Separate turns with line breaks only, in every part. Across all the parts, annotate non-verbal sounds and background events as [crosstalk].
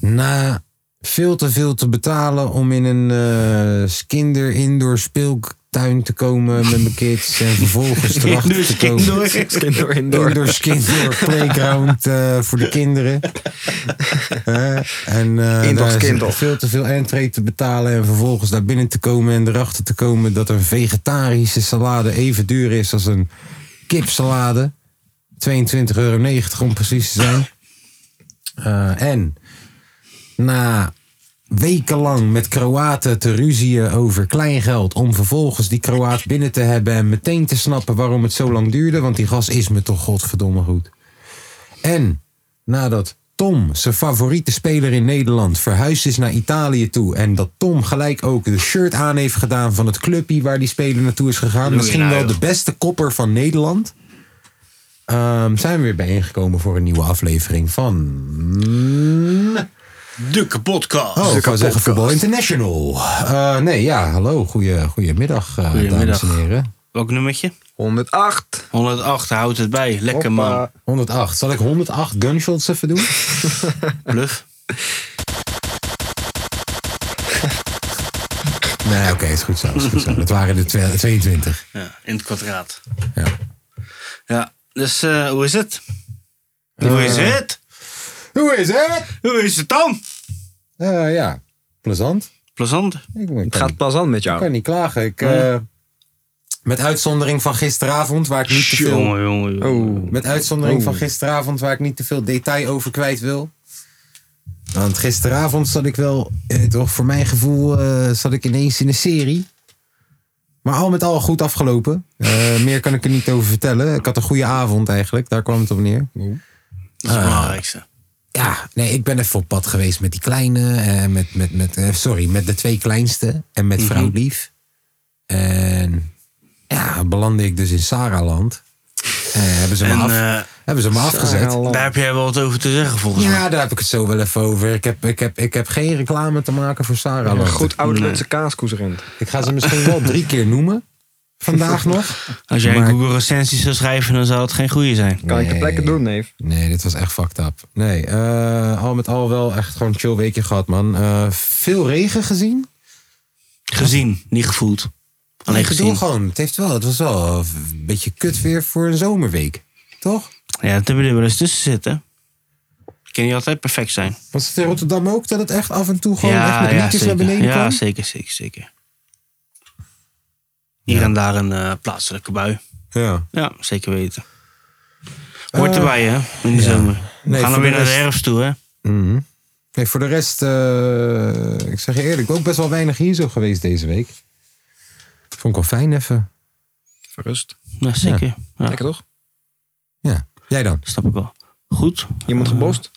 Na veel te veel te betalen om in een eh kinder indoor speeltuin te komen met mijn kids en vervolgens erachter te komen.
Skindoor indoor.
Indoor Skindoor Playground eh, voor de kinderen. Eh, en eh,
Indoor
daar is
Skindor.
veel te veel entree te betalen en vervolgens daar binnen te komen en erachter te komen dat een vegetarische salade even duur is als een kipsalade. 22,90 euro om precies te zijn. Eh, en na wekenlang met Kroaten te ruzien over kleingeld. Om vervolgens die Kroaat binnen te hebben en meteen te snappen waarom het zo lang duurde. Want die gas is me toch godverdomme goed. En nadat Tom, zijn favoriete speler in Nederland, verhuisd is naar Italië toe. En dat Tom gelijk ook de shirt aan heeft gedaan van het clubje waar die speler naartoe is gegaan. Misschien
nou,
wel
joh.
de beste kopper van Nederland. Ehm, zijn we weer bijeengekomen voor een nieuwe aflevering van
De kapotcast.
Oh, ik
Stukken
wou zeggen
podcast.
Voetbal International. Eh, nee, ja, hallo. Goeie, goedemiddag, eh,
Goedemiddag.
dames en heren.
Welk nummertje?
108.
108, houd het bij. Lekker man.
Ah.
Hoppa.
108. Zal ik 108 gunshots even [laughs] doen?
Bluff.
Nee, oké, is goed zo. Is goed zo. Het waren de twe- 22.
Ja, in het kwadraat.
Ja.
Ja, dus eh, hoe is het?
Eh.
hoe is het?
Hoe is het?
Hoe is het dan?
Eh, ja, plezant.
Plezant.
Ik kan,
Het gaat pas aan met
ik
jou.
kan niet klagen. Ik, eh, met uitzondering van gisteravond, waar ik niet te veel...
Jongen, jongen, jongen.
Oh.
Met uitzondering
Oh.
van gisteravond, waar ik niet te veel detail over kwijt wil. Want gisteravond zat ik wel, eh, toch voor mijn gevoel, eh, zat ik ineens in een serie. Maar al met al goed afgelopen. Eh, [laughs] meer kan ik er niet over vertellen. Ik had een goede avond eigenlijk, daar kwam het op neer.
Dat is het belangrijkste.
Ja, nee, ik ben even op pad geweest met die kleine. eh, met, met, met, eh, sorry, met de twee kleinste. En met vrouw Lief. En ja, belandde ik dus in Saraland. Eh, hebben ze me,
En
af,
eh,
hebben ze me
Ah,
afgezet.
daar heb jij wel wat over te zeggen volgens mij.
Ja, daar heb ik het zo wel even over. Ik heb, ik heb, ik heb geen reclame te maken voor Sarah.
Een
Land.
goed ouderwetse kaaskoesrent.
Ik ga ze misschien wel drie keer noemen. Vandaag nog.
Als jij
Maar-
een Google recensie zou schrijven, dan zou het geen goede zijn.
Kan ik de
Nee.
plekken doen, neef?
[laughs] Nee, dit was echt fucked up. Nee, eh, al met al wel echt gewoon een chill weekje gehad, man. Eh, veel regen gezien.
Gezien, niet gevoeld. Alleen
ik bedoel
gezien.
gewoon, het, heeft wel, het was wel een beetje kut weer voor een zomerweek. Toch?
Ja, dat hebben we er wel eens tussen zitten. Kan niet altijd perfect zijn.
Was het in Rotterdam ook dat het echt af en toe gewoon echt met nietjes naar
zeker.
beneden
ja,
kwam?
zeker, zeker, zeker. Hier en daar een eh, plaatselijke bui.
Ja. Eh,
Ja, zeker weten. Hoort erbij, hè, in de zomer. We
Nee,
gaan
voor
dan weer
de
naar de
rest-
herfst toe, hè.
Mhm. Nee, voor de rest, eh, ik zeg je eerlijk, ik ben ook best wel weinig hier zo geweest deze week. Vond ik wel fijn even.
Verrust.
Ja, zeker. Ja,
Lekker toch?
Ja, jij dan?
snap ik wel. Goed. Eh,
Iemand gebost?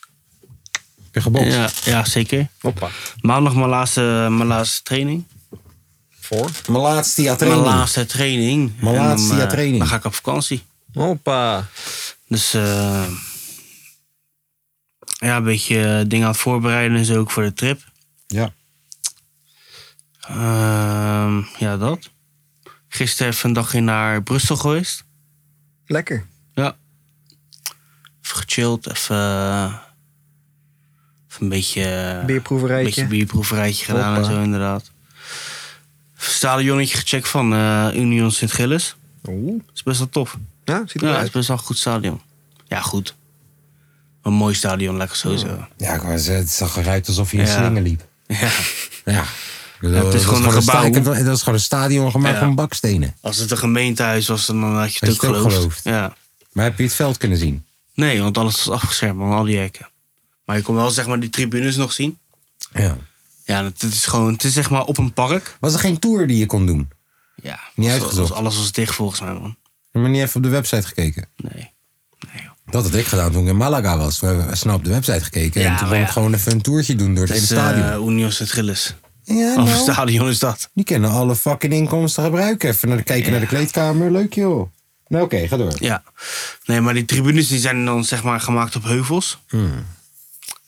Heb je gebost?
Ja, ja, zeker.
Hoppa.
Maandag mijn laatste, eh, mijn laatste training.
Voor?
Mijn laatste jaar
Mijn
training.
laatste training.
Mijn
En
laatste
dan, eh,
training.
Dan ga ik op vakantie.
Hoppa.
Dus eh, ja, een beetje eh, dingen aan het voorbereiden en zo ook voor de trip.
Ja.
Ehm, ja, dat. Gisteren even een dagje naar Brussel geweest.
Lekker.
Ja. Even gechilled, even, eh, even een beetje... eh, Een beetje
Bierproeverijtje.
bierproeverijtje gedaan en
Hoppa.
zo inderdaad. Even Stadionnetje gecheckt van eh, Union Sint-Gilles.
Oeh.
is best wel tof.
Ja, ziet
Ja, het
eruit.
is best wel een goed stadion. Ja, goed. Een mooi stadion, lekker sowieso.
Ja, ik was, het zag eruit alsof je in
Ja.
slinger liep.
Ja.
Ja.
het is
Dat
gewoon een
sta-
gebouw.
ik heb Dat dat is gewoon een stadion gemaakt
Ja.
van bakstenen.
Als het een gemeentehuis was, dan had je het
Had
ook
je het ook
geloofd.
geloofd.
Ja.
Maar heb je het veld kunnen zien?
Nee, want alles was afgeschermd, man, al die hekken. Maar je kon wel zeg maar die tribunes nog zien.
Ja.
Ja, het het is gewoon, het is zeg maar op een park.
Was er geen tour die je kon doen?
Ja,
Niet
alles-
uitgezocht.
Alles was dicht volgens mij, man.
Heb je maar niet even op de website gekeken?
Nee. Nee, joh.
Dat had ik gedaan toen ik in Malaga was. We hebben snel op de website gekeken.
Ja,
en toen
maar
wou ik
ja.
gewoon even een toertje doen door het
Dat
hele
is
stadion.
eh Unios de Trillis.
ja,
Of
nou,
stadion is dat.
die kennen alle fucking inkomsten gebruiken. Even naar de, kijken naar de kleedkamer. Leuk joh. Nou oké, ga door.
Ja. Nee, maar die tribunes die zijn dan zeg maar gemaakt op heuvels.
Hmm.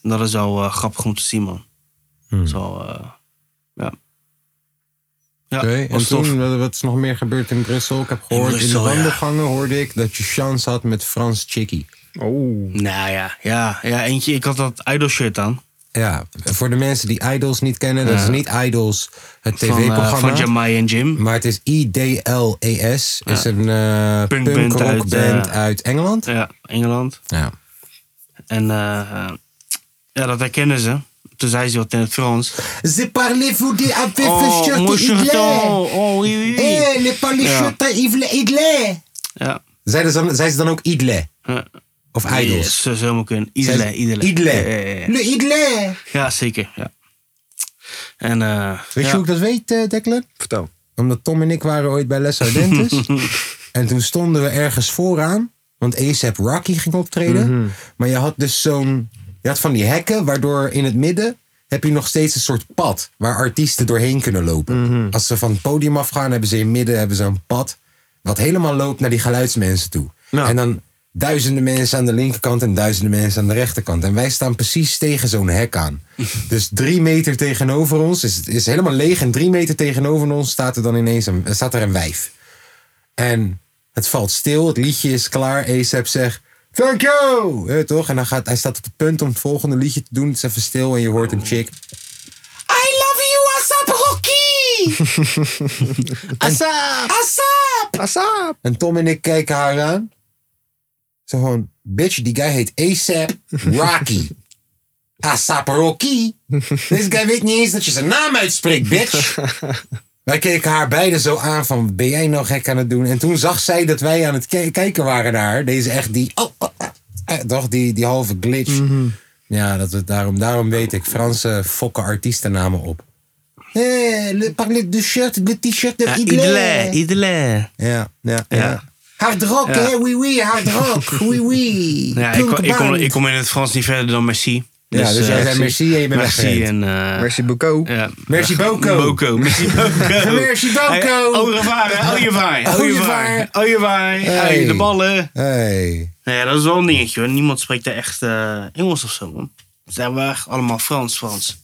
En Dat is wel eh, grappig om te zien, man.
Hmm.
Dat is wel, eh, ja. Ja,
Oké, en
was tof.
toen, wat- wat is nog meer gebeurd in Brussel? Ik heb gehoord, in,
Brussel,
de
ja.
wandelgangen hoorde ik dat je chance had met Frans Chicky.
Oh.
Nou ja, ja, ja, eentje. Ik had dat Idol shirt aan.
Ja, voor de mensen die Idols niet kennen, dat
Ja.
is niet Idols, het
Van, eh,
tv-programma.
van Jamai en Jim.
maar het is IDLES, E is een eh
Punkband
punk
uit,
rockband uit,
eh,
Engeland.
Ja, Engeland.
Ja.
En eh, ja, dat herkennen ze. Toen zei ze wat in het
[laughs]
Frans.
Ze parlez-vous de avec
mon chanton. Oh, oui, oui, oui.
E? Eh, les
Oh, Ja.
idle.
Ja.
Zijn ze dan- zijn ze dan ook idle?
ja.
Of idols?
Yes, Zo zou maar kunnen.
Zijn
Idele,
ze-
idele.
Idle.
Ja, ja, ja.
Le idle.
Ja, zeker. Ja. En, eh,
Weet je
ja.
hoe ik dat weet, eh, Declan?
Vertel.
Omdat Tom en ik waren ooit bij Les
[laughs]
Ardentes. en toen stonden we ergens vooraan. Want ASAP Rocky ging optreden. Maar je had dus zo'n... Je had van die hekken, waardoor in het midden... heb je nog steeds een soort pad... waar artiesten doorheen kunnen lopen. Als ze van het podium afgaan, hebben ze in het midden hebben ze een pad... wat helemaal loopt naar die geluidsmensen toe.
Ja.
En dan duizenden mensen aan de linkerkant... en duizenden mensen aan de rechterkant. En wij staan precies tegen zo'n hek aan. dus drie meter tegenover ons is, is helemaal leeg... en drie meter tegenover ons staat er dan ineens een, staat er een wijf. En het valt stil, het liedje is klaar. ASAP zegt, thank you! Ja, toch? En dan gaat, hij staat op het punt om het volgende liedje te doen. Het is even stil en je hoort een chick. I love you, ASAP Rocky!
Asap!
ASAP!
Asap!
En Tom en ik kijken haar aan. Zo gewoon, bitch, die guy heet ASAP Rocky. ASAP Rocky? Deze guy weet niet eens dat je zijn naam uitspreekt, bitch. Wij keken haar beiden zo aan van, ben jij nou gek aan het doen? En toen zag zij dat wij aan het ki- kijken waren naar haar. Deze echt die, oh, oh, ah, eh, toch, die, die halve glitch. Ja, dat we daarom, daarom weet ik, Franse fokken artiestennamen op. Eh, le parler de shirt, le t-shirt de
Ja,
Idler.
idele, idele.
Ja, ja, ja.
Ja.
Hard rock,
Ja.
hè? Oui, oui, hard
[laughs]
rock. Oui, oui.
Ja, ik, kom, ik, kom,
Punkband.
ik kom in het Frans niet verder dan merci.
Ja, dus, jij
eh,
zei merci en je bent
merci
weggerend.
en... eh,
Merci beaucoup.
ja.
Merci Boko.
Boko. Merci Boko.
[laughs] Merci Boko.
Hey, au revoir, hè. au revoir. Au revoir. Au revoir. Hey, de ballen.
Hey.
Nou ja, dat is wel een dingetje hoor. Niemand spreekt daar echt eh, Engels of zo, man. Ze zijn wel echt allemaal Frans, Frans.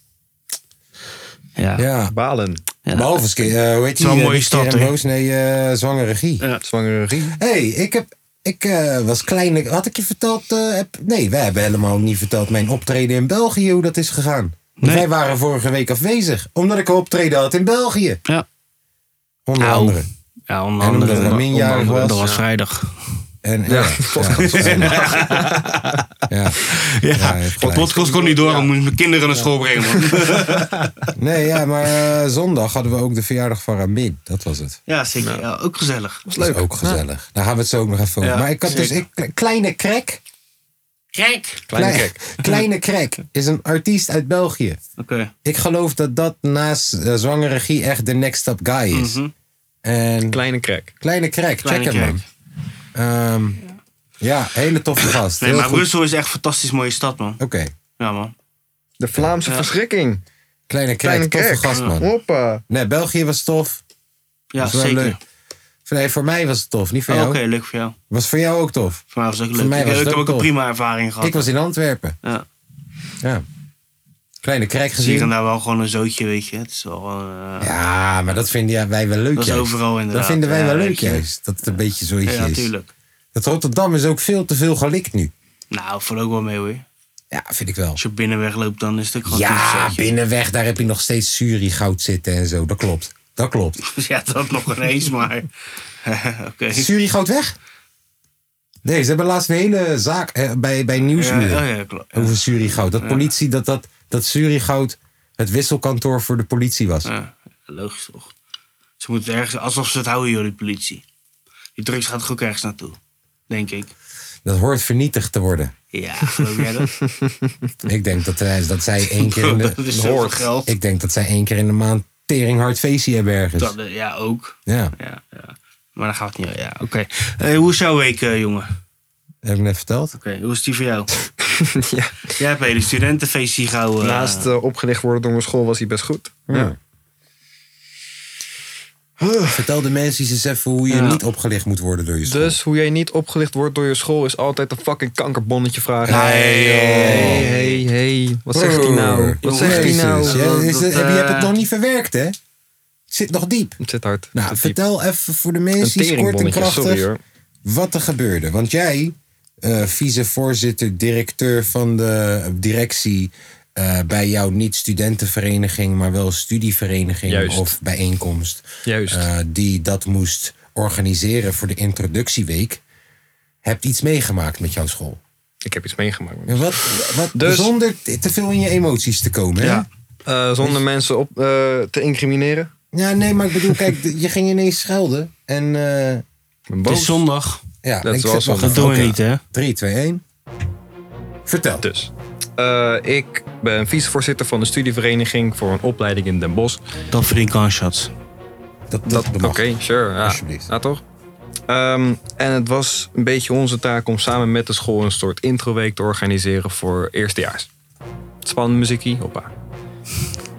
Ja.
Ja.
Balen.
Ja.
Behalve, als ik, eh, hoe heet die?
Zo'n
eh,
mooie
die
stad,
Keren
hè?
Roos? Nee, eh, zwangere regie.
Ja.
Zwangere regie.
hey, ik heb... Ik eh, was klein. ik- Had ik je verteld? eh, heb- nee, wij hebben helemaal niet verteld mijn optreden in België, hoe dat is gegaan.
Nee.
Wij waren vorige week afwezig, omdat ik een optreden had in België.
Ja.
Onder
Au.
andere.
Ja, onder
En omdat
andere.
Ramin
onder
jarig
andere,
was.
Dat was vrijdag.
En, eh,
[laughs]
ja, podcast. ja.
Ja,
hij heeft
de
gelijk.
podcast kon niet door, ik moest mijn kinderen naar school brengen.
[laughs]
Man.
Nee, ja, maar eh, zondag hadden we ook de verjaardag van Ramin. Dat was het.
Ja, zeker. Ja, ook gezellig.
Dat is ook gezellig. Daar gaan we het zo ook nog even over.
Ja,
maar ik had dus
zeker.
ik, kleine crack.
Kijk!
Kleine
Klein-
kek.
[laughs] Kleine Crack is een artiest uit België.
Oké.
Ik geloof dat dat naast eh, Zwangere Regie echt de next up guy is. En
Kleine crack.
Kleine Crack,
Mhm. Kleine
check hem man.
Crack.
Ehm, ja, hele toffe gast.
Nee,
Heel
maar
goed.
Brussel is echt een fantastisch mooie stad, man.
Oké,
Ja, man.
De Vlaamse
Ja.
verschrikking.
Kleine Crack,
Kleine
toffe
crack.
gast man.
Hoppa. [laughs]
Nee, België was tof.
Ja,
was wel
zeker.
leuk. Nee, voor mij was het tof, niet voor
Oh, Oké,
jou.
leuk voor jou.
Was voor jou ook tof.
Voor mij was het ook
Voor
leuk.
mij
Ik-
was
ik
het
heb
ook
ook een
tof.
prima ervaring gehad.
Ik was in Antwerpen.
Ja.
Ja. Kleine Crack
Hier en
gezien.
daar wel gewoon een zootje, weet je. Het is wel... eh,
Ja, maar dat vinden ja, wij wel leuk.
Dat is
juist.
overal inderdaad.
Dat vinden wij
Ja,
wel leuk
weet je.
juist. Dat het een beetje zoiets
ja,
is.
tuurlijk.
Dat Rotterdam is ook veel te veel gelikt nu.
Nou, valt ook wel mee hoor.
Ja, vind ik wel.
Als je binnenweg loopt, dan is het ook gewoon
Ja,
toezicht.
binnenweg, daar heb je nog steeds Surigoud zitten en zo. Dat klopt. Dat klopt.
[laughs] Ja, dat nog ineens, maar... [laughs] Oké.
Is Surigoud weg? Nee, ze hebben laatst een hele zaak eh, bij, bij
Ja,
Nieuwsuur
oh ja, klopt.
over Surigoud. Dat politie, dat, dat, dat Surigoud het wisselkantoor voor de politie was.
Ja, logisch toch. Ze moeten ergens... Alsof ze het houden, jullie politie. Die drugs gaat toch ook ergens naartoe? Denk ik.
Dat hoort vernietigd te worden.
Ja, geloof
[laughs]
jij dat?
Ik denk dat, eh, dat
[laughs]
zij één keer in de,
dat is zoveel
hoort.
geld.
Ik denk dat zij één keer in de maand teringhard feestje hebben ergens.
dat eh, ja, ook.
Ja.
Ja, ja. Maar daar gaat het niet. Ja, oké. Eh, hoe is jouw week, eh, jongen?
Heb ik net verteld.
Oké, hoe is die voor jou?
ja.
Jij hebt een hele studentenfeest hier gehouden. eh.
Naast eh, opgelicht worden door mijn school was hij best goed.
Ja. [laughs] Vertel de mensen eens even hoe je
Ja.
niet opgelicht moet worden door je school.
Dus hoe jij niet opgelicht wordt door je school is altijd een fucking kankerbonnetje vragen.
Nee, joh.
hey, hey, hey. Wat zegt hij nou?
Jezus,
Wat zegt hij nou?
Jezus, ja, is
Dat,
het- heb- je
eh,
hebt het nog niet verwerkt, hè? Het zit nog diep.
Het zit hard.
Nou,
Het zit diep.
vertel even voor de
Een
mensen, iets kort en
teringbonnetje,
krachtig,
sorry hoor.
wat er gebeurde. Want jij, eh, vicevoorzitter, directeur van de directie eh, bij jouw niet-studentenvereniging, maar wel studievereniging
Juist.
of bijeenkomst,
Juist.
eh, die dat moest organiseren voor de introductieweek, hebt iets meegemaakt met jouw school.
Ik heb iets meegemaakt. man.
En Wat, wat,
Dus-
Zonder te veel in je emoties te komen, hè?
Ja.
Eh, zonder mensen op, eh, te incrimineren.
Ja, nee, maar ik bedoel, kijk, de- je ging ineens schelden. En eh,
Ik
Het
ben
is
boos.
zondag.
ja,
Dat
ik
is wel
zit
zo.
nog
Dat
even-
doen we
oké.
niet, hè?
3, 2, 1. Vertel.
Dus, eh, ik ben vicevoorzitter van de studievereniging voor een opleiding in Den Bosch.
Dat verdient gunshots.
dat, dat,
Oké,
mag.
sure. Ja.
Alsjeblieft.
Ja, toch? Ehm, en het was een beetje onze taak om samen met de school een soort introweek te organiseren voor eerstejaars. Spannende muziekie, hoppa.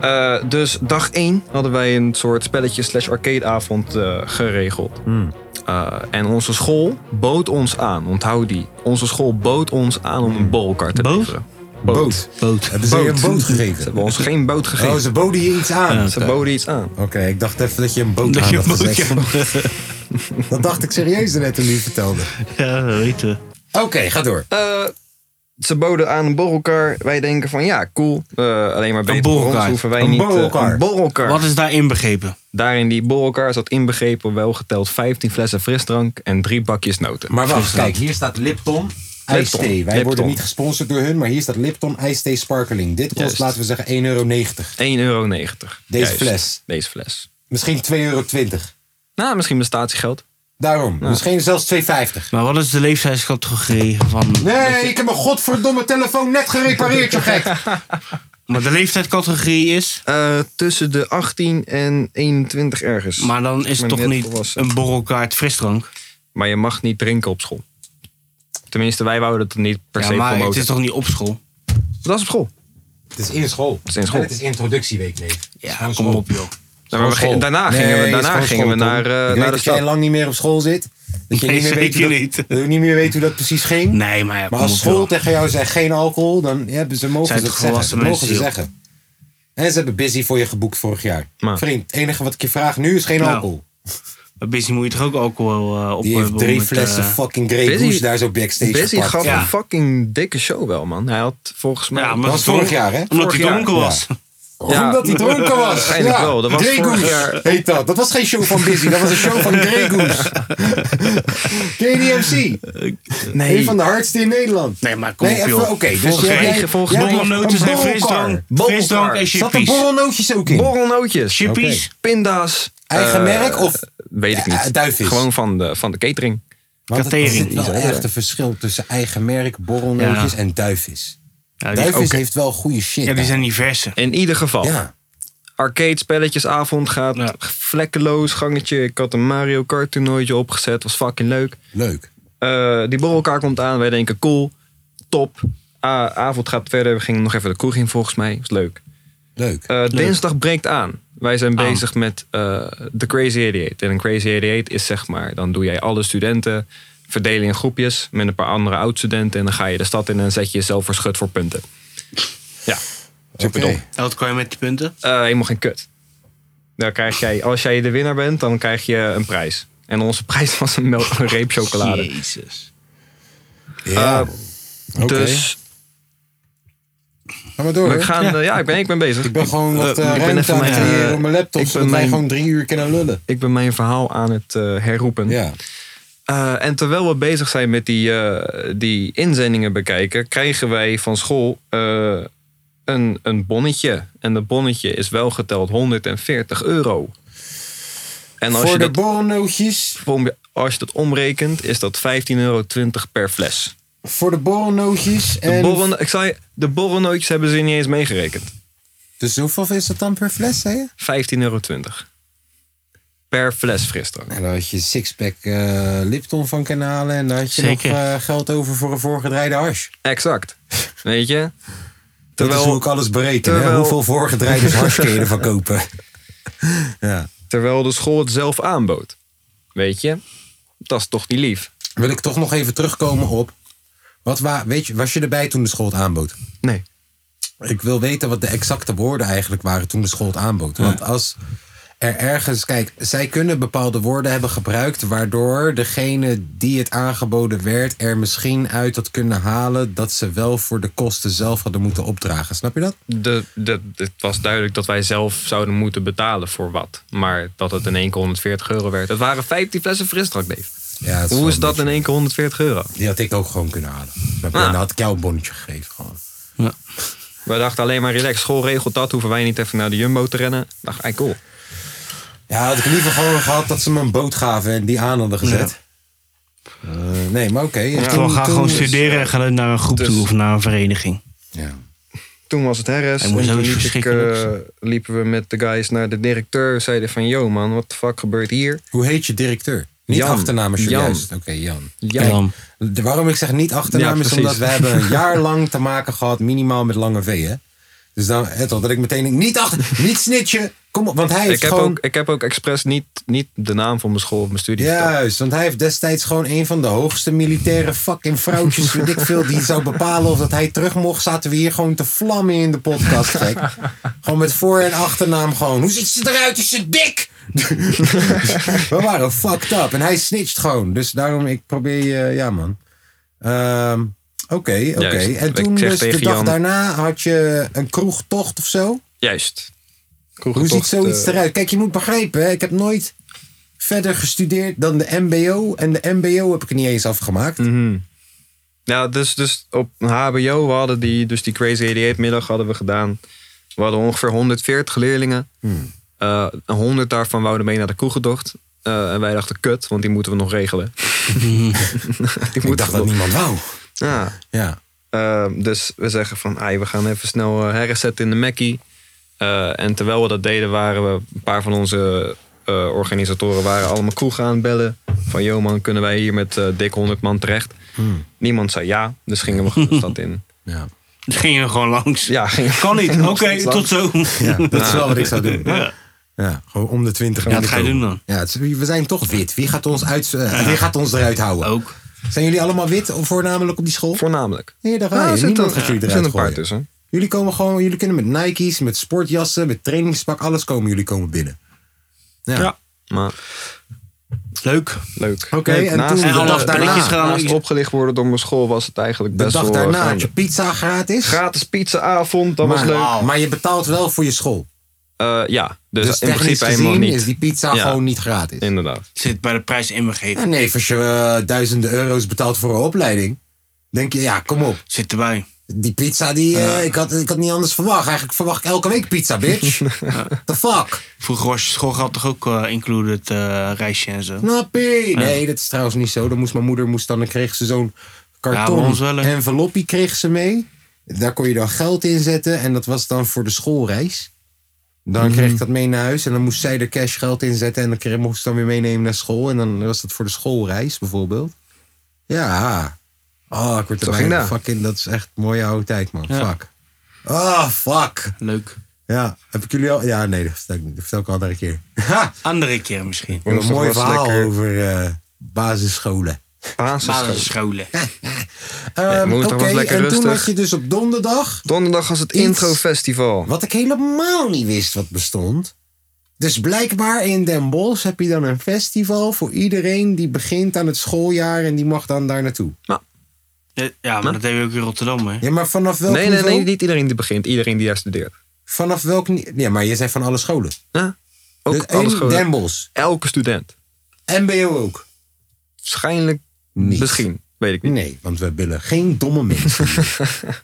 Eh, dus dag 1 hadden wij een soort spelletje slash arcadeavond eh, geregeld.
Hmm.
Eh, en onze school bood ons aan, onthoud die. Onze school bood ons aan om een bolkar te
Bood?
leveren.
Boot.
Boot.
Hmm. Hebben ze je een
Boot.
boot
Ze
gegeven?
hebben ons geen boot gegeven.
Oh, ze boden je iets aan.
Ze boden iets aan.
Oké, ik dacht even dat je een boot
Dat
aan
je
had
boot,
gezegd. [laughs] Dat dacht ik serieus net toen u het vertelde.
Ja, dat weten we.
Oké, ga door.
Eh, ze boden aan een borrelkar. Wij denken van ja, cool. Eh, alleen maar beter voor
borrelkar.
ons hoeven wij
Een
niet. eh,
borrelkar.
een borrelkar.
Wat is daarin begrepen?
Daar in die borrelkar zat inbegrepen wel geteld 15 flessen frisdrank en drie bakjes noten.
Maar wacht, kijk, hier staat Lipton ijsthee. Wij
Lipton.
worden niet gesponsord door hun, maar hier staat Lipton ijsthee sparkling. Dit kost,
Juist.
laten we zeggen, 1,90 euro.
1,90 euro.
Deze fles.
Deze fles.
Misschien 2,20 euro.
Nou, misschien bestatiegeld.
Daarom, misschien zelfs 2,50.
Maar Nou, wat is de leeftijdscategorie van...
Nee, ik heb mijn godverdomme telefoon net gerepareerd, je gek.
Maar de leeftijdscategorie is...
Eh, tussen de 18 en 21 ergens. Maar,
Maar dan is
Maar
het toch
net
niet
volwassen.
een borrelkaart frisdrank?
je mag niet drinken op school. Tenminste, wij wouden het niet per
Ja,
se
maar het
promoten.
is toch niet op school?
Dat is op school.
Het is in school.
is in school.
En het is introductieweek, nee.
Ja, kom op joh.
Nou, maar we gingen- daarna gingen we, daarna gingen we naar, eh,
ik weet
naar de
dat jij
stad.
lang niet meer op school zit. Dat je
Nee, [laughs]
niet, meer weet hoe
zeker
dat,
niet.
dat je niet meer weet hoe dat precies ging.
Nee, maar ja,
maar
kom
als
op,
school
joh.
tegen jou zegt geen alcohol, dan hebben ze mogen
Zijn
ze
toch
dat zeggen.
volwassen
Dat mogen ze
mensen,
zeggen. En ze hebben busy voor je geboekt vorig jaar.
Maar-
Vriend, het enige wat ik je vraag nu is geen
Nou,
alcohol.
Bij Busy moet je toch ook alcohol eh op
Die heeft drie flessen
eh,
fucking Grey
Busy-
Goose daar zo backstage
Busy
gepakt.
gaf
Ja.
een fucking dikke show wel, man. Hij had volgens mij...
ja, maar
Dat was vorig jaar, hè?
Omdat
Vorig
hij
jaar.
dronken was.
Ja.
Omdat hij dronken was.
Waarschijnlijk wel, dat was
Grey
vorig
Goose
jaar.
heet dat. Dat was geen show van Busy, dat was een show van Grey
[laughs]
Goose. KDMC.
Nee.
Een van de hardste in Nederland.
Nee, maar kom
Nee,
op
even,
joh.
oké. dus
Volgens
jij,
mij-
jij-
volgens
jij-
mij-
Borrelnoten
een
zijn
borrelkar.
frisdrank.
Borrelkar.
Frisdrank en
Zat er
chippies.
borrelnootjes ook in?
Borrelnootjes.
Chippies?
Pinda's.
Eigen
eh,
merk of-
Weet ik
Ja,
niet.
duifvis.
Gewoon van de, van de catering.
Want het- er zit
Katering.
wel echt een verschil tussen eigen merk, borrelnootjes
Ja.
en duifvis.
Ja, die,
Duifvis
oké.
heeft wel goede shit.
ja, die
daar.
zijn niet verse.
In ieder geval.
Ja.
Arcade spelletjesavond gaat
Ja.
vlekkeloos gangetje. Ik had een Mario Kart toernooitje opgezet. Was fucking leuk.
leuk.
Eh, die borrelkaar komt aan. Wij denken cool. Top. Ah, avond gaat verder. We gingen nog even de kroeg in volgens mij. Was leuk.
Leuk.
Eh, dinsdag breekt aan. Wij zijn bezig met eh de Crazy 88. En een Crazy 88 is zeg maar, dan doe jij alle studenten verdelen in groepjes met een paar andere oud-studenten. En dan ga je de stad in en zet je jezelf voor schut voor punten. Ja, superdom.
Oké.
En Wat kan je met die punten?
Eh, helemaal geen kut. Dan krijg jij, als jij de winnaar bent, dan krijg je een prijs. En onze prijs was een, mel- een reep chocolade.
Jezus.
Ja. Oké.
Dus
Ga maar door.
we
hoor.
gaan, eh, ja, ik ben, ik ben bezig.
Ik ben gewoon wat
Eh,
eh,
ik ben
ruimte
even
aan het
mijn,
creëren
eh,
op mijn laptop.
ik ben
Zodat wij
mijn-
gewoon drie uur kunnen lullen.
Ik ben mijn verhaal aan het eh, herroepen.
Ja.
Eh, en terwijl we bezig zijn met die, eh, die inzendingen bekijken, krijgen wij van school eh, een, een bonnetje. En dat bonnetje is wel geteld 140 euro. En als,
Voor
je
de
dat,
borrelnootjes
om- als je dat omrekent, is dat 15,20 euro per fles.
Voor de borrelnootjes.
De,
En...
borrel, ik zei, de borrelnootjes hebben ze niet eens meegerekend.
Dus hoeveel is dat dan per fles, zei je?
15,20 euro. per fles frisdrank.
En daar had je sixpack eh Lipton van kanalen. En daar had je
Zeker.
nog eh, geld over voor een voorgedraaide hash.
Exact. Weet je?
Terwijl,
Terwijl-
dat is hoe ik alles bereken.
terwijl-
Hè? Hoeveel voorgedraaide hash kun je ervan kopen? ja.
Terwijl de school het zelf aanbood. Weet je? Dat is toch niet lief?
Wil ik toch nog even terugkomen op... Wat wa weet je, was je erbij toen de school het aanbood?
Nee.
Ik wil weten wat de exacte woorden eigenlijk waren toen de school het aanbood. Want als er ergens, kijk, zij kunnen bepaalde woorden hebben gebruikt. waardoor degene die het aangeboden werd. er misschien uit had kunnen halen. dat ze wel voor de kosten zelf hadden moeten opdragen. Snap je dat?
De, de, het was duidelijk dat wij zelf zouden moeten betalen voor wat. Maar dat het in één keer 140 euro werd. Het waren 15 flessen frisdrank, Dave.
Ja, het
Hoe
wel
is
een
dat in één keer 140 euro?
beetje- Die had ik ook gewoon kunnen halen. Snap je?
Ah.
En dan had ik jou een bonnetje gegeven. Gewoon.
Ja.
Wij dachten alleen maar relax, school regelt dat. Hoeven wij niet even naar de Jumbo te rennen. Dacht, ik, cool.
Ja, had ik liever gewoon gehad dat ze me een boot gaven en die aan hadden gezet. Eh, nee, maar oké. En toen-
Terwijl ga
toen
gewoon
is-
studeren en ga naar een groep
Dus-
toe of naar een vereniging.
Ja.
toen was het herres.
Hij
En
moest
toen
ook
liep ik,
verschrikkelijk
eh, liepen we met de guys naar de directeur. Zeiden van, yo man, wat de fuck gebeurt hier?
Hoe heet je directeur? Niet
Jan.
achternaam als je
Jan.
juist. Oké, Jan.
Ja,
Jan.
De- Waarom ik zeg niet
Ja,
achternaam is
precies.
omdat we hebben
[laughs]
een jaar lang te maken gehad, minimaal met lange V, hè? Dus dan, hè, toch, dat ik meteen denk, niet achter, niet snitchen. Kom op, want hij heeft
ik, heb
gewoon...
ook, ik heb ook expres niet, niet de naam van mijn school of mijn studie verteld.
Juist, want hij heeft destijds gewoon een van de hoogste militaire fucking vrouwtjes, weet ik veel, die zou bepalen of dat hij terug mocht. Zaten we hier gewoon te vlammen in de podcast, gek. Gewoon met voor- en achternaam gewoon. Hoe ziet ze eruit? Is ze dik? [laughs] we waren fucked up. En hij snitcht gewoon. Dus daarom, ik probeer je, ja man. Ehm, Oké, oké.
Juist.
En
Ik
toen
zeg
dus de
tegen
dag
Jan-
daarna had je een kroegtocht of zo?
Juist.
Hoe ziet
Kroegentocht,
zoiets
eh,
eruit? Kijk, je moet begrijpen, hè, ik heb nooit verder gestudeerd dan de MBO. En de MBO heb ik niet eens afgemaakt.
Mhm. Ja, dus, dus op een HBO, we hadden die, dus die Crazy 88 middag hadden we gedaan. We hadden ongeveer 140 leerlingen.
Hmm.
Eh, 100 daarvan wouden mee naar de kroegentocht. Eh en wij dachten, kut, want die moeten we nog
[laughs]
regelen. [laughs] die
Ik dacht dat niemand wou.
Ja,
Ja.
Eh, dus we zeggen van, "Ai, we gaan even snel eh, herresetten in de Mackie. Eh, en terwijl we dat deden, waren we, een paar van onze eh, organisatoren waren allemaal kroegen aan het bellen. Van, joh man, kunnen wij hier met eh dik 100 man terecht?
Hmm.
Niemand zei ja, dus gingen we gewoon de stad
[laughs]
in.
Ja.
Dan ging je er gewoon langs.
Ja, gingen we
[laughs] Kan niet. Oké,
Langs.
tot zo.
[laughs]
ja, dat is wel wat ik zou doen.
Ja.
Ja, gewoon om de 20
Ja, dat ga je
minuten.
doen dan.
Ja, het is- we zijn toch wit. Wie gaat ons, uit, eh, wie gaat ons eruit houden?
Ook.
Zijn jullie allemaal wit, of voornamelijk op die school?
Voornamelijk.
Nee, daar
Ja,
ga je.
er zitten-
Niemand gaat jullie
er zitten
eruit
een paar
gooien.
tussen.
Jullie komen gewoon, jullie kunnen met Nike's, met sportjassen, met trainingspak, alles komen jullie komen binnen. Ja.
Ja. Maar
Leuk.
leuk.
Oké,
Leuk.
en
Naast-
toen de
naast-
dag daarna-
naast
Naast-
opgelicht worden door mijn school was het eigenlijk
De
best
dag
wel... eh,
daarna had
gaande.
je pizza gratis.
Gratis pizzaavond, dat was
maar,
leuk.
maar je betaalt wel voor je school.
Eh, ja, dus,
Dus,
in
technisch
principe
gezien
helemaal niet.
is die pizza
Ja.
gewoon niet gratis.
Inderdaad.
Zit bij de prijs inbegrepen.
Ja, nee, als je eh, duizenden euro's betaalt voor een opleiding, denk je, ja, kom op.
Zit erbij.
Die pizza, die, eh, ik, had, ik had niet anders verwacht. Eigenlijk verwacht ik elke week pizza,
[laughs]
bitch. The fuck?
Vroeger was je schoolgeld toch ook eh, included eh, reisje en zo.
Nappie. Nee, dat is trouwens niet zo. Dan moest mijn moeder, moest dan, dan kreeg ze zo'n
bij
karton
ons wel, hè.
enveloppie kreeg ze mee. Daar kon je dan geld in zetten en dat was dan voor de schoolreis. Dan
Mhm.
kreeg ik dat mee naar huis en dan moest zij er cash geld in zetten. En dan kreeg, moest ik dan weer meenemen naar school. En dan was dat voor de schoolreis bijvoorbeeld. Ja. Oh, ik word
Zo
er
ging
bijna
dat.
fucking... Dat is echt mooie oude tijd, man.
Ja.
Fuck. Oh, fuck.
Leuk.
Ja, heb ik jullie al... Ja, nee, dat vertel ik niet. Dat vertel ik al een keer. [laughs] Ha!
Andere keer misschien.
Ik heb een
Woensdag
mooi
was
verhaal
lekker.
over eh, basisscholen.
Basisschool.
Basisscholen.
Ehm,
woensdag was
Oké,
lekker
en toen
rustig.
had je dus op donderdag...
Donderdag was het
Iets.
intro festival.
Wat ik helemaal niet wist wat bestond. Dus blijkbaar in Den Bosch heb je dan een festival voor iedereen die begint aan het schooljaar en die mag dan daar naartoe.
Ja, maar dat deden we ook in Rotterdam, hè?
Ja, maar vanaf welk
Nee, nee,
niveau?
nee, niet iedereen die begint. Iedereen die daar studeert.
Vanaf welk ni- Ja, maar je zei van alle scholen.
Ja, ook
Dus
alles
in
gewoon.
Den Bosch.
Elke student.
MBO ook.
Waarschijnlijk
Niet.
misschien.
[laughs]
Weet ik niet.
Nee, want we willen geen domme
[laughs]
mensen.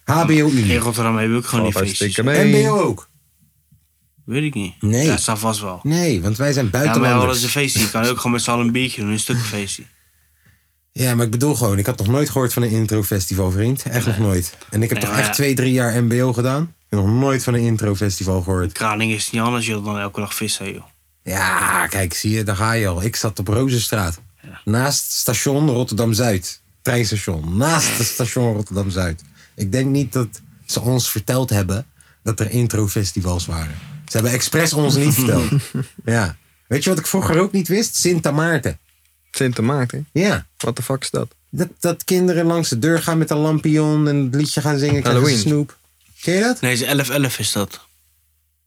HBO
In
Unie.
Rotterdam hebben we ook gewoon die
Valt
feestjes.
hartstikke mee.
MBO ook.
Weet ik niet.
Nee.
Ja, staat vast wel.
Nee, want wij zijn
Ja, maar ja, dat is
buitenlanders.
een feestje. Je kan ook gewoon met z'n allen een biertje doen, een stuk feestje.
Ja, maar ik bedoel gewoon, ik had nog nooit gehoord van een introfestival, vriend. Echt nog nooit. En ik heb
Nee,
toch
maar
echt
ja.
twee, drie jaar MBO gedaan. Ik heb nog nooit van een introfestival gehoord.
Kraling is niet anders, joh, dan elke dag vissen, joh.
Ja, kijk, zie je, daar ga je al. Ik zat op Rozenstraat. Naast station Rotterdam-Zuid. Treinstation. Naast het station Rotterdam-Zuid. Ik denk niet dat ze ons verteld hebben dat er introfestivals waren. Ze hebben expres ons niet verteld.
[laughs]
Ja. Weet je wat ik vroeger ook niet wist? Sint Maarten.
Sint Maarten.
Ja.
What the fuck is dat?
Dat, dat kinderen langs de deur gaan met een lampion en het liedje gaan zingen. krijgen
Halloween.
Snoep. Ken je dat?
Nee, is 11-11 is dat.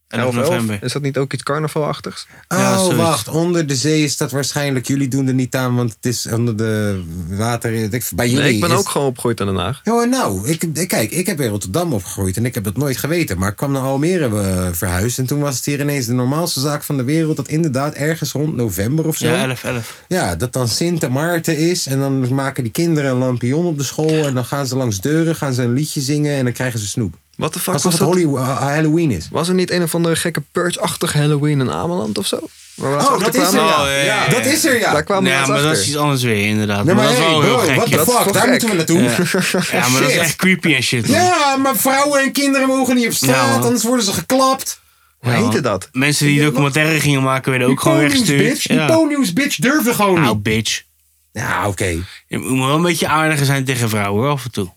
11
11 11?
november.
Is dat niet ook iets carnavalachtigs?
Oh,
Ja, zoiets.
wacht. Onder de zee is dat waarschijnlijk. Jullie doen er niet aan, want het is onder de water. Ik- Bij jullie
Nee, ik ben
is-
ook gewoon opgegroeid in Den Haag.
Ja, nou, ik, ik- kijk, ik heb in Rotterdam opgegroeid en ik heb dat nooit geweten. Maar ik kwam naar Almere eh, verhuisd en toen was het hier ineens de normaalste zaak van de wereld. Dat inderdaad ergens rond november of zo. Oh,
Ja,
Ja,
11-11.
dat dan Sint Maarten is en dan maken die kinderen een lampion op de school. En dan gaan ze langs deuren, gaan ze een liedje zingen en dan krijgen ze snoep.
Wat de fuck
Alsof
was
het
dat?
Holly- eh, Halloween is.
Was er niet een of andere gekke purge-achtige Halloween in Ameland of zo? Waar we laatst
Oh, dat is er
achterkwamen?
ja.
Oh, ja, ja, ja.
Dat is er ja.
Daar kwamen we
Ja,
laatst
maar dat
achter.
is iets anders weer, inderdaad.
Nee, maar
maar, dat is
hey,
wel heel
bro,
gek.
what
ja.
the
Dat is
fuck,
toch
daar
gek?
moeten we naartoe.
Ja.
[laughs]
Ja, maar dat is
Shit.
echt creepy en shit. man.
Ja, maar vrouwen en kinderen mogen niet op straat,
man.
anders worden ze geklapt.
Hoe heette dat?
Mensen die documentaire gingen maken werden ook
Die
gewoon
pony's
weggestuurd.
bitch, die
Ja.
pony's bitch durven gewoon
Nou,
niet.
bitch.
Ja, oké.
Je moet wel een beetje aardiger zijn tegen vrouwen, hoor, af en toe.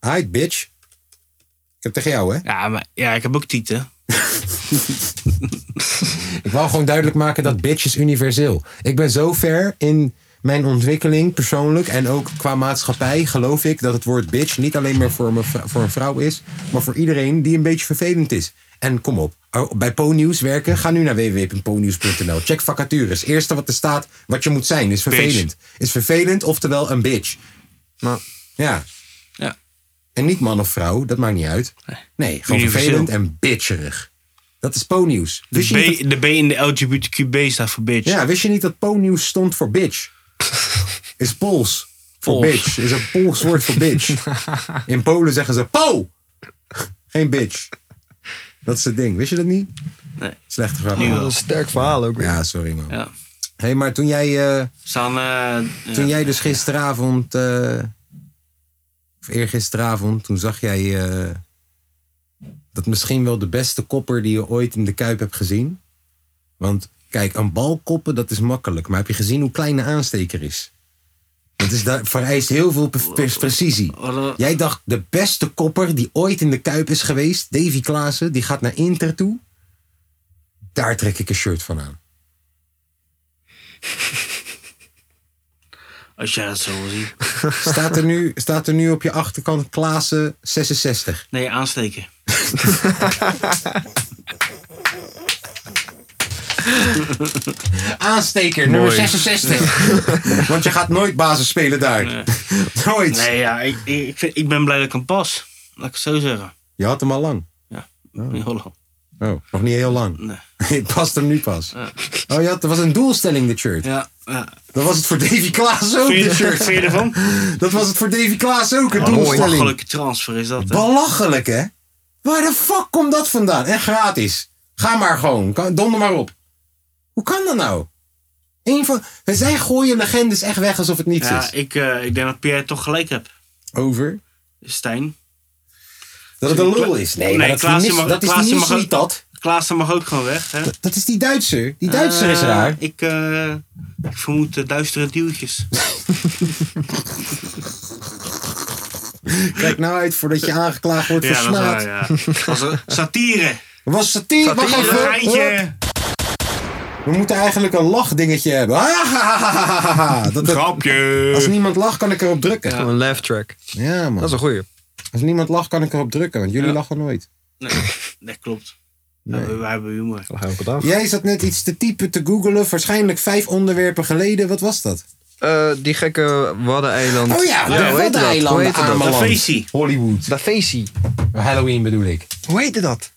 Hi, bitch. Ik heb tegen jou, hè?
Ja, maar ja, ik heb ook tieten.
Ik wou gewoon duidelijk maken dat bitch is universeel. Ik ben zo ver in mijn ontwikkeling, persoonlijk en ook qua maatschappij, geloof ik dat het woord bitch niet alleen maar voor, me, voor een vrouw is, maar voor iedereen die een beetje vervelend is. En kom op, oh, bij Ponyus werken, ga nu naar www.ponyus.nl. Check vacatures. Eerste wat er staat, wat je moet zijn, is vervelend. Is vervelend, oftewel een bitch.
Nou,
Ja.
Ja.
En niet man of vrouw, dat maakt niet uit. Nee, gewoon
Universeel.
vervelend en bitcherig. Dat is Ponyus.
De
Wist je niet dat
B, de B in de LGBTQB staat voor bitch.
ja, wist je niet dat po-nieuws stond voor bitch?
[laughs]
Is Pools. Voor
Pools.
bitch. Is een Pools woord voor
[laughs]
bitch. In Polen zeggen ze po. Geen bitch. Dat is het ding. Wist je dat niet?
Nee.
Slechte
Nu
grap.
dat is een sterk verhaal ook weer.
Ja, sorry man.
Ja.
hey, maar toen jij, eh,
Staan, eh,
toen
ja.
jij dus gisteravond... eh of eergisteravond, toen zag jij... eh, dat misschien wel de beste kopper die je ooit in de Kuip hebt gezien. Want kijk, een bal koppen, dat is makkelijk. Maar heb je gezien hoe klein de aansteker is? Dat is daar, vereist heel veel pre- pre- precisie.
Wat-
Jij dacht, de beste kopper die ooit in de Kuip is geweest, Davy Klaassen, die gaat naar Inter toe. Daar trek ik een shirt van aan.
Als jij dat zo wil zien.
Staat er nu, staat er nu op je achterkant Klaassen 66.
Nee, aansteken.
Aansteker, nummer 66. Want je gaat nooit basis spelen daar. [laughs] Nooit.
Nee, ja, ik, ik, ik, vind- ik ben blij dat ik hem pas. Laat ik het zo zeggen.
Je had hem al lang.
Ja, in Holland.
Oh, nog niet heel lang. [laughs]
Nee.
Het past hem nu pas. Oh ja, dat was een doelstelling, dit shirt.
Ja, ja.
Dat was het voor Davy Klaas ook,
Vind je,
dit
vind
shirt. [laughs]
je [laughs] Oh, ervan?
Dat was het voor Davy Klaas ook, een
Wat een
doelstelling.
belachelijke transfer is dat. hè?
Belachelijk, hè? Waar de fuck komt dat vandaan? En gratis. Ga maar gewoon. Kan- Donder maar op. Hoe kan dat nou? Eén van... Zij gooien legendes echt weg alsof het niets
Ja,
is.
ik, eh, ik denk dat Pierre toch gelijk hebt.
Over?
Stijn.
Dat het een lul is. Nee, maar dat,
Nee,
is die
Klaassen
mis-
mag-
dat is die
Klaassen mag
mis-
ook-
niet dat.
Klaassen mag ook gewoon weg. Hè?
Dat is die Duitser. Die Duitser is
Eh,
raar.
Ik, eh, ik vermoed eh, duistere duwtjes.
Kijk nou uit voordat je aangeklaagd wordt voor
ja, dat is
smaad.
waar, ja. Was
[laughs]
er- satire.
Was satire. Wacht
Satire.
even. Hop.
Geintje.
We moeten eigenlijk een lachdingetje hebben. Ah, [laughs] Dat, dat- als
Grapje.
niemand lacht, kan ik erop drukken.
Gewoon een laugh track.
Ja,
Dat is
man.
een goeie.
Als niemand lacht, kan ik erop drukken. Want jullie
Ja.
lachen nooit.
Nee, dat klopt. Ja, we, we hebben humor.
Dat gaan we op af.
Jij zat net iets te typen, te googelen. Waarschijnlijk vijf onderwerpen geleden. Wat was dat?
Eh, die gekke Waddeneiland.
Oh ja,
hoe heette dat?
de
Hoe
Waddeneilanden
heette dat?
Ameland.
Een feestie.
Hollywood.
Dat feestje.
Halloween bedoel ik.
Hoe heette dat?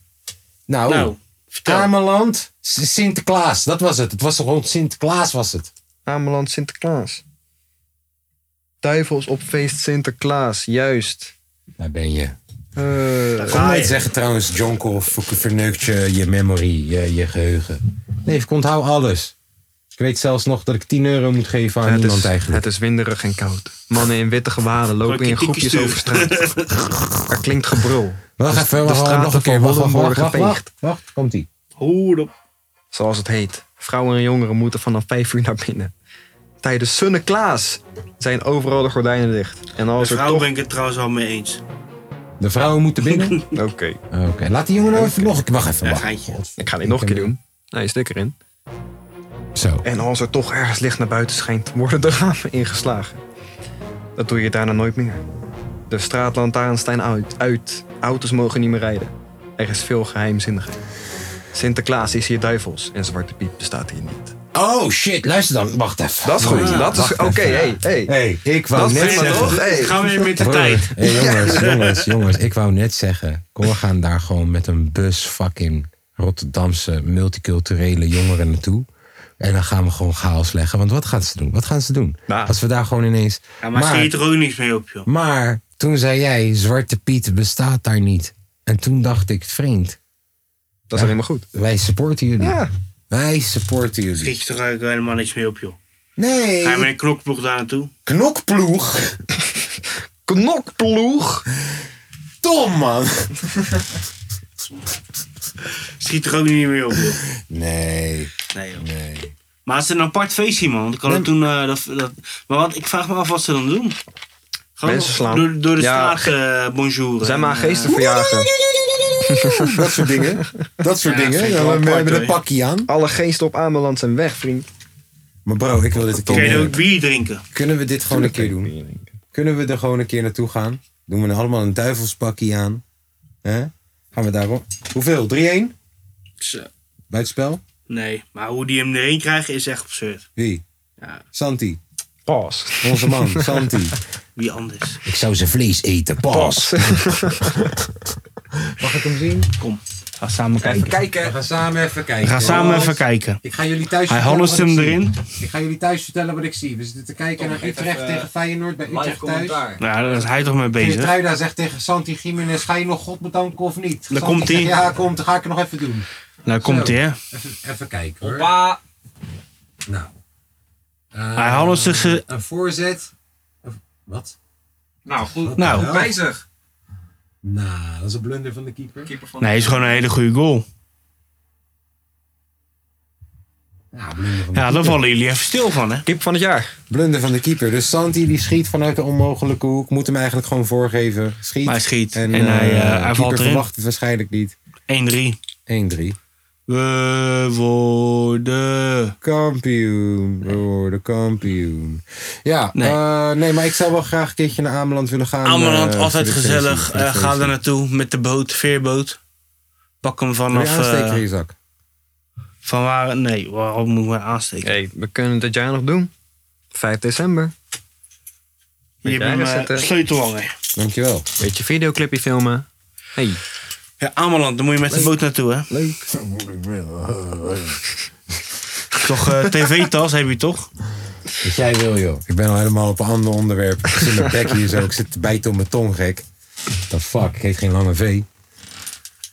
Nou,
Nou, vertel.
Ameland, S- Sinterklaas. Dat was het. Het was rond Sinterklaas was het.
Ameland Sinterklaas. Duivels op feest Sinterklaas, juist.
Daar ben je.
Eh,
Kom
Ah,
nooit
ja.
zeggen trouwens, Jonkel ver- verneukt je, je memory, je, je geheugen. Nee, ik onthoud alles. Ik weet zelfs nog dat ik 10 euro moet geven aan
het,
iemand
is,
eigenlijk.
het is winderig en koud. Mannen in witte gewaden lopen
Rokkie
in
tikkie
groepjes
stuur.
over straat. Er klinkt gebrul.
wacht even, wacht, wacht,
straten
nog een keer. Wacht,
van
wacht, wacht,
Holland
wacht,
worden
wacht,
geveegd.
wacht, wacht, komt ie.
Hoed op.
Zoals het heet. Vrouwen en jongeren moeten vanaf 5 uur naar binnen. Tijdens Sunneklaas zijn overal de gordijnen dicht. En
De
als er
vrouw
toch...
ben ik het trouwens wel mee eens.
De vrouwen moeten
[laughs]
binnen?
Oké,
Oké, laat die jongen nou even nog... Wacht even,
Ja,
wacht.
geintje.
ik ga dit nog een keer doen. Nee, stik erin.
Zo.
En als er toch ergens licht naar buiten schijnt, worden de ramen ingeslagen. Dat doe je daarna nooit meer. De straatlantaarns zijn uit, uit. Auto's mogen niet meer rijden. Er is veel geheimzinnigheid. Sinterklaas is hier duivels en Zwarte Piet bestaat hier niet.
Oh shit, luister dan. Wacht even.
Dat is goed.
Ja,
dat is...
Ah, wacht
Oké,
even.
hey, hey.
Hey, ik wou
Dat is
net
prima,
zeggen.
toch? Hey.
Gaan we weer met de
Broer,
tijd.
hey, jongens,
[laughs]
jongens, jongens. Ik wou net zeggen. Cor gaan daar gewoon met een bus fucking Rotterdamse multiculturele jongeren naartoe. En dan gaan we gewoon chaos leggen. Want wat gaan ze doen? Wat gaan ze doen?
Nou.
Als we daar gewoon ineens...
Ja, maar, schiet er ook niks mee op, joh.
Maar toen zei jij, Zwarte Piet bestaat daar niet. En toen dacht ik, vriend,
Dat is helemaal goed.
wij supporten jullie.
Ja.
Wij supporten jullie.
Schiet je er ook helemaal niks mee op, joh. Ga je met
Nee,
een knokploeg daar naartoe? [laughs]
knokploeg.
Knokploeg.
Tom, man.
Schiet er ook niet meer op, joh.
Nee,
Nee, joh.
nee.
Maar het is een apart feestje, man. Want ik kan het toen, eh, dat, dat, maar wat, ik vraag me af wat ze dan doen. Gewoon
Mensen slaan.
Door, door de
Ja,
straat eh bonjour.
Zijn maar
geesten.
geesten verjagen.
Dat soort dingen. Dat soort
Ja,
dingen.
vind ik
Ja,
wel
we
apart,
hebben een
hoor.
pakje aan.
Alle geesten op Ameland zijn weg, vriend.
Maar bro, ik wil dit een
Kun je
keer
ook bier drinken?
Kunnen we dit gewoon een keer doen? Kunnen we er gewoon een keer naartoe gaan? Doen we er allemaal een duivelspakje aan? Hè? Gaan we daarop? Hoeveel? 3-1?
Zo.
Buitenspel?
Nee, maar hoe die hem erin krijgen is echt absurd.
Wie?
Ja.
Santi.
Pas.
Onze [laughs] man, Santi.
Wie anders?
Ik zou zijn vlees eten. Pas. Mag ik hem zien?
Kom, ga samen kijken.
kijken. We gaan samen even kijken.
We gaan samen even kijken.
Ik ga jullie thuis
Hij
vertellen
hallest
wat ik
hem
zie.
erin.
Ik ga jullie thuis vertellen wat ik zie. We zitten te kijken naar Utrecht tegen Feyenoord bij Utrecht thuis.
Nou, daar is hij toch mee bezig.
Geertruida zegt tegen Santi Gimenez, ga je nog God bedanken of niet?
Daar
Santi
komt
zegt,
ie.
Ja, komt, ga ik het nog even doen.
Nou, komt hij, hè?
Even, even kijken hoor.
Pa.
Nou. Eh,
Hij hallest zich... eh,
Een voorzet. Een- Wat?
Nou, goed.
Nou,
Wijzig.
Nou, dat is een blunder van de keeper.
Keeper van
nee, is gewoon een hele goede goal.
Ja, blunder van de
Ja,
keeper.
daar vallen jullie even stil van, hè?
Kip van het jaar.
Blunder van de keeper. Dus Santi die schiet vanuit de onmogelijke hoek. Moet hem eigenlijk gewoon voorgeven. Schiet.
Maar hij schiet.
En,
En hij,
eh,
eh, hij
keeper
valt erin.
verwacht het waarschijnlijk niet.
1-3.
1-3.
We worden...
Kampioen, we worden kampioen. Ja, nee.
Nee.
nee, maar ik zou wel graag een keertje naar Ameland willen gaan.
Ameland,
eh,
altijd
voor dit
gezellig.
feestje, voor dit
Eh, ga
feestje.
er naartoe met de boot, veerboot. Pak hem
Wil je
vanaf...
aansteken in
eh,
je zak?
van waar... Nee, waarom moet ik me aansteken?
Hey, we kunnen dit jaar nog doen. 5 december.
Je hebt
jij
hem
gezet,
eh,
hè?
sleutelhanger.
Dankjewel.
Beetje videoclipje filmen. Hey.
Ja, Ameland, daar moet je met de boot naartoe, hè?
Leuk.
Toch eh, tv-tas heb je toch?
Wat Dus jij wil, joh. Ik ben al helemaal op een ander onderwerp. Ik zit mijn bek hier zo. Ik zit te bijten op mijn tong, gek. The fuck? Ik heet geen lange V.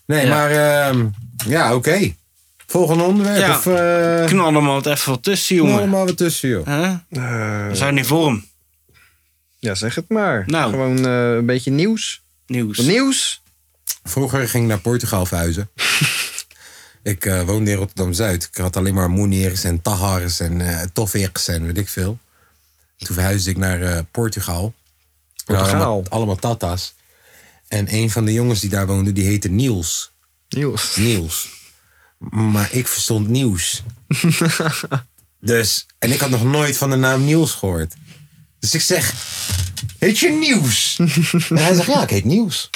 Nee, maar ehm, ja, oké. Volgende onderwerp.
Ja.
Of eh,
Knal er maar wat even wat tussen,
doen we
jongen.
allemaal wat tussen, joh.
Hè? We zijn in vorm.
Eh, ja, zeg het maar.
Nou.
Gewoon eh, een beetje nieuws.
Nieuws.
Nieuws.
Vroeger ging ik naar Portugal verhuizen. ik eh, woonde in Rotterdam-Zuid. Ik had alleen maar Moeniers en Tahars en eh Toffers en weet ik veel. Toen verhuisde ik naar eh, Portugal.
Portugaal.
Allemaal, allemaal tata's. En een van de jongens die daar woonde, die heette Niels.
Nieuws.
Niels. Maar ik verstond nieuws. dus, en ik had nog nooit van de naam Niels gehoord. Dus ik zeg, heet je Nieuws? en hij zegt, ja, ik heet Nieuws.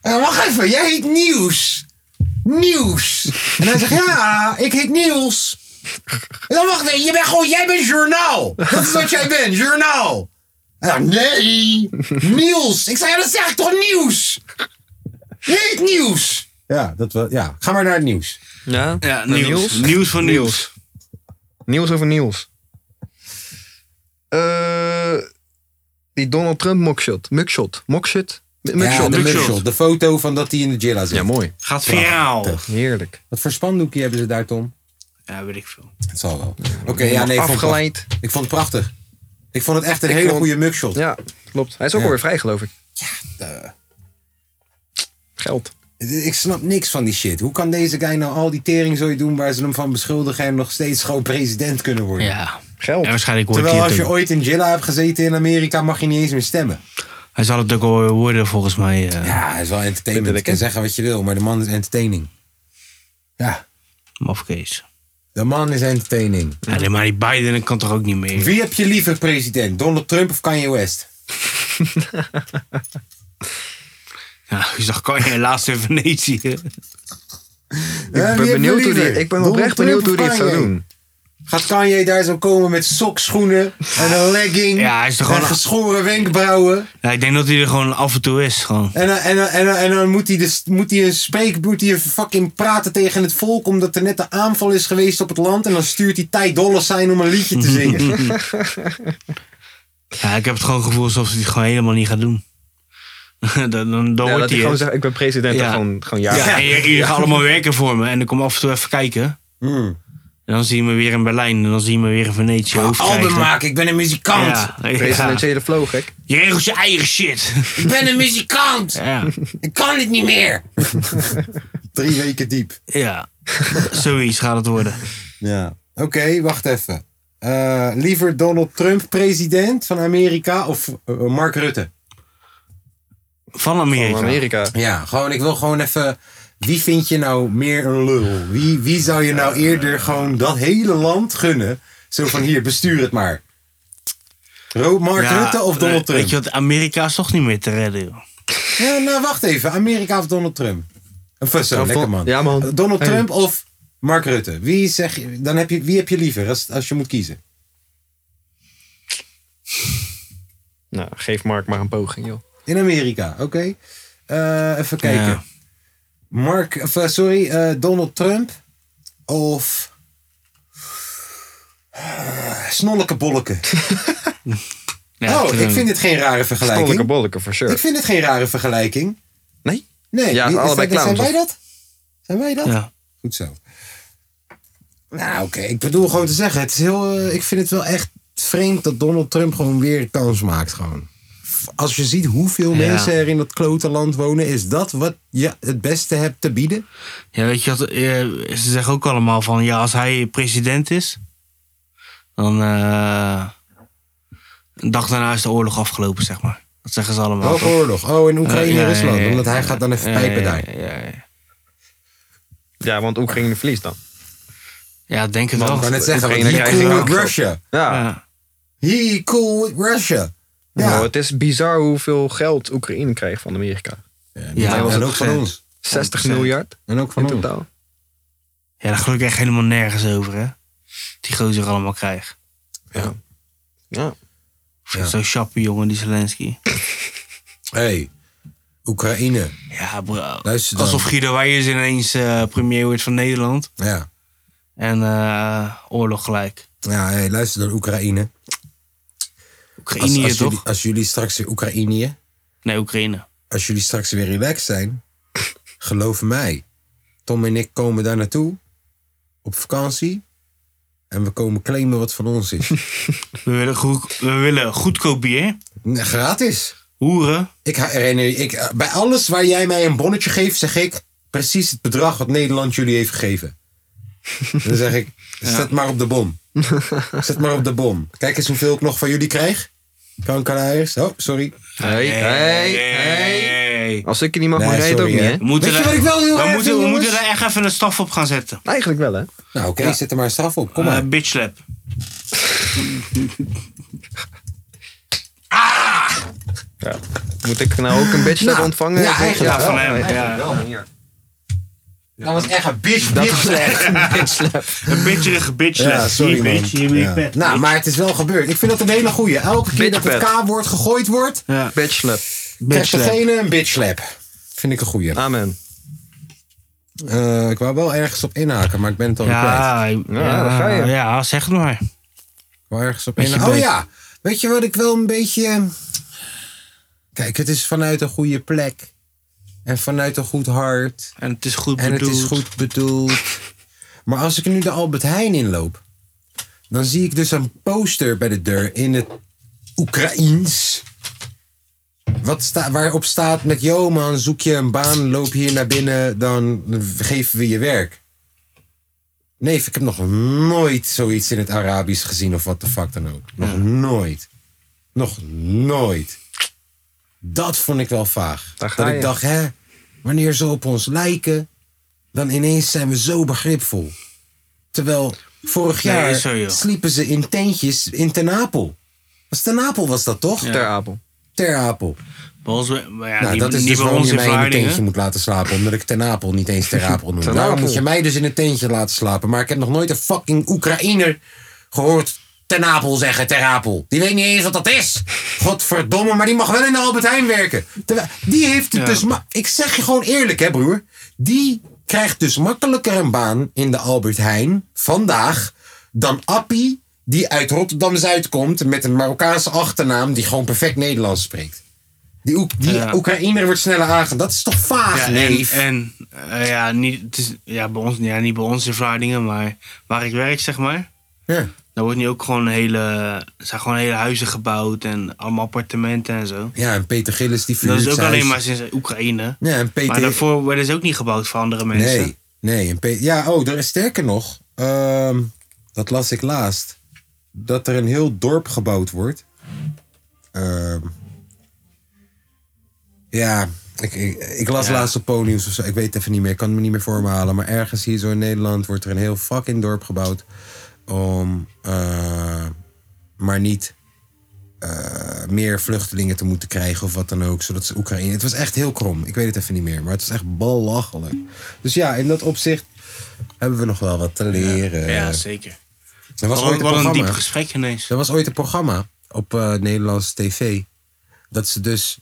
en wacht even, jij heet Nieuws. Nieuws. En hij zegt, ja, ik heet Niels. En dan wacht even, je bent gewoon, jij bent Journaal. Dat is wat jij bent, Journaal. Ja, nee, Niels. Ik zei, ja, dat zeg ik toch Nieuws? Je heet Nieuws. Ja, dat wel, ja, ga maar naar het nieuws.
Ja,
Ja, nieuws. Nieuws, van nieuws.
Nieuws over nieuws. Eh, die Donald Trump mugshot. Mugshot. Mugshot. M-
ja,
Mugshot.
de
mugshot.
mugshot. De foto van dat hij in de Jilla zit.
Ja, mooi.
Gaat viraal.
Heerlijk.
Wat voor spandoekje hebben ze daar, Tom?
Ja, weet ik veel.
Het zal wel. Oké, ja, nee, ik vond, het
Afgeleid.
prachtig. ik vond het prachtig. Ik vond het echt een
Ik
hele
vond-
goede mugshot.
Ja, klopt. Hij is ook
Ja.
alweer vrij, geloof ik.
Eh,
Geld.
Ik snap niks van die shit. Hoe kan deze guy nou al die teringzooi doen waar ze hem van beschuldigen en nog steeds gewoon president kunnen worden?
Ja.
Geld.
En waarschijnlijk wordt
Terwijl
hij
als
het
je
ook.
ooit in jail hebt gezeten in Amerika mag je niet eens meer stemmen.
Hij zal het ook al worden volgens mij. eh.
Ja, hij is wel entertainment. Je
Letterlijk,
kan
hè?
zeggen wat je wil, maar de man is entertaining. Ja,
Mafkees.
de man is entertaining.
Ja, maar die Biden dat kan toch ook niet meer?
Wie heb je liever president? Donald Trump of Kanye West?
Ja, [laughs] je zag kan je helaas in Venetië.
Ja,
Ik
wie
ben,
heb je
benieuwd hoe die,
liever?
ik ben
Donald
oprecht
Trump
benieuwd
of
hoe die het zou
Kanye?
doen.
Gaat Kanye daar zo komen met sokschoenen en een legging
Ja, hij is toch
en
gewoon-
geschoren wenkbrauwen?
Ja, ik denk dat hij er gewoon af en toe is. Gewoon.
En, dan- en, dan- en, dan- en dan moet hij, dus, moet hij een spreek, moet hij een fucking praten tegen het volk omdat er net een aanval is geweest op het land. En dan stuurt hij Ty Dolla Sign om een liedje te
[laughs]
zingen.
Ja, ik heb het gewoon gevoel alsof hij het gewoon helemaal niet gaat doen. [laughs] dan dan, dan
Ja,
wordt
dat hij
Nou, hij
gewoon
het.
zegt, ik ben president
Ja.
en gewoon, gewoon ja.
Ja, en je- jullie gaan allemaal werken voor me. En ik kom af en toe even kijken. En dan zie je me weer in Berlijn. En dan zie je me weer in Venetië. Hoofd
Album
krijgen.
maken, ik ben een muzikant.
Ja, ja.
Presidentiële flow, gek.
Je regelt je eigen shit.
Ik ben een muzikant.
ja.
Ik kan het niet meer. [laughs] Drie weken diep.
[laughs] ja, zoiets gaat het worden.
Ja. Oké, wacht even. Eh, liever Donald Trump president van Amerika of eh, Mark Rutte?
Van Amerika.
Van Amerika.
Ja, gewoon, ik wil gewoon even. Wie vind je nou meer een lul? Wie, wie zou je nou eerder gewoon dat hele land gunnen? Zo van hier, bestuur het maar. Ro- Mark
Ja,
Rutte of Donald
eh,
Trump?
Weet je wat, Amerika is toch niet meer te redden, joh.
Ja, nou, wacht even. Amerika of Donald Trump? Of zo,
Ja,
lekker
Don-
man.
ja, man.
Donald
Hey.
Trump of Mark Rutte? Wie, zeg je, dan heb, je, wie heb je liever als, als je moet kiezen?
Nou, geef Mark maar een poging, joh.
In Amerika, oké. Eh, even kijken.
Ja.
Mark, of, eh, sorry, eh, Donald Trump of eh, snolleke
[laughs]
bolleke.
Ja,
oh, ik
Trump.
vind dit geen rare
Stolleke
vergelijking.
bolleke, for sure.
Ik vind dit geen rare vergelijking.
Nee?
Nee,
Ja,
is dat-
allebei
zijn
clowns,
wij
of-
dat? Zijn wij dat?
Ja.
Goed zo. Nou, oké. Ik bedoel gewoon te zeggen, het is heel, eh, ik vind het wel echt vreemd dat Donald Trump gewoon weer een kans maakt. Gewoon. F- Als je ziet hoeveel
Ja.
mensen er in dat klote land wonen, is dat wat je het beste hebt te bieden?
Ja, weet je wat, eh, ze zeggen ook allemaal van, ja, als hij president is, dan eh, een dag daarna is de oorlog afgelopen, zeg maar. Dat zeggen ze allemaal.
Welke
toch?
oorlog? Oh, in Oekraïne
Ja,
en
ja,
Rusland.
ja, ja,
omdat hij
ja,
gaat dan even
ja,
pijpen
ja,
daar.
Ja, ja.
Ja, want Oekraïne verliest dan.
Ja, ik denk het
Ik
wel.
kan net zeggen, want
Oekraïne
he
krijgt
cool
ook
with
geld.
Russia.
Ja.
Ja.
He cool with Russia. Ja.
Nou, het is bizar hoeveel geld Oekraïne kreeg van Amerika.
Ja,
en
was
ook
het
van
gek.
ons.
60
100%.
miljard
En ook
in
van ons.
totaal.
ja, daar geloof ik echt helemaal nergens over, hè. Die gozer allemaal krijgt.
Ja.
Ja.
Zo'n chappie jongen, die Zelensky.
hey, Oekraïne.
Ja, bro.
Luister dan.
Alsof Guido Weijers ineens eh, premier wordt van Nederland.
Ja.
En eh, oorlog gelijk.
Ja, hey, luister dan, Oekraïne. Als,
Oekraïne
als,
toch?
jullie, als jullie straks weer Oekraïne,
Nee, Oekraïne.
als jullie straks weer relaxed zijn, geloof mij. Tom en ik komen daar naartoe op vakantie en we komen claimen wat van ons is.
We willen, goed, we willen goedkoop bier,
Nee, Gratis.
hoeren.
Ik, ha- René, ik, eh, bij alles waar jij mij een bonnetje geeft, zeg ik precies het bedrag wat Nederland jullie heeft gegeven. Dan zeg ik, zet maar op de bom. Zet maar op de bom. Kijk eens hoeveel ik nog van jullie krijg. Kankerlijers. Oh, sorry.
Hey, hey, hey.
hey.
Als ik je niet mag,
Nee,
maar jij het ook
sorry,
niet,
hè.
hè?
We moeten
Weet je
er-
wat ik wel heel
we
erg
moeten,
vind,
we moeten
jongens?
er echt even een staf op gaan zetten.
Eigenlijk wel, hè?
Nou, oké, zet er maar een straf op. Kom
Eh
maar.
bitch slap.
Moet ik nou ook een bitch slap
Nou,
ontvangen?
ja,
Of-
eigenlijk
Ja,
wel.
van hem. Ja.
Dat was echt een bitch, bitch
Een bitcherige bitch slap.
Ja, sorry
Hier,
man.
bitch, hier ben ik
Ja.
pet.
Nou, maar het is wel gebeurd. Ik vind dat een hele goeie. Elke keer dat het
Bitchpet.
K-woord gegooid wordt,
Ja,
Bitch slap.
bitch
krijgt
slap.
degene een bitch slap. Vind ik een goeie.
Amen.
Eh, ik wou wel ergens op inhaken, maar ik ben het al kwijt.
Ja, ja,
Ja, daar ga je.
ja, zeg het maar.
Ik wou ergens op
Beetje
inhaken. Oh
beter.
ja, weet je wat ik wel een beetje... eh, Kijk, het is vanuit een goede plek. En vanuit een goed hart.
En het is goed
En
bedoeld.
het is goed bedoeld. Maar als ik nu de Albert Heijn inloop, dan zie ik dus een poster bij de deur in het Oekraïens. Wat sta, waarop staat met, yo man, zoek je een baan, loop hier naar binnen, dan geven we je werk. Nee, ik heb nog nooit zoiets in het Arabisch gezien of wat de fuck dan ook. Nog nooit. Nog nooit. Dat vond ik wel vaag.
Daar ga
dat
je.
ik dacht, hè, wanneer ze op ons lijken, dan ineens zijn we zo begripvol. Terwijl vorig
Nee,
jaar
is zo, joh.
sliepen ze in tentjes in Ten Apel. Was Ten Apel was dat toch?
Ter Apel.
Ter Apel.
Bij ons, eh, maar ja,
nou,
niet,
dat is
niet
dus
bij
waarom
ons
je
in
mij in een
Vlaardingen.
tentje moet laten slapen. Omdat ik Ten Apel niet eens Ter Apel noem.
Ten
Waarom
Apel.
moet je mij dus in een tentje laten slapen? Maar ik heb nog nooit een fucking Oekraïner gehoord Ten Apel zeggen, Ter Apel. Die weet niet eens wat dat is. Godverdomme, maar die mag wel in de Albert Heijn werken. Terwijl- die heeft het
Ja.
dus... ma- Ik zeg je gewoon eerlijk, hè broer. Die krijgt dus makkelijker een baan in de Albert Heijn vandaag dan Appie... Die uit Rotterdam-Zuid komt met een Marokkaanse achternaam die gewoon perfect Nederlands spreekt. Die, Oek- die
Ja.
Oekraïner wordt sneller aange. Dat is toch vaag,
Ja, en
neef?
en eh, ja, niet, het is, ja, bij ons, ja, niet bij ons in Vlaardingen, maar waar ik werk, zeg maar.
Ja.
Daar wordt nu ook gewoon hele, er zijn gewoon hele huizen gebouwd en allemaal appartementen en zo.
ja, en Peter Gillis die
Dat
verhuurt
is ook
zijn
alleen maar
huis.
sinds Oekraïne.
Ja, en Peter...
Maar daarvoor werden ze ook niet gebouwd voor andere mensen.
Nee, nee. En Pe- ja, oh, er is sterker nog. ehm, dat las ik laatst. Dat er een heel dorp gebouwd wordt. Ehm, ja, ik, ik, ik las
Ja.
laatst op Ponyus of zo. Ik weet het even niet meer. Ik kan het me niet meer voor me halen. Maar ergens hier zo in Nederland wordt er een heel fucking dorp gebouwd. Om eh, maar niet eh, meer vluchtelingen te moeten krijgen of wat dan ook. Zodat ze Oekraïne. Het was echt heel krom. Ik weet het even niet meer. Maar het was echt belachelijk. Dus ja, in dat opzicht hebben we nog wel wat te leren.
Ja, zeker.
er eh, was
Wat
ooit
een,
een
wat een diep
programma.
gesprek ineens.
Er was ooit een programma op eh, Nederlandse tv. Dat ze dus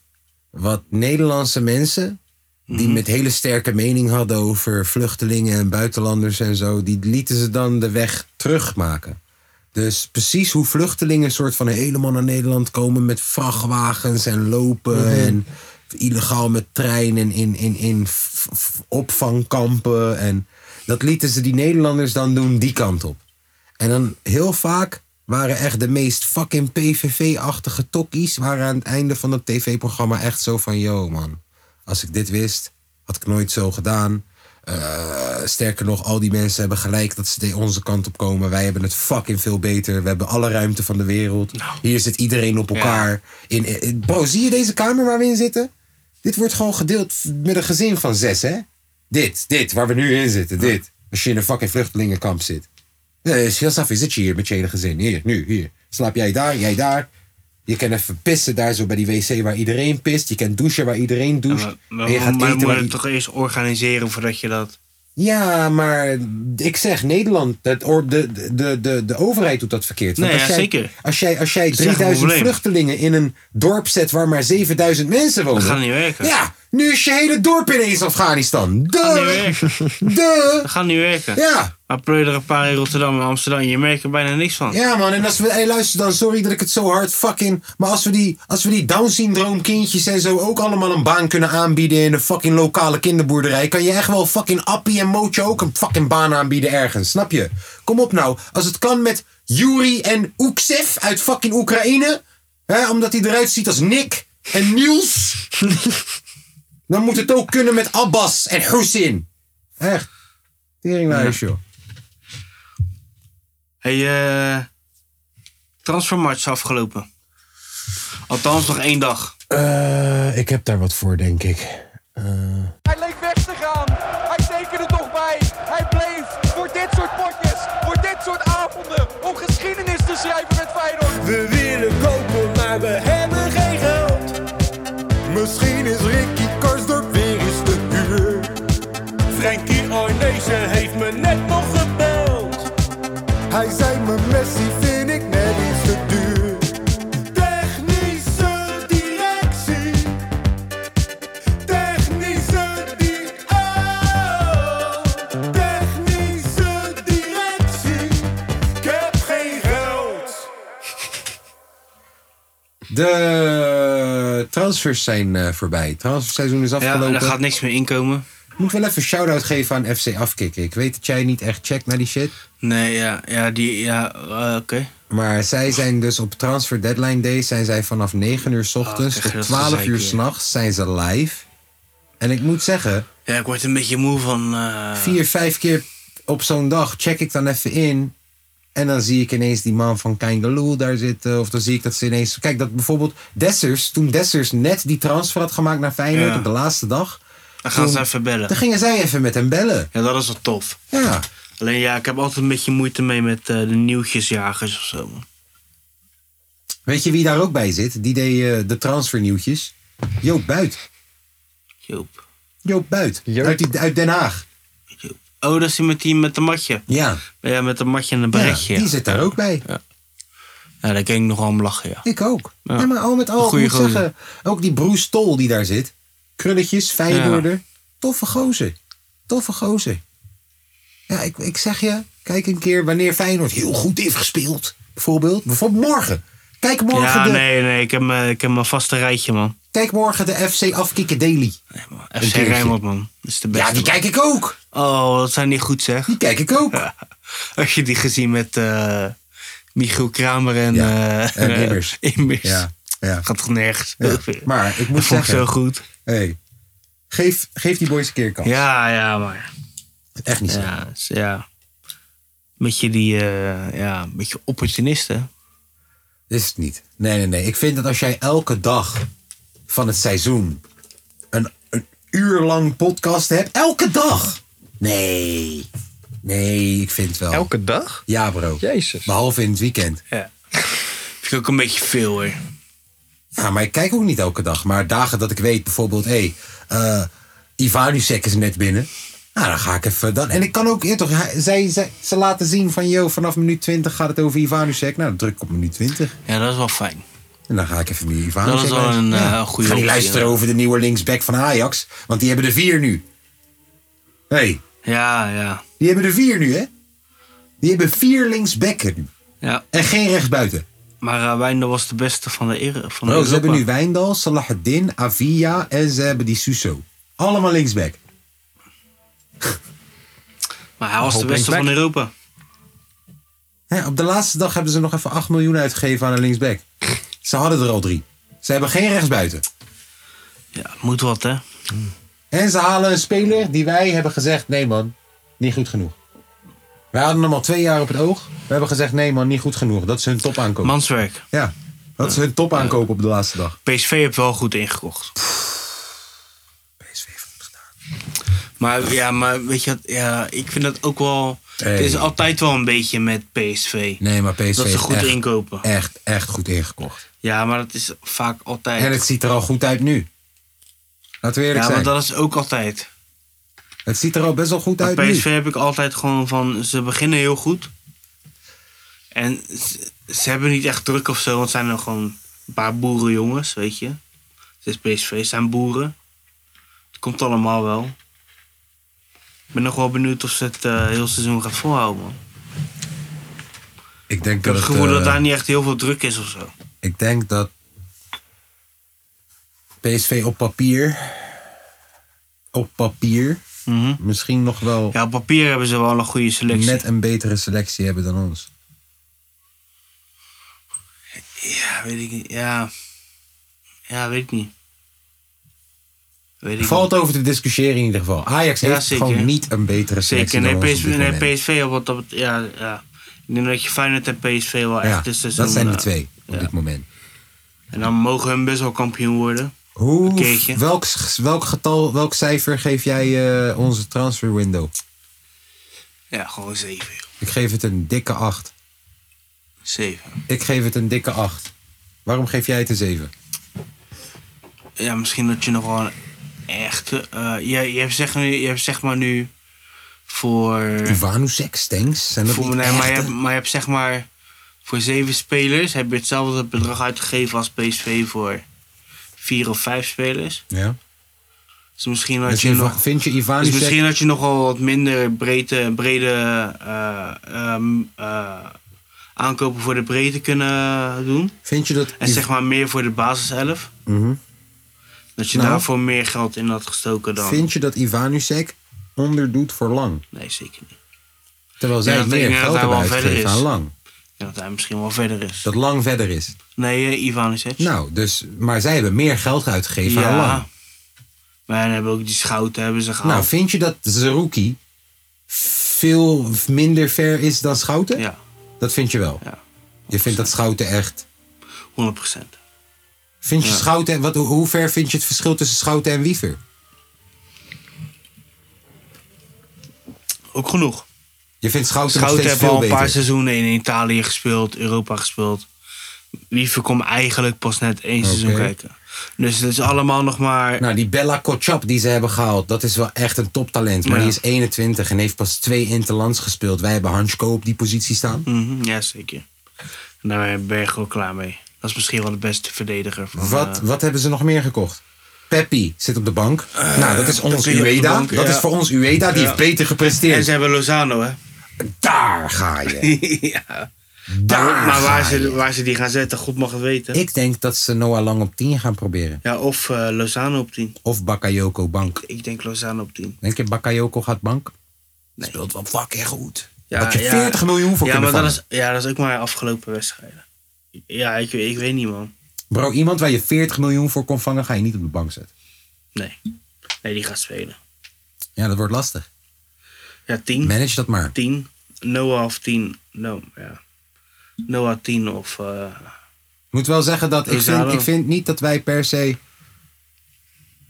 wat Nederlandse mensen. die
Mhm.
met hele sterke mening hadden over vluchtelingen en buitenlanders en zo. die lieten ze dan de weg terugmaken. Dus precies hoe vluchtelingen soort van helemaal naar Nederland komen met vrachtwagens en lopen en illegaal met treinen in, in, in f- f- opvangkampen. En dat lieten ze die Nederlanders dan doen die kant op. En dan heel vaak waren echt de meest fucking PVV-achtige tokkies... waren aan het einde van dat tv-programma echt zo van... yo man, als ik dit wist, had ik nooit zo gedaan. Eh, sterker nog, al die mensen hebben gelijk dat ze de- onze kant op komen. Wij hebben het fucking veel beter. We hebben alle ruimte van de wereld. Hier zit iedereen op elkaar. In, in- bro, zie je deze kamer waar we in zitten? Dit wordt gewoon gedeeld met een gezin van zes, hè? Dit, dit, waar we nu in zitten, dit. Als je in een fucking vluchtelingenkamp zit. Nee, is heel saf. Zit je hier met je hele gezin? Hier, nu, hier. Slaap jij daar, jij daar. Je kan even pissen daar zo bij die wc waar iedereen pist. Je kan douchen waar iedereen doucht.
Maar, maar,
en je gaat
maar
eten
moet
waar
je
i-
het toch eerst organiseren voordat je dat...
Ja, maar ik zeg Nederland, het, or- de, de, de, de overheid doet dat verkeerd.
Nee,
als
ja,
jij,
zeker.
Als jij, als jij
is echt een
3000
probleem.
vluchtelingen in een dorp zet waar maar 7000 mensen wonen.
gaat niet werken.
Oh, Ja, nu is je hele dorp ineens Afghanistan.
Gaat niet
Duh!
werken. [laughs]
Duh!
Dat gaat niet werken.
Ja.
Maar pleur er een paar in Rotterdam en Amsterdam. Je merkt er bijna niks van.
Ja, man. En als we. Hey, luister dan. Sorry dat ik het zo hard fucking. Maar als we die, als we die Down-syndroom kindjes en zo ook allemaal een baan kunnen aanbieden in een fucking lokale kinderboerderij. kan je echt wel fucking Appie en Mootje ook een fucking baan aanbieden ergens. Snap je? Kom op nou. Als het kan met Yuri en Uksev uit fucking Oekraïne. Hè, omdat hij eruit ziet als Nick en Niels. dan moet het ook kunnen met Abbas en Hussein. Echt. Teringlijst, joh.
Hey, eh transfermarkt is afgelopen. Althans nog één dag.
Eh, ik heb daar wat voor, denk ik.
Hij leek weg te gaan. Hij tekende toch bij. Hij bleef voor dit soort potjes, voor dit soort avonden, om geschiedenis te schrijven met Feyenoord.
We willen kopen, maar we hebben geen geld. Misschien is Ricky Karsdorp weer eens te huur. Frankie Arnezen heeft me net nog gebeld.
Hij zei me Messi vind ik net iets te duur.
Technische directie. Technische di- oh. Technische directie. Ik heb geen geld.
De transfers zijn eh, voorbij. Het transferseizoen is
Ja,
afgelopen.
er gaat niks meer inkomen.
Moet wel even een shout-out geven aan FC Afkikken. Ik weet dat jij niet echt checkt naar die shit.
Nee, ja, ja, die, ja, eh, oké.
Maar zij zijn dus op Transfer Deadline Day zijn zij vanaf 9 uur 's ochtends
Ah, krijg je
tot
dat
12
gezeik
uur
weer.
s'nachts zijn ze live. En ik moet zeggen,
Ja, ik word een beetje moe van. eh,
vier, vijf keer op zo'n dag check ik dan even in. En dan zie ik ineens die man van Kangaloo daar zitten. Of dan zie ik dat ze ineens... Kijk, dat bijvoorbeeld Dessers... Toen Dessers net die transfer had gemaakt naar Feyenoord
Ja.
op de laatste dag...
Dan gaan ze
toen-
even bellen.
Dan gingen zij even met hem bellen.
Ja, dat is wel tof.
Ja.
Alleen ja, ik heb altijd een beetje moeite mee met eh, de nieuwtjesjagers of zo. man.
Weet je wie daar ook bij zit? Die deed eh, de transfernieuwtjes. Joop Buit.
Joop.
Joop Buit. Uit, die- uit Den Haag.
Joop. Oh, dat is die met, die met de matje.
Ja.
Ja, met een matje en een
ja
berichtje.
die zit daar ook bij.
Ja, daar ging ik nogal om lachen, ja.
Ik ook.
Ja.
Ja, maar al met al,
Goeie
ik moet
gozer.
zeggen, ook die Bruce Tol die daar zit. Krulletjes, Feyenoorder. Toffe gozer. Toffe gozer. Ja, ik, ik zeg je, kijk een keer wanneer Feyenoord heel goed heeft gespeeld. Bijvoorbeeld, bijvoorbeeld morgen. Kijk morgen,
Ja,
de,
nee, nee, ik heb, mijn- ik heb mijn vaste rijtje, man.
kijk morgen de FC Afkikken Daily.
Nee, man. FC
keertje.
Rijnmond, man. Dat is de beste.
Ja, die
man.
kijk ik ook.
Oh, dat zijn die goed,
[laughs]
zeg.
Die kijk ik ook.
Had je die gezien met eh, Michiel Kramer en...
Ja,
eh,
en Immers.
[laughs] Immers.
Ja, ja.
Gaat toch nergens
Ja,
over.
maar ik moet
[laughs] Dat vond ik
zeggen-
zo goed.
Hey, geef, geef die boys een keer kans.
Ja, ja, maar...
Echt niet zo.
Ja, is- ja. Beetje die... eh, ja, een beetje opportunisten.
Is het niet. Nee, nee, nee. Ik vind dat als jij elke dag van het seizoen een, een uur lang podcast hebt. Elke dag! Nee. Nee, ik vind het wel.
Elke dag?
Ja, bro.
Jezus.
Behalve in het weekend.
Ja. Vind ik ook een beetje veel, hoor.
Ja, maar ik kijk ook niet elke dag. Maar dagen dat ik weet bijvoorbeeld, hé, hey, Ivanusek is net binnen. Nou, dan ga ik even. Dan, en ik kan ook, ja, toch, hij- zij, zij, ze laten zien van, yo, vanaf minuut 20 gaat het over Ivanusek. Nou, dan druk ik op minuut 20.
Ja, dat is wel fijn.
En dan ga ik even die Ivan
Dat is wel een, eh, goede
Ga niet
optie,
luisteren
ja.
over de nieuwe linksback van Ajax. Want die hebben er vier nu. Hé, hey,
Ja, ja.
die hebben er vier nu, hè? Die hebben vier linksbacken nu.
Ja,
En geen rechtsbuiten.
maar eh, Wijndal was de beste van de era. Van
Bro,
Europa.
Oh, ze hebben nu Wijndal, Salahuddin, Avia en ze hebben die Suso. Allemaal linksback.
Maar hij was de
Hoop
beste
linksback.
van Europa.
Hè, op de laatste dag hebben ze nog even 8 miljoen uitgegeven aan een linksback. Ze hadden er al drie. Ze hebben geen rechtsbuiten.
Ja, moet wat, hè?
En ze halen een speler die wij hebben gezegd: nee man, niet goed genoeg. Wij hadden hem al twee jaar op het oog. We hebben gezegd: nee man, niet goed genoeg. Dat is hun top aankoop.
Manswerk.
Ja, dat is hun top aankoop op de laatste dag.
PSV heeft wel goed ingekocht.
PSV heeft het gedaan.
Maar ja, maar weet je wat? Ja, ik vind dat ook wel...
Hey.
Het is altijd wel een beetje met PSV.
Nee, maar PSV
Dat ze
heeft
goed
echt,
inkopen.
Echt, echt goed ingekocht.
Ja, maar dat is vaak altijd.
En het ziet er al goed uit nu. Laten we eerlijk
ja, maar
zijn.
dat is ook altijd.
Het ziet er al best wel goed
Bij
uit
PSV
nu.
heb ik altijd gewoon van... Ze beginnen heel goed. En ze, ze hebben niet echt druk of zo. Want het zijn er gewoon een paar boerenjongens, weet je. Dus PSV zijn boeren. Het komt allemaal wel. Ik ben nog wel benieuwd of ze het eh, heel seizoen gaat volhouden, man.
Ik denk
Ik
dat,
heb het gevoel dat
eh,
daar niet echt heel veel druk is of zo.
ik denk dat PSV op papier, op papier,
Mhm.
misschien nog wel
Ja, op papier hebben ze wel een goede selectie.
net een betere selectie hebben dan ons.
Ja, weet ik niet. Ja, ja weet ik niet. Weet ik
Valt over te discussiëren in ieder geval. Ajax
Ja,
heeft
zeker.
gewoon niet een betere selectie
Zeker, nee,
dan ons
PSV,
op dit
nee,
moment.
PSV op wat dat bet- ja, ja. Ik denk dat je Feyenoord en PSV wel echt
Ja, dat
tussen zo'n,
zijn de
eh,
twee op
ja.
dit moment.
En dan mogen hun best wel kampioen worden.
Hoe,
keertje.
welk, welk getal, welk cijfer geef jij eh, onze transfer window?
Ja, gewoon 7.
Ik geef het een dikke 8.
7.
Ik geef het een dikke 8. Waarom geef jij het een 7?
Ja, misschien dat je nog wel een echte. eh je, je, hebt zeg, nu, je hebt zeg maar nu voor.
Ivanusek, Stengs, zijn dat
voor
niet
nee, maar, je hebt,
echte?
maar je hebt zeg maar. Voor 7 spelers heb je hetzelfde bedrag uitgegeven als PSV voor 4 of 5 spelers.
Ja.
Dus misschien dat
Dus
je
Iva-
nog.
Vind je
Dus
Ivanusek...
misschien had je nog wel wat minder breedte, brede eh, ehm, eh, aankopen voor de breedte kunnen doen.
Vind je dat...
En zeg maar meer voor de basiself.
Mhm.
Dat je
Nou.
daarvoor meer geld in had gestoken dan.
Vind je dat Ivanusek onderdoet voor Lang?
Nee, zeker niet.
Terwijl zij
Ja, ik
meer
denk dat
geld
hij
hebben
wel verder
uitgegeven
is.
aan Lang.
Ik denk dat hij misschien wel verder is.
Dat Lang verder is.
Nee, eh, Ivan is het.
Nou, dus, maar zij hebben meer geld uitgegeven aan Lang.
Maar dan hebben ook die schouten hebben ze
Nou,
gehaald.
vind je dat Zerouki veel minder ver is dan Schouten?
ja,
Dat vind je wel.
Ja.
Je vindt dat Schouten echt...
100%.
Vind je
Ja.
Schouten... Wat, hoe- hoe ver vind je het verschil tussen Schouten en Wiever?
Ook genoeg.
Je vindt Schouten,
Schouten
nog steeds
hebben
veel
al een
beter.
paar seizoenen in Italië gespeeld, Europa gespeeld. Wiever komt eigenlijk pas net één seizoen
Oké.
kijken. Dus het is allemaal nog maar.
Nou, die Bella Kotschap die ze hebben gehaald, dat is wel echt een toptalent. Maar
Ja.
die is 21 en heeft pas twee interlands gespeeld. Wij hebben Hansko op die positie staan.
Mhm, ja, zeker. En daar ben je gewoon klaar mee. Dat is misschien wel de beste verdediger van.
Wat,
eh,
wat hebben ze nog meer gekocht? Peppi zit op de bank. nou, dat is ons
kun je Eh, op de
Ueda.
bank,
dat
ja.
is voor ons Ueda. Die heeft beter
en
gepresteerd.
ze hebben Lozano,
[laughs]
hè?
Daar ga je.
[laughs] ja.
Daar
maar waar
ga je.
ze, waar ze die gaan zetten, God mag het weten.
Ik denk dat ze Noah Lang op 10 gaan proberen.
Ja, of eh, Lozano op 10.
Of Bakayoko bank.
Ik denk Lozano op 10.
Denk je Bakayoko gaat bank?
Nee.
Speelt wel fucking goed.
Ja,
Had je
ja.
40 miljoen voor
Ja,
kunnen
maar dat
vangen.
is, ja, dat is ook maar afgelopen wedstrijden. Ja, ik, ik weet niet, man.
Bro, iemand waar je 40 miljoen voor kon vangen, ga je niet op de bank zetten.
Nee. Nee, die gaat spelen.
Ja, dat wordt lastig.
Ja, 10.
Manage dat maar.
10. Noah of 10. No, ja. Noah 10 of. eh,
Ik moet wel zeggen dat ik
Lozano.
vind, ik vind niet dat wij per se.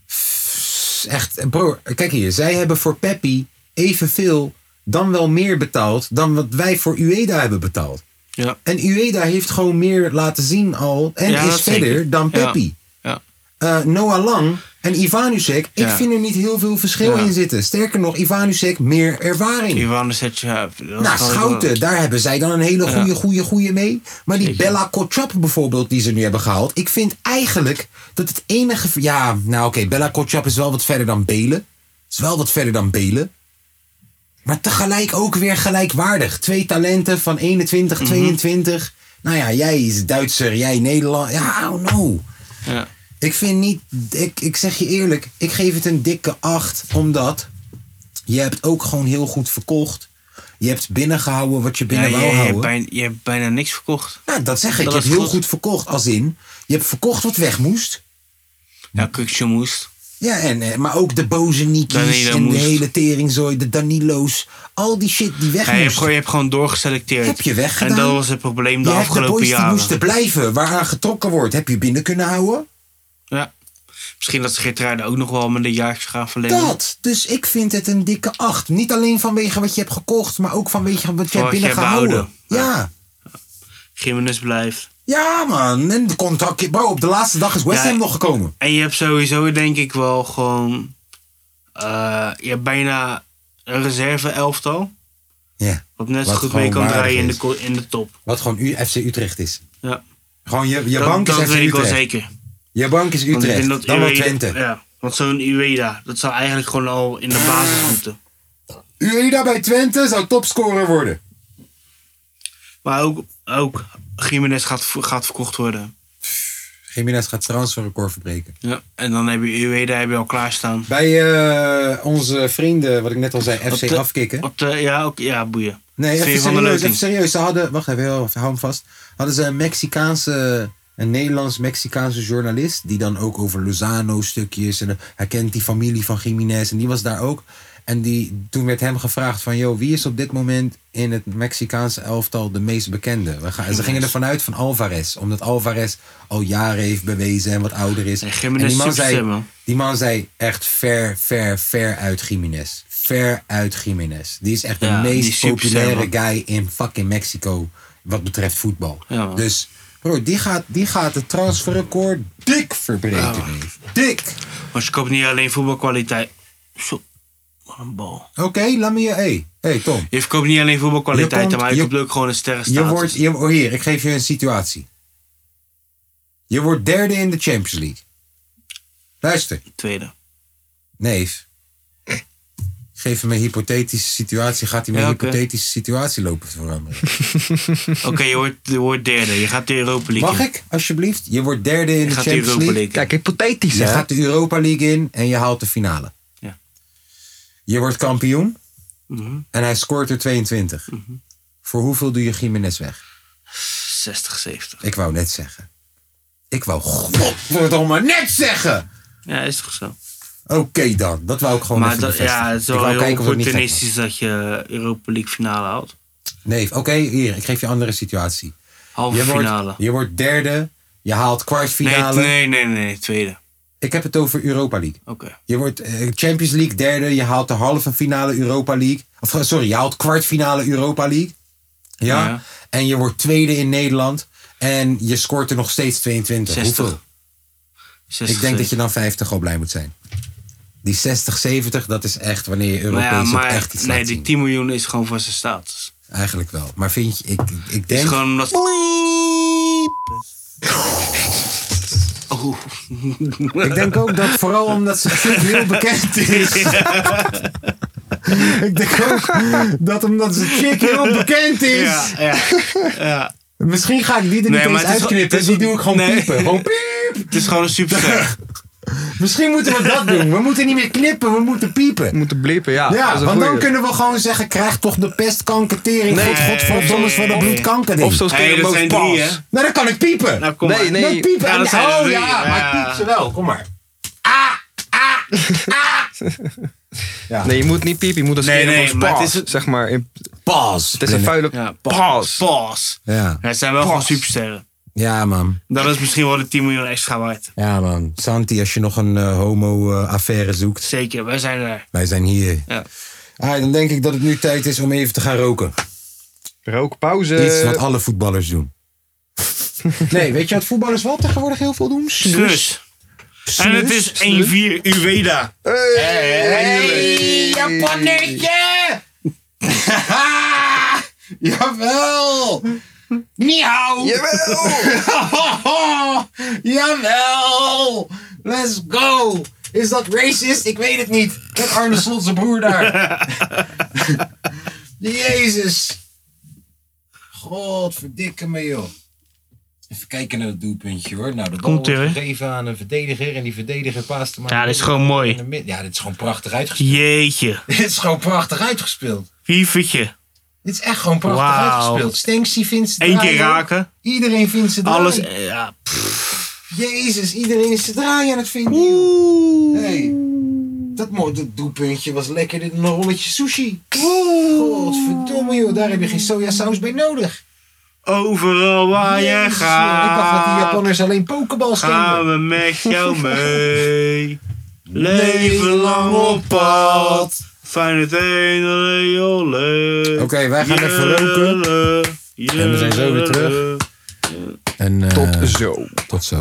Pff, Echt, broer, kijk hier. Zij hebben voor Peppi evenveel, dan wel meer betaald. dan wat wij voor Ueda hebben betaald.
ja.
En Ueda heeft gewoon meer laten zien al. en
Ja,
is
dat
verder
zeker.
dan
Ja.
Peppi.
Ja.
Eh, Noah Lang en Ivanusek, ik
Ja.
vind er niet heel veel verschil
Ja.
in zitten. Sterker nog, Ivanusek meer ervaring.
Ivan zet je. eh, dat is
Nou,
gewoon-
Schouten, daar hebben zij dan een hele goede, goede, goede mee. Maar die
Zeker.
Bella Kotschap bijvoorbeeld, die ze nu hebben gehaald. Ik vind eigenlijk dat het enige... Ja, nou oké, Bella Kotschap is wel wat verder dan Belen. Is wel wat verder dan Belen. Maar tegelijk ook weer gelijkwaardig. Twee talenten van
Mhm.
21, 22. Nou ja, jij is Duitser, jij Nederland. Ja, I don't know.
Ja.
Ik vind niet... Ik, ik zeg je eerlijk, ik geef het een dikke acht. Omdat je hebt ook gewoon heel goed verkocht. Je hebt binnengehouden wat je
Ja,
binnen
je,
wou
je, hebt
houden.
bijna, je hebt bijna niks verkocht.
Nou, dat zeg ik.
Dat
je hebt
is
heel
goed.
goed verkocht. Als in, je hebt verkocht wat weg moest.
Ja, Kukje moest.
Ja, en, eh, maar ook de boze Niki's
Danilo
en de
moest.
hele teringzooi, de Danilo's. Al die shit die weg
Ja, je, hebt
moest.
gewoon, je hebt gewoon doorgeselecteerd.
Heb je weggedaan?
En dat was het probleem de
je hebt de
afgelopen
boys die
jaren.
moesten blijven, waaraan getrokken wordt. Heb je binnen kunnen houden?
Ja. Misschien dat ze Geertruiden ook nog wel met een jaartje gaan verlengen.
Dat. Dus ik vind het een dikke acht. Niet alleen vanwege wat je hebt gekocht, maar ook vanwege wat je
Wat
hebt
je hebt
binnengehouden.
behouden.
Ja.
Gimenez blijft.
Ja, man. En de contact. Bro, op de laatste dag is West
Ja,
Ham nog gekomen.
En je hebt sowieso denk ik wel gewoon... eh, je hebt bijna een reserve elftal.
Ja.
Wat net zo
Wat
goed mee
gewoon
kan
waardig
draaien in de,
is.
ko- in de top.
Wat gewoon U FC Utrecht is.
Ja.
Gewoon je, je
dat
bank
dat
is FC
weet ik wel
Utrecht.
zeker.
Je bank is
Want ik
Utrecht.
denk dat E-
dan wel
Ueda-
Twente.
Ja, want zo'n Ueda, dat zou eigenlijk gewoon al in de basis moeten.
Ueda E bij Twente zou topscorer worden.
Maar ook, ook Gimenez gaat, ver- gaat verkocht worden.
Jiménez gaat transferrecord verbreken.
Ja. En dan heb je Ueda heb je al klaarstaan.
Bij eh, onze vrienden, wat ik net al zei, FC
Op de-
afkicken.
Op de, ja, ook, ja, boeien.
Nee,
Veer
even
van der
serieus,
Looting.
even serieus. Ze hadden, wacht even, heel, even, hou hem vast. Hadden ze een Mexicaanse, een Nederlands-Mexicaanse journalist. Die dan ook over Lozano stukjes. En eh, hij kent die familie van Jiménez. En die was daar ook. En die, toen werd hem gevraagd van, joh, wie is op dit moment in het Mexicaanse elftal de meest bekende? We gaan, ze gingen ervan uit van Alvarez. Omdat Alvarez al jaren heeft bewezen en wat ouder is.
Nee,
en
Jiménez
die man,
is superslim,
zei,
man.
die man zei echt ver, ver, ver uit Jiménez. Ver uit Jiménez. Die is echt de
Ja, die
meest
is supersterk,
populaire
man.
guy in fucking Mexico wat betreft voetbal.
Ja, man.
dus bro, die gaat, die gaat het transferrecord dik verbreken. neef. dik!
Want je koopt niet alleen voetbalkwaliteit. Zo, wat een bal.
Oké, laat me je... Hé, hey, Tom.
Je verkoopt niet alleen voetbalkwaliteit,
Je komt-
maar je,
je-
koopt ook gewoon een
Je
sterrenstatus.
wordt, je, oh, hier, ik geef je een situatie. Je wordt derde in de Champions League. Luister,
Tweede.
neef. geef hem een hypothetische situatie. Gaat hij met
Ja,
een
oké.
hypothetische situatie lopen veranderen?
Oké, je, wordt, je wordt derde. Je gaat de Europa League
Mag
in.
ik, alsjeblieft? Je wordt derde in
Je
de
gaat de
Champions
Europa
League.
League in.
Kijk, hypothetisch
Je
hè.
gaat de Europa League in en je haalt de finale.
Ja.
Je wordt kampioen
Mhm.
en hij scoort er 22. Voor hoeveel doe je Jiménez weg?
60, 70.
Ik wou net zeggen. Ik wou godverdomme net zeggen!
Ja, is toch zo.
Oké dan, dat wou ik gewoon
Maar
even
dat,
bevestigen.
ja, het
Ik
is wel
wou
heel
kijken of het niet gek was.
opportunistisch dat je Europa League finale haalt.
Nee, oké, hier, ik geef je een andere situatie.
Halve
Je
finale.
wordt, je wordt derde, je haalt
nee,
kwartfinale.
nee, nee, nee, tweede.
Ik heb het over Europa League.
Oké.
Je wordt eh, Champions League derde, je haalt de halve finale Europa League. Of eh, sorry, je haalt kwartfinale Europa League. Ja.
Ja.
En je wordt tweede in Nederland. En je scoort er nog steeds 22.
60.
Hoeveel?
60,
Ik denk dat je dan 50 al blij moet zijn. Die 60, 70, dat is echt wanneer je
Maar
Europees
Nou
op
ja, maar
echt iets
nee,
laat
die
zien.
10 miljoen is gewoon van zijn status.
Eigenlijk wel. Maar vind je, ik, ik
Het
denk...
is gewoon omdat... Oh. [laughs]
Ik denk ook dat vooral omdat ze club heel bekend is. ik denk ook dat omdat ze chick heel bekend is.
Ja, ja, ja.
Misschien ga ik die er
Nee,
niet
maar
eens
het is wel-
uitknippen. dus Die
het is wel-
doe ik gewoon
nee.
piepen. Gewoon piep.
[laughs] Het is gewoon een
[laughs]
superster.
Misschien moeten we dat doen. We moeten niet meer knippen. We moeten piepen.
Moeten blippen, ja. dat
Ja,
is een
want dan
goeie.
kunnen we gewoon zeggen... krijg toch de pestkankertering.
Nee.
Nee, Godverdomme is voor de bloedkanker
Of zo
Hey,
spelen
dat
boven
zijn
pas.
drie, hè?
Nou, dan kan ik piepen.
Nou, kom
Nee,
maar.
nee.
Dan piepen.
Ja,
en-
dat zijn er
oh
drie.
ja, maar
Ja.
ik piep ze wel. Kom maar.
Nee, je moet niet piepen, je moet dat
Nee,
spelen
nee,
boven
maar het
pas.
is-
Zeg maar, in-
Pas.
het is een vuile
Ja,
pas.
Pas.
Ja.
Ja, het zijn wel gewoon supersterren.
ja, man.
Dat is misschien wel de 10 miljoen extra waard.
Ja, man. Santi, als je nog een eh, homo-affaire zoekt...
Zeker, wij zijn er.
Wij zijn hier.
Ja.
Ah, dan denk ik dat het nu tijd is om even te gaan roken.
Rookpauze.
Iets wat alle voetballers doen. [laughs] nee, weet je wat voetballers wel tegenwoordig heel veel doen?
Dus. En het is 1-4 Ueda.
Hey, Japannetje! [laughs] Jawel! Niet hou! [laughs] Jawel! Let's go! Is dat racist? Ik weet het niet. Dat Arne Slot zijn broer
[laughs]
daar. Jezus. Godverdikke me joh. Even kijken naar dat doelpuntje hoor. Nou, dat
Komt-ie,
wordt
hoor.
gegeven aan een verdediger. En die verdediger paast hem aan
Ja,
de
dat is gewoon mooi.
in de mid- Ja, dit is gewoon prachtig uitgespeeld. [laughs]
Jeetje.
dit is gewoon prachtig uitgespeeld.
Wievertje.
Dit is echt gewoon prachtig
Wauw.
uitgespeeld. Stenksy vindt ze
Eén
draaien.
keer raken.
Iedereen vindt ze draaien.
Alles. eh, Ja,
Jezus, iedereen is ze draaien aan het vinden. joh. Hey. Dat, mo- dat doelpuntje was lekkerder dan een rolletje sushi. Godverdomme joh, daar heb je geen sojasaus bij nodig.
overal waar je
Jezus, joh, Ik dacht dat die
gaat.
Japanners alleen pokebal spelen.
Gaan we met jou
[laughs]
mee. Leven lang op pad. Fijn het een, olé, olé.
Oké, wij gaan even roken.
En
we zijn zo weer terug. En,
Tot zo.
Tot zo.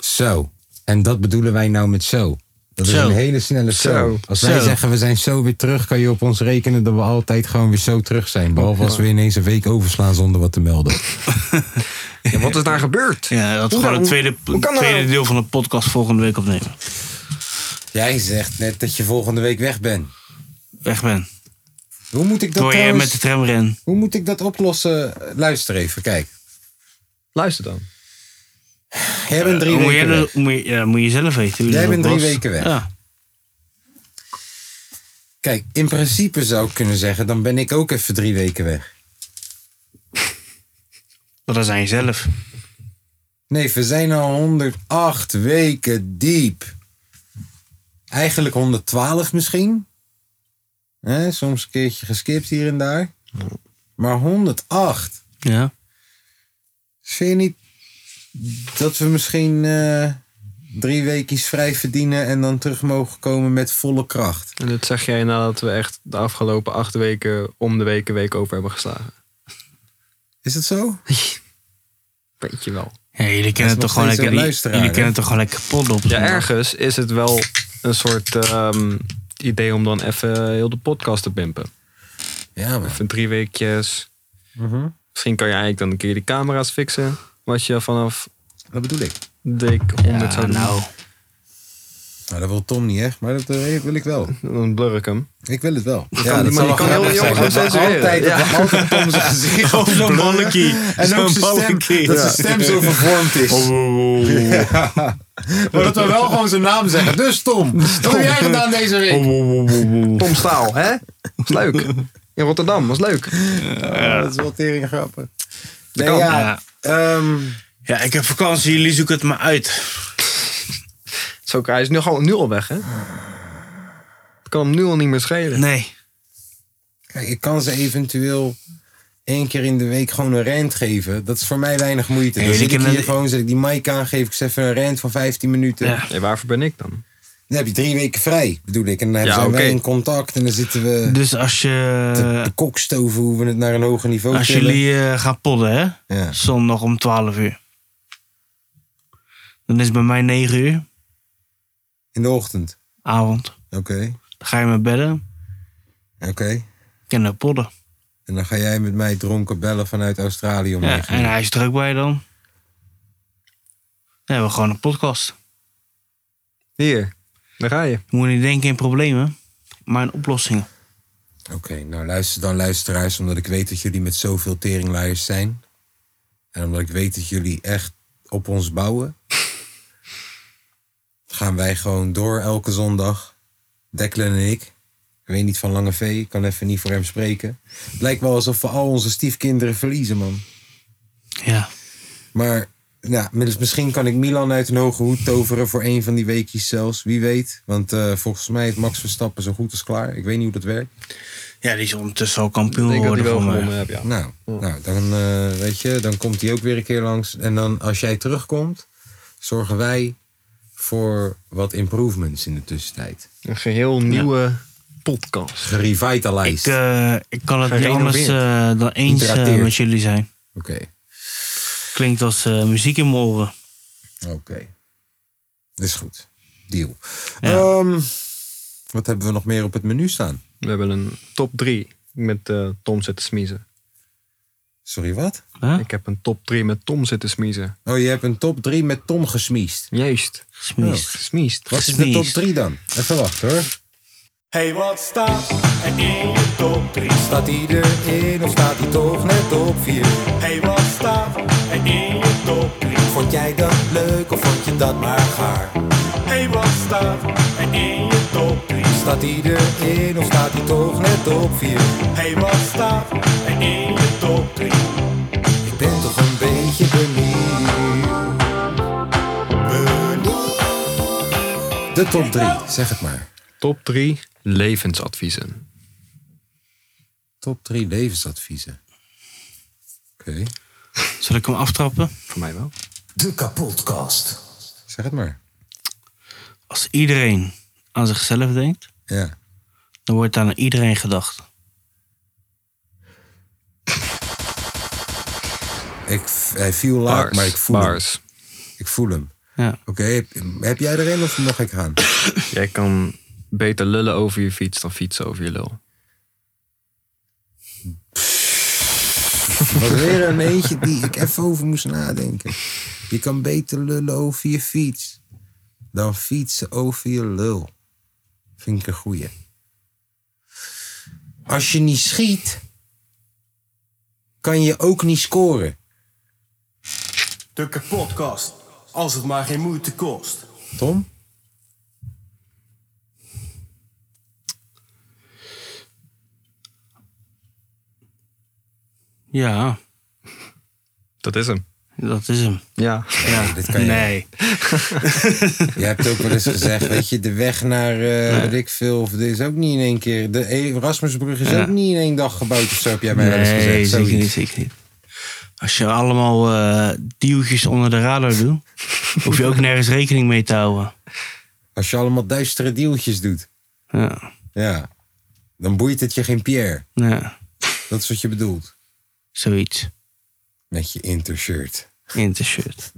Zo. En dat bedoelen wij nou met zo. Dat is
Zo.
een hele snelle zo.
Zo.
Als wij
Zo.
zeggen we zijn zo weer terug, kan je op ons rekenen dat we altijd gewoon weer zo terug zijn. Behalve als we ineens een week overslaan zonder wat te melden.
Ja, wat is daar gebeurd?
Ja, dat is
Hoe
gewoon
dan?
het tweede,
Hoe kan dat
tweede
nou?
deel van de podcast volgende week opnemen.
Jij zegt net dat je volgende week weg bent.
Weg ben.
Hoe moet ik dat,
Door je
trouwens-
met de tram ren.
hoe moet ik dat oplossen? Luister even, kijk.
Luister dan.
Eh, Jij bent drie
Hoe moet
weken
jij dat-
weg.
moet je, ja, moet je zelf weten. hoe je
Jij
dat
bent drie
oplost.
weken weg.
Ja.
Kijk, in principe zou ik kunnen zeggen, dan ben ik ook even drie weken weg.
Want dat zijn jezelf.
Nee, we zijn al 108 weken diep. Eigenlijk 112 misschien. Hè, soms een keertje geskipt hier en daar. Maar 108.
Ja.
Vind je niet dat we misschien eh, drie weken vrij verdienen en dan terug mogen komen met volle kracht?
En dat zeg jij nadat we echt de afgelopen acht weken om de week een week over hebben geslagen.
Is dat zo?
Weet je wel.
Ja, jullie kennen het
nog
toch gewoon
steeds
lekker.
een
die-
luisteraar,
Jullie
hè?
kennen het toch gewoon lekker pot op.
Ja, ergens is het wel een soort ehm, idee om dan even heel de podcast te pimpen.
Ja, maar.
Even drie weekjes.
Mhm.
Misschien kan je eigenlijk dan een keer de camera's fixen. Wat je vanaf
Wat bedoel ik?
dik 100 zou
Ja,
doen.
nou.
Nou, dat wil Tom niet echt, maar dat eh, wil ik wel.
Dan blur ik hem.
Ik wil het wel.
kan- maar
zal
je
wel
kan
grappig
heel
zijn.
jong gaan
Dat we
censureren.
Altijd, dat we altijd Tom zijn gezicht
Zo'n
opblurren.
mannenkie.
En ook
Zo'n
zijn stem,
mannenkie.
dat
Ja.
zijn stem zo vervormd is. Maar dat we wel gewoon zijn naam zeggen. Dus Tom, wat heb jij gedaan deze week?
Tom Staal, hè? Was
[laughs]
leuk. In Rotterdam, was leuk.
Oh, dat is wel tering grappig. Nee, [laughs]
kan.
ja. ehm,
Ja, ik heb vakantie, jullie zoeken het maar uit.
Zo, hij is nu, gewoon, nu al weg, hè? Het kan hem nu al niet meer schelen.
Nee.
kijk, ik kan ze eventueel één keer in de week gewoon een rent geven. Dat is voor mij weinig moeite.
Nee,
Dan
jullie
zit ik
kunnen-
hier gewoon, zet ik die mic aan, geef ik ze even een rent van 15 minuten.
Ja.
Nee, waarvoor ben ik dan?
Dan heb je drie weken vrij, bedoel ik. En dan hebben
Ja,
ze
oké.
wij in contact en dan zitten we
Dus als
te
je.
kokstoven hoe we het naar een hoger niveau
Eh, Als
tillen.
jullie eh, gaan podden, hè?
Ja.
Zondag om 12 uur. Dan is het bij mij 9 uur,
In de ochtend.
avond.
Oké,
Dan ga je met bedden
oké.
en dan podden.
En dan ga jij met mij dronken bellen vanuit Australië om
Ja,
negen
en
uur.
hij is druk bij dan. Dan hebben we gewoon een podcast.
Hier, daar ga je.
Je moet niet denken in problemen, maar in oplossingen.
Oké, nou luister dan luisteraars, omdat ik weet dat jullie met zoveel teringlaaiers zijn. En omdat ik weet dat jullie echt op ons bouwen. [laughs] gaan wij gewoon door elke zondag. Declan en ik. Ik weet niet van Lange V, ik kan even niet voor hem spreken. Het lijkt wel alsof we al onze stiefkinderen verliezen, man.
Ja.
Maar ja, dus misschien kan ik Milan uit een hoge hoed toveren voor een van die weekjes zelfs. Wie weet. Want eh, volgens mij is Max Verstappen zo goed als klaar. Ik weet niet hoe dat werkt.
Ja, die is ondertussen al
Ik
kampioen
denk dat hij
geworden
wel
voor mij.
gewonnen heeft, ja.
Nou, nou dan, eh, weet je, dan komt hij ook weer een keer langs. En dan als jij terugkomt, zorgen wij voor wat improvements in de tussentijd.
Een geheel nieuwe podcast.
Gerevitalized.
Ik, eh, ik kan het niet
Gerenoveerd.
anders eh, dan eens eh,
Geïnteresseerd.
met jullie zijn.
Oké,
Klinkt als eh, muziek in mijn oren.
oké. Dat is goed. Deal.
Ja.
Ehm, wat hebben we nog meer op het menu staan?
We hebben een top 3 met eh, Tom zitten smiezen.
Sorry, wat?
Huh?
Ik heb een top 3 met Tom zitten smiezen.
Oh, je hebt een top 3 met Tom gesmiest.
Juist.
Smies.
Oh, Gesmiest.
Wat is de top
Gesneezed.
3 dan? Even wachten hoor.
Hey, wat staat er in je top 3?
Staat hij erin of staat hij toch net op 4?
Hey, wat staat er in je top 3?
Vond jij dat leuk of vond je dat maar gaar?
Hey, wat staat er in je top 3?
Staat hij erin of staat hij toch net op 4?
Hey, wat staat er in je top 3?
Ik ben toch een beetje benieuwd.
De top 3, zeg het maar.
Top 3 levensadviezen.
Top 3 levensadviezen. Oké,
Zal ik hem aftrappen?
Voor mij wel.
De kapotkast.
zeg het maar.
Als iedereen aan zichzelf denkt,
Ja.
dan wordt aan iedereen gedacht.
Ik, hij viel laag,
Bars.
maar ik voel
Bars.
hem. Ik voel hem.
Ja.
Oké, heb, heb jij er een of mag ik gaan?
Jij kan beter lullen over je fiets dan fietsen over je lul.
was weer een eentje die ik even over moest nadenken. Je kan beter lullen over je fiets dan fietsen over je lul. Vind ik een goeie. Als je niet schiet, kan je ook niet scoren.
De kapotkast. Als het maar geen moeite kost.
Tom?
Ja,
Dat is hem.
dat is hem.
Ja.
Ja.
dit kan je-
nee.
Je hebt ook wel eens
[laughs]
gezegd, weet je, de weg naar eh weet ik veel, of dit is ook niet in één keer. De E- Erasmusbrug is
Ja.
ook niet in één dag gebouwd, of zo heb jij mij wel eens gezegd.
Nee,
zoiets.
zeker niet, zeker niet. Als je allemaal eh duwtjes onder de radar
[laughs]
doet, hoef je ook nergens rekening mee te houden.
Als je allemaal duistere deeltjes doet,
Ja.
ja, dan boeit het je geen Pierre.
ja.
Dat is wat je bedoelt.
Zoiets.
Met je intershirt.
In het shirt.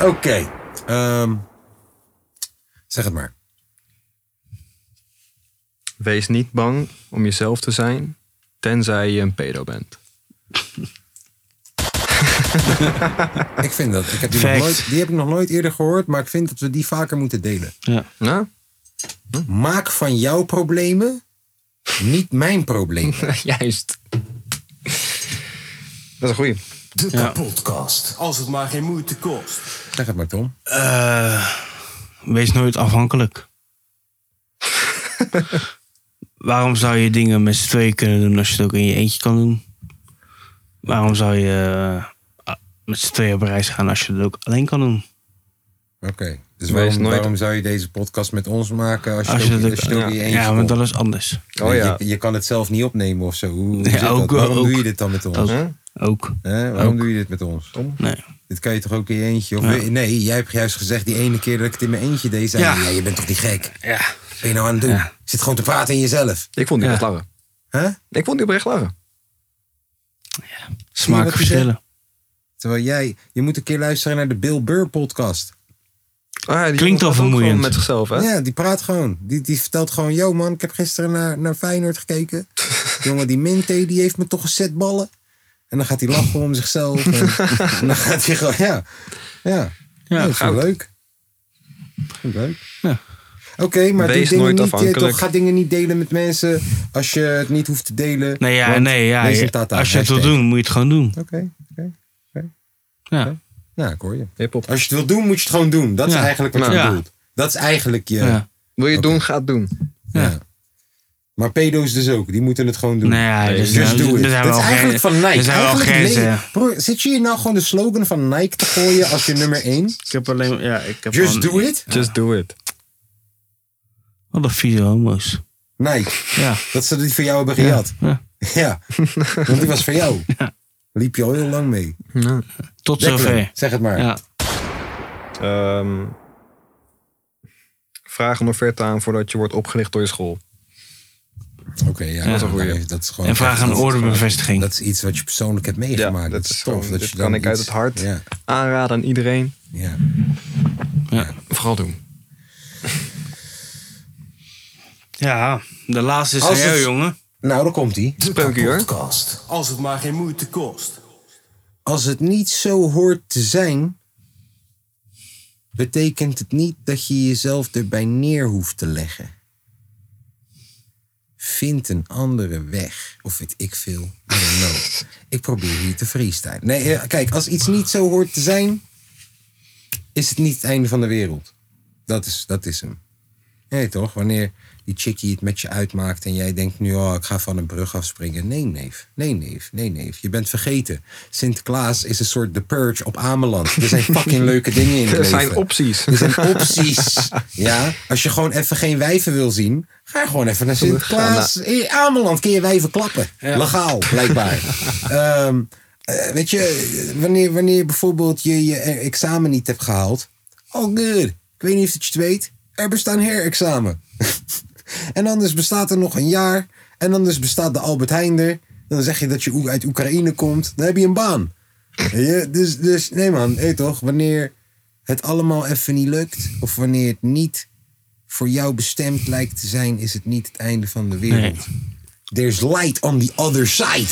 Oké. ehm, zeg het maar.
Wees niet bang om jezelf te zijn, tenzij je een pedo bent.
ik vind dat. Ik heb die, nog
Fact.
nooit, die heb ik nog nooit eerder gehoord, maar ik vind dat we die vaker moeten delen.
Nou,
Maak van jouw problemen niet mijn probleem.
juist. Dat is een goeie.
De kapotkast.
Als het maar geen moeite kost.
Zeg het maar, Tom.
Eh, wees nooit
[laughs]
afhankelijk. Waarom zou je dingen met z'n tweeën kunnen doen als je het ook in je eentje kan doen? Waarom zou je eh, met z'n tweeën op reis gaan als je het ook alleen kan doen?
Oké. Dus waarom,
nooit-
waarom zou je deze podcast met ons maken als je,
Als
het
je
ook,
dat
als je het ook
ja.
in je eentje
Ja, want
komt?
dat is anders.
Oh
Nee,
ja.
je, je kan het zelf niet opnemen of zo. Hoe, hoe
Ja,
zit dat?
ook,
Waarom
ook.
doe je dit dan met ons?
Ook.
Hè?
Ook.
Hè? Waarom
Ook.
doe je dit met ons?
Nee.
Dit kan je toch ook in je eentje? Of
Ja.
we- Nee, jij hebt juist gezegd die ene keer dat ik het in mijn eentje deed. Zei,
Ja.
je, ja, je bent toch niet gek?
Ja.
Wat ben je nou aan het doen?
Ja.
Zit gewoon te praten in jezelf.
Ik vond die
Ja.
echt lachen.
hè?
Ik vond die oprecht Ah, lachen.
Zie je wat
Smaak
hij
verschillen.
Terwijl jij, je moet een keer luisteren naar de Bill Burr podcast.
Ah, die
Klinkt al
jongen gaat ook gewoon
vermoeiend.
Met zichzelf, hè?
Ja, die praat gewoon. Die, die vertelt gewoon, yo man, ik heb gisteren naar, naar Feyenoord gekeken.
[laughs]
Jongen, die Minte, die heeft me toch een set ballen. En dan gaat hij lachen om zichzelf.
[laughs]
En, en dan gaat hij gewoon, ja. Ja, ja, dat is wel
goud.
leuk. Vind ik leuk.
Ja.
Oké, maar doe
Wees
dingen
nooit
niet, eh,
afhankelijk.
Toch, ga dingen niet delen met mensen als je het niet hoeft te delen.
Nee, ja,
Want
nee, ja.
wees een
je-
tata,
als je het wil
hashtag.
doen, moet je het gewoon doen.
Oké, oké.
Ja.
Nou, ik hoor je.
Hip-hop.
Als je het wil doen, moet je het gewoon doen. Dat is
Ja.
eigenlijk wat je
Ja.
bedoelt. Dat is eigenlijk je...
Ja.
Wil je het doen, ga het doen.
Ja. Maar pedo's dus ook, die moeten het gewoon doen.
Nee, ja, dus,
Just
nou,
do it.
er zijn
Dat
wel
is eigenlijk
grenzen.
van Nike.
Er zijn wel
Eigenlijk le-
grenzen.
Broer, zit je hier nou gewoon de slogan van Nike te gooien als je nummer 1?
Ik heb alleen. Ja, ik heb
Just do it?
Just do it.
Wat een vieze homo's.
Nike.
Ja.
Dat ze die van jou hebben gejat.
Ja.
[laughs] Ja. Want die was van
[laughs]
jou. Liep je al heel lang mee.
Tot
Declan,
zover.
Zeg het maar.
Ja.
Ehm, vraag een offerte aan voordat je wordt opgelicht door je school.
Oké, ja, dat, is
een goeie.
maar dat is gewoon.
En vraag een ordebevestiging.
Dat is iets wat je persoonlijk hebt meegemaakt.
Ja,
dat,
dat
is
is
tof.
gewoon-
dat
dit
je dan
kan ik uit
iets-
het hart.
Ja,
Aanraden aan iedereen.
ja.
Vooral doen.
Ja, de laatste is aan
Als
jou,
het-
jongen.
Nou, daar komt hij.
Spreukie hoor.
Kapotkast.
Als het maar geen moeite kost.
Als het niet zo hoort te zijn, betekent het niet dat je jezelf erbij neer hoeft te leggen. Vind een andere weg. Of weet ik veel. I don't
[laughs]
know. Ik probeer hier te freestylen. Nee, eh, kijk, als iets niet zo hoort te zijn, is het niet het einde van de wereld. Dat is, dat is hem. Nee, toch? Wanneer die chickie het met je uitmaakt en jij denkt nu, oh, ik ga van een brug afspringen. Nee, neef. Nee, neef. Nee, neef. Je bent vergeten. Sinterklaas is een soort The Purge op Ameland. Er
[laughs]
zijn fucking leuke dingen in het
Er
leven.
zijn opties.
Er zijn opties. Ja, als je gewoon even geen wijven wil zien, ga gewoon even naar Sinterklaas. In Ameland kun je wijven klappen. Legaal, blijkbaar. Ehm, eh, weet je, wanneer, wanneer bijvoorbeeld je je examen niet hebt gehaald. Oh, good. Ik weet niet of dat je het weet. Er bestaan herexamen. [laughs] en anders bestaat er nog een jaar. En anders bestaat de Albert Heijn er. Dan zeg je dat je Oe- uit Oekraïne komt. Dan heb je een baan. Weet je, Dus, dus nee man, hé toch, wanneer het allemaal even niet lukt, of wanneer het niet voor jou bestemd lijkt te zijn, is het niet het einde van de wereld. There's light on the other side.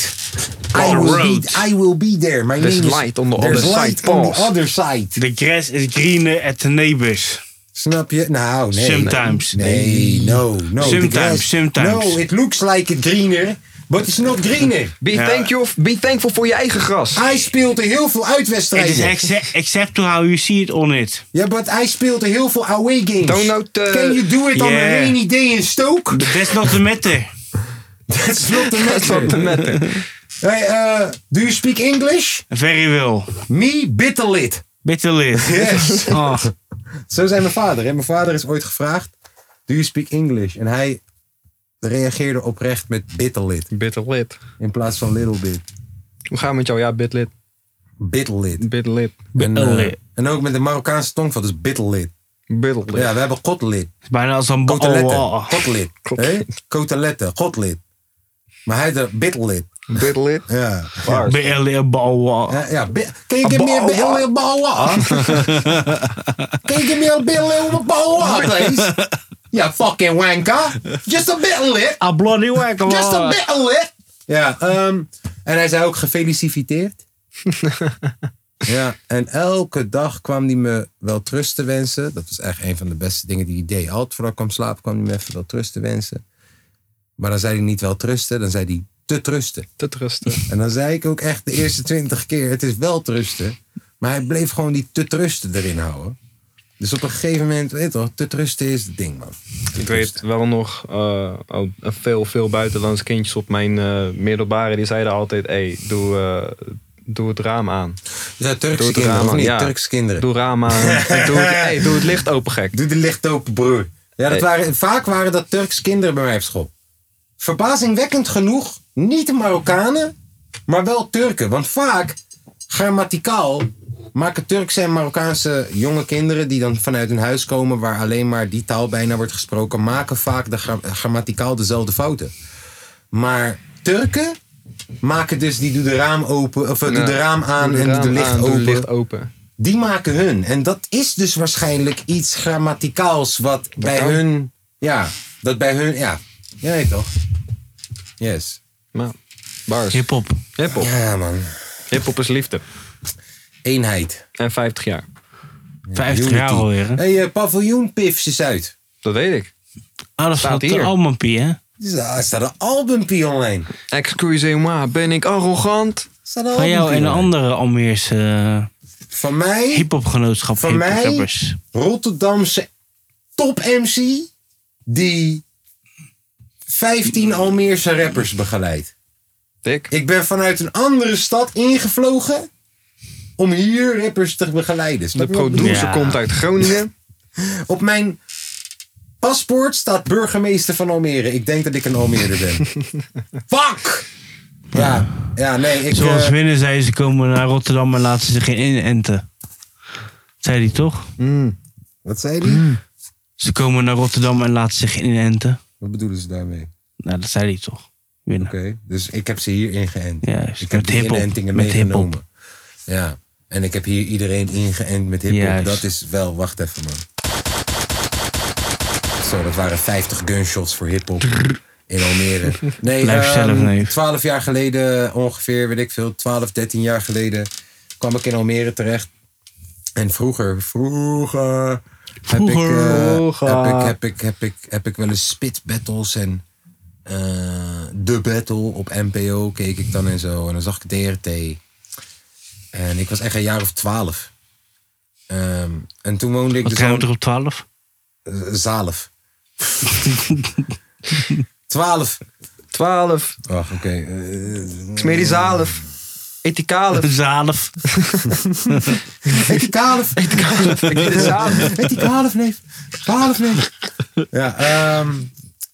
I
On the
will,
road.
be, I will be there. My
There's
name is,
light on the
there's
other
light
side,
on the
Paul.
other side.
The grass is greener at the neighbors.
Snap je? Nou, nee.
Sometimes.
Nee, no, no. the
Sometimes,
grass-
sometimes.
No, it looks like it greener, but it's not greener.
Be,
Ja.
thankful, be thankful voor je eigen gras.
Hij speelt er heel veel
It is
uitwedstrijden.
accept, except to how you see it on it.
Ja, maar hij speelt er heel veel away games.
Don't note, eh,
Can you do it on a
yeah.
rainy day in [laughs] Stoke?
That's not the matter.
That's not the
Dat is wat
matter.
te [laughs] netten.
Hey, eh, do you speak English?
Very well.
Me, bitterlid.
Bitter
[laughs]
lid.
Yes.
Oh,
Zo zei mijn vader. Hè? Mijn vader is ooit gevraagd, do you speak English? En hij reageerde oprecht met bitterlid.
Bitter lid.
In plaats van little bit.
Hoe gaan we met jou? Ja, bit lid.
Bitterlid.
Bit lid.
En, eh,
Bitterlid.
en ook met de Marokkaanse tongval, dus bitterlid.
Bitter lid.
Ja, we hebben kotlid.
het is bijna als een bal.
Koteletten.
Oh, oh.
Kotlid. Hè? Koteletten. Kotlid. Maar hij de bitterlid.
Bitter lid.
Ja.
Waar?
Bitter lid, bal. oh.
Ja, ja. bi- Can you give me a bill in [laughs] Balwa? Can you give me a bill in Balwa, please? Ja, fucking wanker. Just a bit lit.
A bloody whack.
[laughs] Just a bit lit. Ja, ehm, en hij zei ook gefeliciteerd. Ja, en elke dag kwam hij me wel trust te wensen. Dat was echt een van de beste dingen die hij deed. Altijd voordat ik kwam slapen kwam hij me even wel trust te wensen. Maar dan zei hij niet wel trusten, dan zei hij te trusten.
Te trusten.
En dan zei ik ook echt de eerste twintig keer, het is wel trusten. Maar hij bleef gewoon die te trusten erin houden. Dus op een gegeven moment, weet je toch, te trusten is het ding, man.
[laughs] Ik weet wel nog, eh, al veel, veel buitenlandse kindjes op mijn eh, middelbare, die zeiden altijd, hey, doe, eh, doe het raam aan.
Ja, Turkse
Doe het
kinderen,
raam
of
aan.
niet?
Ja.
Turkse kinderen.
Doe
[laughs]
raam aan. En doe, het, hey, doe het licht open, gek.
Doe de licht open, broer. Ja, dat
Hey.
waren, vaak waren dat Turks kinderen bij mij op school. Verbazingwekkend genoeg, niet de Marokkanen, maar wel Turken. Want vaak, grammaticaal, maken Turkse en Marokkaanse jonge kinderen... die dan vanuit hun huis komen waar alleen maar die taal bijna wordt gesproken... maken vaak de gra- grammaticaal dezelfde fouten. Maar Turken maken dus, die doen de raam open... of eh, doe
Ja.
de raam aan
Doe
en
het
doe de
raam
licht
aan, doe het
open
licht open.
die maken hun. En dat is dus waarschijnlijk iets grammaticaals wat bij
kan.
hun. Ja, dat bij hun. Ja, ja weet toch? Yes.
Nou, bars.
Hip-hop.
Hip-hop.
Ja, man.
Hip-hop is liefde.
Eenheid.
En 50 jaar.
50
Unity.
jaar alweer. hè?
Hé, hey, eh, paviljoen Pifs is uit.
Dat weet ik.
Ah, dat
Staat
staat de
hier.
Almampie, hè?
Dus daar staat een albumpie online. Er
Excusez-moi, ben ik arrogant?
Staat een
Van jou
albumpie
en de
online.
andere Almeerse eh,
Van mij,
hip-hopgenootschap.
Van mij?
hip-hoppers.
Rotterdamse top-MC, die 15 Almeerse rappers begeleidt.
Dik.
Ik ben vanuit een andere stad ingevlogen om hier rappers te begeleiden. Snap
De
je wat ik bedoel?
producer
Ja.
komt uit Groningen.
Op mijn paspoort staat burgemeester van Almere. Ik denk dat ik een Almere ben. Fuck! Ja, ja nee, ik...
Zoals
eh,
winnen zei, ze komen naar Rotterdam en laten ze zich geen inenten. Zei hij toch?
wat zei die?
Ze komen naar Rotterdam en laten zich inenten.
Wat bedoelen ze daarmee?
Nou, dat zei hij toch? Winnen.
Oké, dus ik heb ze hier ingeënt.
Juist,
ik heb
met
die
hiphop,
inentingen
met
meegenomen. Ja, en ik heb hier iedereen ingeënt met hiphop.
Juist.
Dat is wel... Wacht even, man. Zo, dat waren 50 gunshots voor hiphop in Almere. Nee,
Blijf
ehm,
zelf, neef.
12 jaar geleden ongeveer, weet ik veel, 12, 13 jaar geleden... kwam ik in Almere terecht. En vroeger, vroeger...
Vroeger.
Heb ik, eh, heb, ik, heb, ik, heb, ik, heb ik wel eens spitbattles en eh, de battle op NPO keek ik dan en zo. En dan zag ik DRT. En ik was echt een jaar of twaalf. Ehm, en toen woonde ik
Wat
dus
gaan
al-
we er op 12?
eh, zalf. [laughs] Twaalf.
12.
Wacht, oké. eh,
Smeer die zalf. Eet die kalf.
[laughs]
[laughs]
12.
Heet die kalf? Heet die kalf? Heet die kalf, neef? Kalf, neef? Ja, ehm,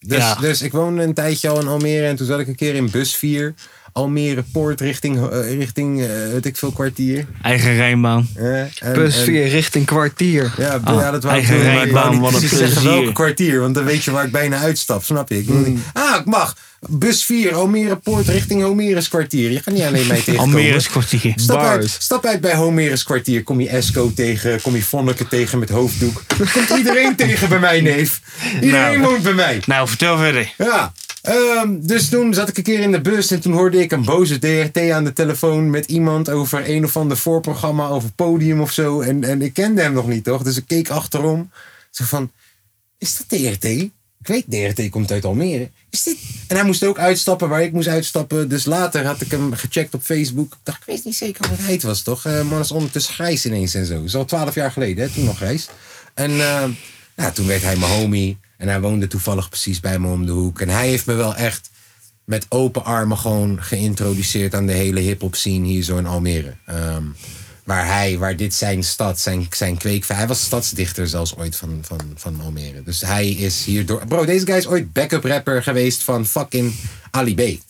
dus,
Ja.
dus ik woonde een tijdje al in Almere en toen zat ik een keer in bus 4. Almere Poort richting, eh, richting eh, weet ik veel, kwartier.
Eigen rijnbaan.
Eh, en-
Bus
en-
4 richting kwartier.
Ja, b-
Ah,
ja, dat wou ik
eigen
doen, maar ik wou
rijbaan,
niet
wat een
precies zeggen
plezier. Hmm.
welke kwartier. Want dan weet je waar ik bijna uitstap, snap je? Ik wil niet- Ah, ik mag. Bus 4, Almere Poort richting Homerus kwartier. Je gaat niet alleen mij tegenkomen.
Almere is kwartier.
Stap uit,
Bars.
stap uit bij Homerus kwartier. Kom je Esco tegen, kom je Vonneke tegen met hoofddoek. Komt iedereen [laughs] tegen bij mij, neef. Iedereen
Nou.
woont bij mij.
Nou, vertel verder.
Ja. Ehm, dus toen zat ik een keer in de bus en toen hoorde ik een boze DRT aan de telefoon met iemand over een of ander voorprogramma over podium of zo. En, en ik kende hem nog niet, toch? Dus ik keek achterom. Zo van, is dat DRT? Ik weet, DRT komt uit Almere. Is dit... En hij moest ook uitstappen waar ik moest uitstappen. Dus later had ik hem gecheckt op Facebook. Ik dacht, ik weet niet zeker wat hij het was, toch? Eh man is ondertussen grijs ineens en zo. Dat is al twaalf jaar geleden, hè? toen nog grijs. En eh, ja, toen werd hij mijn homie. En hij woonde toevallig precies bij me om de hoek. En hij heeft me wel echt met open armen gewoon geïntroduceerd aan de hele hip-hop scene hier zo in Almere. Ehm, waar hij, waar dit zijn stad, zijn, zijn kweekvijver. Hij was stadsdichter zelfs ooit van, van, van Almere. Dus hij is hierdoor. Bro, deze guy is ooit backup rapper geweest van fucking Ali B.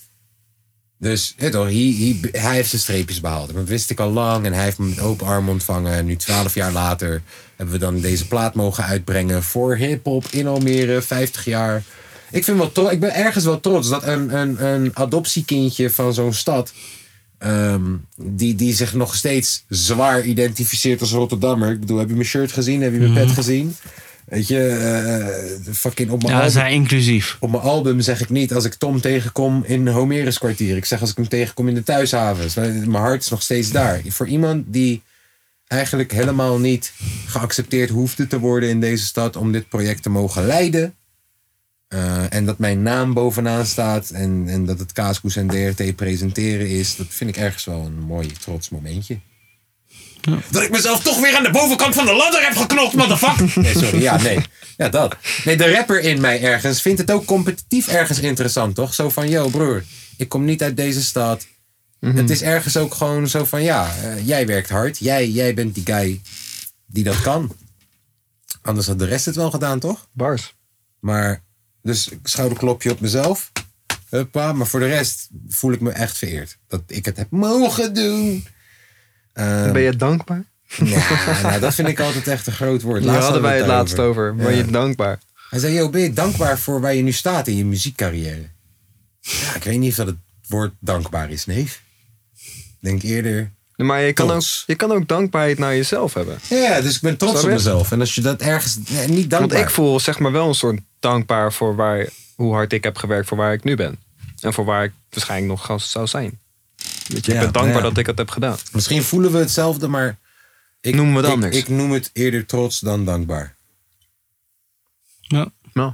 Dus weet je toch, hij, hij, hij heeft zijn streepjes behaald. Dat wist ik al lang en hij heeft me met open armen ontvangen. En nu twaalf jaar later hebben we dan deze plaat mogen uitbrengen voor hip-hop in Almere, 50 jaar. Ik, vind wel tro- ik ben ergens wel trots dat een, een, een adoptiekindje van zo'n stad. ehm, die, die zich nog
Mhm.
steeds zwaar identificeert als Rotterdammer. Ik bedoel, heb je mijn shirt gezien? Heb je mijn pet gezien? Eh, Weet je, eh, fucking op mijn
Ja, ze
album.
zijn inclusief.
Op mijn album zeg ik niet als ik Tom tegenkom in Homerus kwartier. Ik zeg als ik hem tegenkom in de thuishavens. Mijn mijn hart is nog steeds daar. Voor iemand die eigenlijk helemaal niet geaccepteerd hoefde te worden in deze stad om dit project te mogen leiden. eh, en dat mijn naam bovenaan staat en, en dat het Kaaskoes en DRT presenteren is. Dat vind ik ergens wel een mooi trots momentje. Dat ik mezelf toch weer aan de bovenkant van de ladder heb geknokt, motherfucker! [laughs] Nee, sorry, ja, nee. Ja, dat. Nee, de rapper in mij ergens vindt het ook competitief ergens interessant, toch? Zo van, yo broer, ik kom niet uit deze stad. Het is ergens ook gewoon zo van, ja, eh, jij werkt hard. Jij, jij bent die guy die dat kan. Anders had de rest het wel gedaan, toch?
Bars.
Maar, dus schouderklopje op mezelf. Huppa, maar voor de rest voel ik me echt vereerd. Dat ik het heb mogen doen. Ehm,
Ben je dankbaar?
ja, nou, dat vind ik altijd echt een groot woord.
Daar
Laatst
hadden wij het laatst
daarover.
over. Ben je dankbaar?
Hij zei, yo, ben je dankbaar voor waar je nu staat in je muziekcarrière? Ja, ik weet niet of dat het woord dankbaar is, neef. Ik Denk eerder...
Nee, Maar je kan, ook,
Trots.
je kan ook dankbaarheid naar jezelf hebben.
Ja, dus ik ben trots
Snap
op
je?
mezelf. En als je dat ergens... nee, niet dankbaar.
Want ik voel zeg maar wel een soort dankbaar voor waar, hoe hard ik heb gewerkt voor waar ik nu ben. En voor waar ik waarschijnlijk nog gast zou zijn. Weet je,
Ja,
ik ben dankbaar
ja.
dat ik het heb gedaan.
Misschien voelen we hetzelfde, maar... Ik,
Noemen we het
ik-
anders.
Ik noem het eerder trots dan dankbaar.
Ja,
Nou,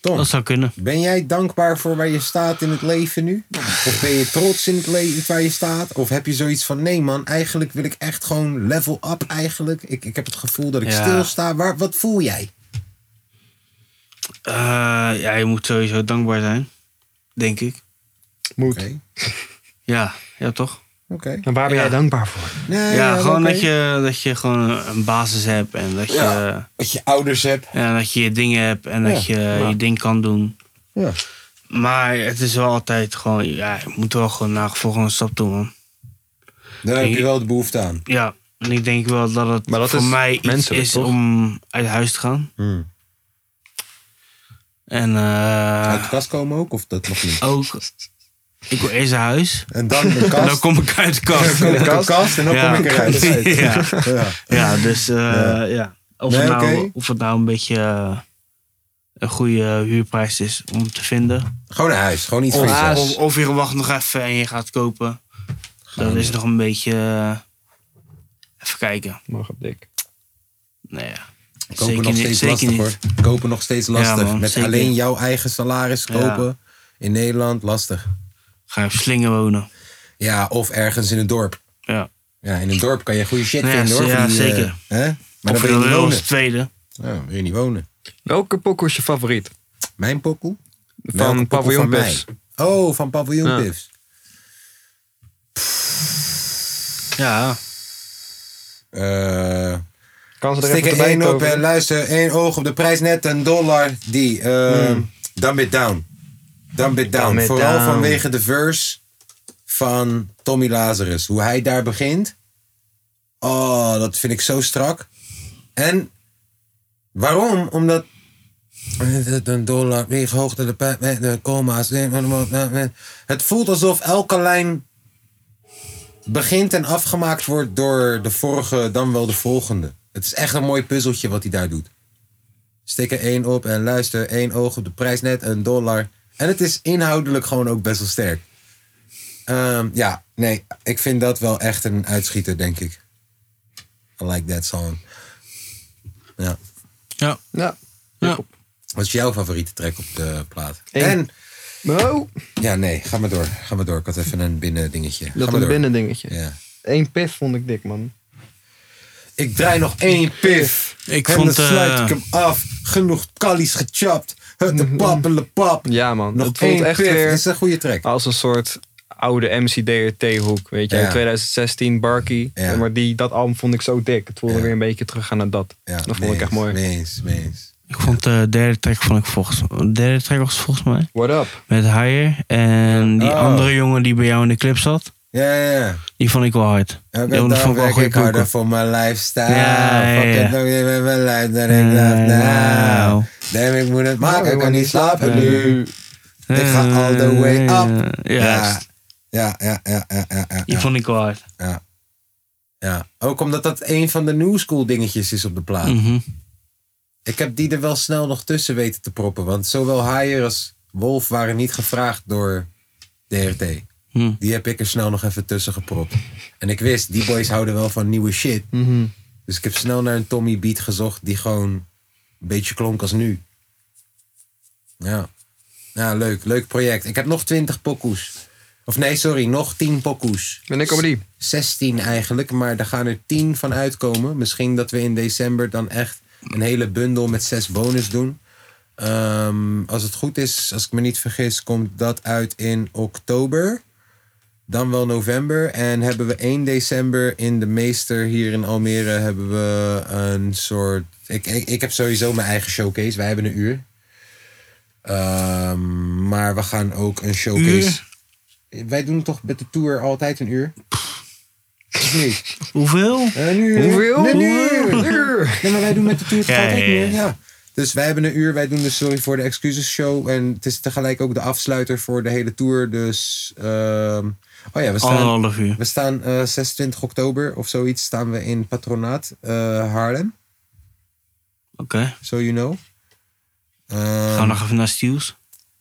Tom,
dat zou kunnen.
ben jij dankbaar voor waar je staat in het leven nu? Of ben je trots in het leven waar je staat? Of heb je zoiets van, nee man, eigenlijk wil ik echt gewoon level up eigenlijk. Ik, ik heb het gevoel dat ik
Ja.
stilsta. Waar, wat voel jij?
Eh, ja, je moet sowieso dankbaar zijn. Denk ik.
moet.
Oké,
Ja, ja toch?
oké.
En waar ben jij dankbaar voor?
Nee,
Ja, gewoon
oké.
dat, je, dat je gewoon een basis hebt. En dat je,
Ja. Dat je ouders hebt.
en dat je je dingen hebt. En dat je je ding kan doen.
Ja.
Maar het is wel altijd gewoon... Ja, je moet wel gewoon naar de volgende stap toe, man.
Daar heb
Ik-
je wel de behoefte aan.
Ja, en ik denk wel dat het
Maar dat
voor
is
mij iets
menselijk,
is
toch?
om uit huis te gaan.
Hmm.
En eh,
Uit de kast komen ook, of dat nog niet?
ook... Ik wil eerst naar huis.
En dan
[laughs]
de
En dan
kast.
kom ik uit de kast.
Dan kom ik de kast en dan
Ja.
kom ik eruit.
[laughs] Ja.
Ja.
Ja, dus eh, ja. Of,
Nee,
het nou,
oké.
of het nou een beetje eh, een goede huurprijs is om te vinden.
Gewoon naar huis, gewoon iets voor
Of,
jezelf.
of, of je wacht nog even en je gaat kopen. Dat is nog een beetje. eh, even kijken.
Mag op dik.
Nou ja.
Kopen nog steeds lastig hoor. Kopen nog steeds lastig.
man,
Met
zeker.
alleen jouw eigen salaris kopen in Nederland, lastig.
Ga je op slingen wonen.
Ja, of ergens in het dorp.
Ja.
Ja, in een dorp kan je goede shit
Ja,
vinden hoor.
ja,
voor die, eh,
zeker.
hè? Maar dan
of
wil je
wil
niet
wel
wonen.
als tweede.
Ja, wil je niet wonen.
Welke pokoe is je favoriet?
Mijn pokoe? Welke
Van
pokoe
Paviljoen
van
Puffs.
mij? Oh, van Paviljoen
Ja.
Pips.
Ja.
Eh,
Kan ze er
Stik
even
er
bij
één op
toveren?
en luister. één oog op de prijs net een dollar. Die. ehm
Hmm.
Dumb it down. Dumb it down.
Dumb it
Vooral
down.
vanwege de verse van Tommy Lazarus. Hoe hij daar begint. Oh, dat vind ik zo strak. En waarom? Omdat een dollar weeg hoogte de pijn met de coma's. Het voelt alsof elke lijn begint en afgemaakt wordt door de vorige, dan wel de volgende. Het is echt een mooi puzzeltje wat hij daar doet. Stik er één op en luister één oog op de prijs net een dollar. En het is inhoudelijk gewoon ook best wel sterk. Ehm, ja, nee, ik vind dat wel echt een uitschieter, denk ik. I like that song. Ja.
Ja.
Wat is jouw favoriete track op de plaat?
Eén.
En,
Nou,
ja, nee, ga maar door. Ga maar door. Ik had even een binnen dingetje.
dat
ga
een
maar door.
binnendingetje.
Ja.
Eén pif vond ik dik, man.
Ik draai nog één pif.
Ik
en
vond,
dan sluit
eh,
ik hem af. Genoeg kallies gechapt. Het de pappele pap.
Mm-hmm. Ja, man.
nog
het voelt
één
echt
pif.
weer
Dat is een goede track.
als een soort oude MCDRT-hoek. Weet je,
Ja.
in 2016, Barkie.
Ja.
Maar die, dat album vond ik zo dik. Het voelde
Ja.
weer een beetje terug aan naar dat.
Ja,
dat vond
mee
ik echt
eens,
mooi.
Mee eens, mee eens.
Ik vond eh, de derde track vond ik volgens de derde track was volgens mij
What up?
met Higher en die
Oh.
andere jongen die bij jou in de clip zat,
Ja, ja, ja.
die vond ik wel hard. die
Elke
vond
dag
ik wel
werk
goed
ik harder
pokoe.
voor mijn lifestyle.
Ja, ja,
Fuck
ja.
it, nog niet met mijn lijf dat ik dacht, nou.
Nou.
Damn, ik moet het maken, ik kan niet slapen
Ja.
nu. Ik ga all the way up.
Ja,
Ja, ja, ja, ja, ja, ja,
die
ja.
vond ik wel hard.
ja. ja. Ook omdat dat een van de new school dingetjes is op de plaat.
Mhm.
Ik heb die er wel snel nog tussen weten te proppen. Want zowel Haier als Wolf waren niet gevraagd door DRT.
Hm.
Die heb ik er snel nog even tussen gepropt. En ik wist, die boys houden wel van nieuwe shit. Dus ik heb snel naar een Tommy beat gezocht die gewoon een beetje klonk als nu. Ja. Ja, leuk. Leuk project. Ik heb nog 20 pokoes. Of nee, sorry, nog 10 pokoes.
Ben ik comedy?
16 eigenlijk, maar daar gaan er 10 van uitkomen. Misschien dat we in december dan echt een hele bundel met 6 bonus doen. Ehm, als het goed is, als ik me niet vergis, komt dat uit in oktober. Dan wel november. En hebben we 1 december in de Meester hier in Almere hebben we een soort. Ik, ik, ik heb sowieso mijn eigen showcase. Wij hebben een uur. Ehm, maar we gaan ook een showcase. Wij doen toch met de tour altijd een uur? Of niet? Eh,
Hoeveel?
Een uur.
Hoeveel?
Een uur. Nee, maar wij doen met de tour het
Ja,
gaat ook
ja, ja.
meer, ja. Dus wij hebben een uur, wij doen de Sorry voor de Excuses show. En het is tegelijk ook de afsluiter voor de hele tour. Dus, ehm, oh ja, we staan,
Anderhalf uur.
we staan eh, 26 oktober of zoiets staan we in Patronaat eh, Haarlem.
Oké.
So you know. Ehm,
Gaan we nog even naar Steels?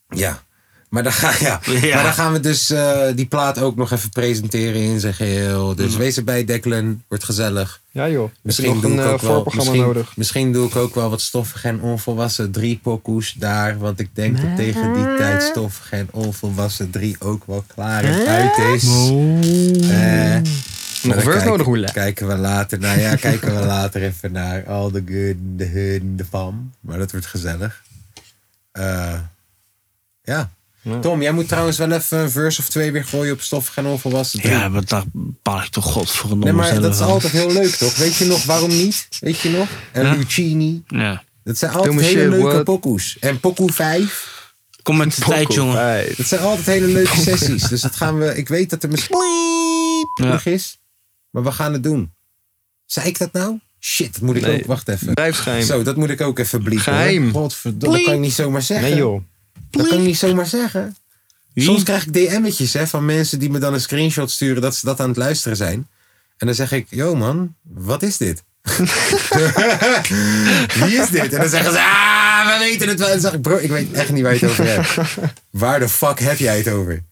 ja. Maar dan, ga, [laughs] ja.
Ja.
maar dan gaan we dus eh, die plaat ook nog even presenteren in zijn geheel. Dus wees erbij, Declan. Wordt gezellig.
Ja joh.
Misschien
Misschien nog
doe
een
ik
eh,
ook wel,
voorprogramma
misschien,
nodig.
Misschien doe ik ook wel wat stoffig en onvolwassen drie pokoes daar. Want ik denk dat tegen die tijd stoffig en onvolwassen drie ook wel klaar en uit is. Eh, maar dan
Nog verse
kijk-
nodig, hoele.
Kijken we later. Nou ja, kijken we later even naar al de good, de hun, de fam. Maar dat wordt gezellig. Eh, ja. Tom, jij moet trouwens wel even een verse of twee weer gooien op stoffig en onvolwassen drie.
Ja, maar daar baal ik toch godverdomme
Nee, maar
zelf
dat is
van.
altijd heel leuk, toch? Weet je nog waarom niet? Weet je nog? En
Ja.
Lucini.
Ja.
Dat zijn altijd
Doe me
hele
shit,
leuke
what?
pokoes. En pokoe 5.
Kom met de tijd, jongen.
Hey.
Dat zijn altijd hele leuke sessies. Dus dat gaan we... Ik weet dat er misschien...
Ja.
nog is. Maar we gaan het doen. Zei ik dat nou? Shit, dat moet ik
Nee.
ook... Wacht even.
Blijfschijn.
Zo, dat moet ik ook even bliepen. hoor.
Geheim.
Godverdomme, dat kan ik niet zomaar zeggen.
Nee joh.
Dat kan ik niet zomaar zeggen. Soms krijg ik DM'tjes hè, van mensen die me dan een screenshot sturen dat ze dat aan het luisteren zijn. En dan zeg ik, yo man, wat is dit? [laughs] Wie is dit? En dan zeggen ze, ah, we weten het wel. En dan zeg ik, bro, ik weet echt niet waar je het over
[laughs]
hebt. Waar de fuck heb jij het over?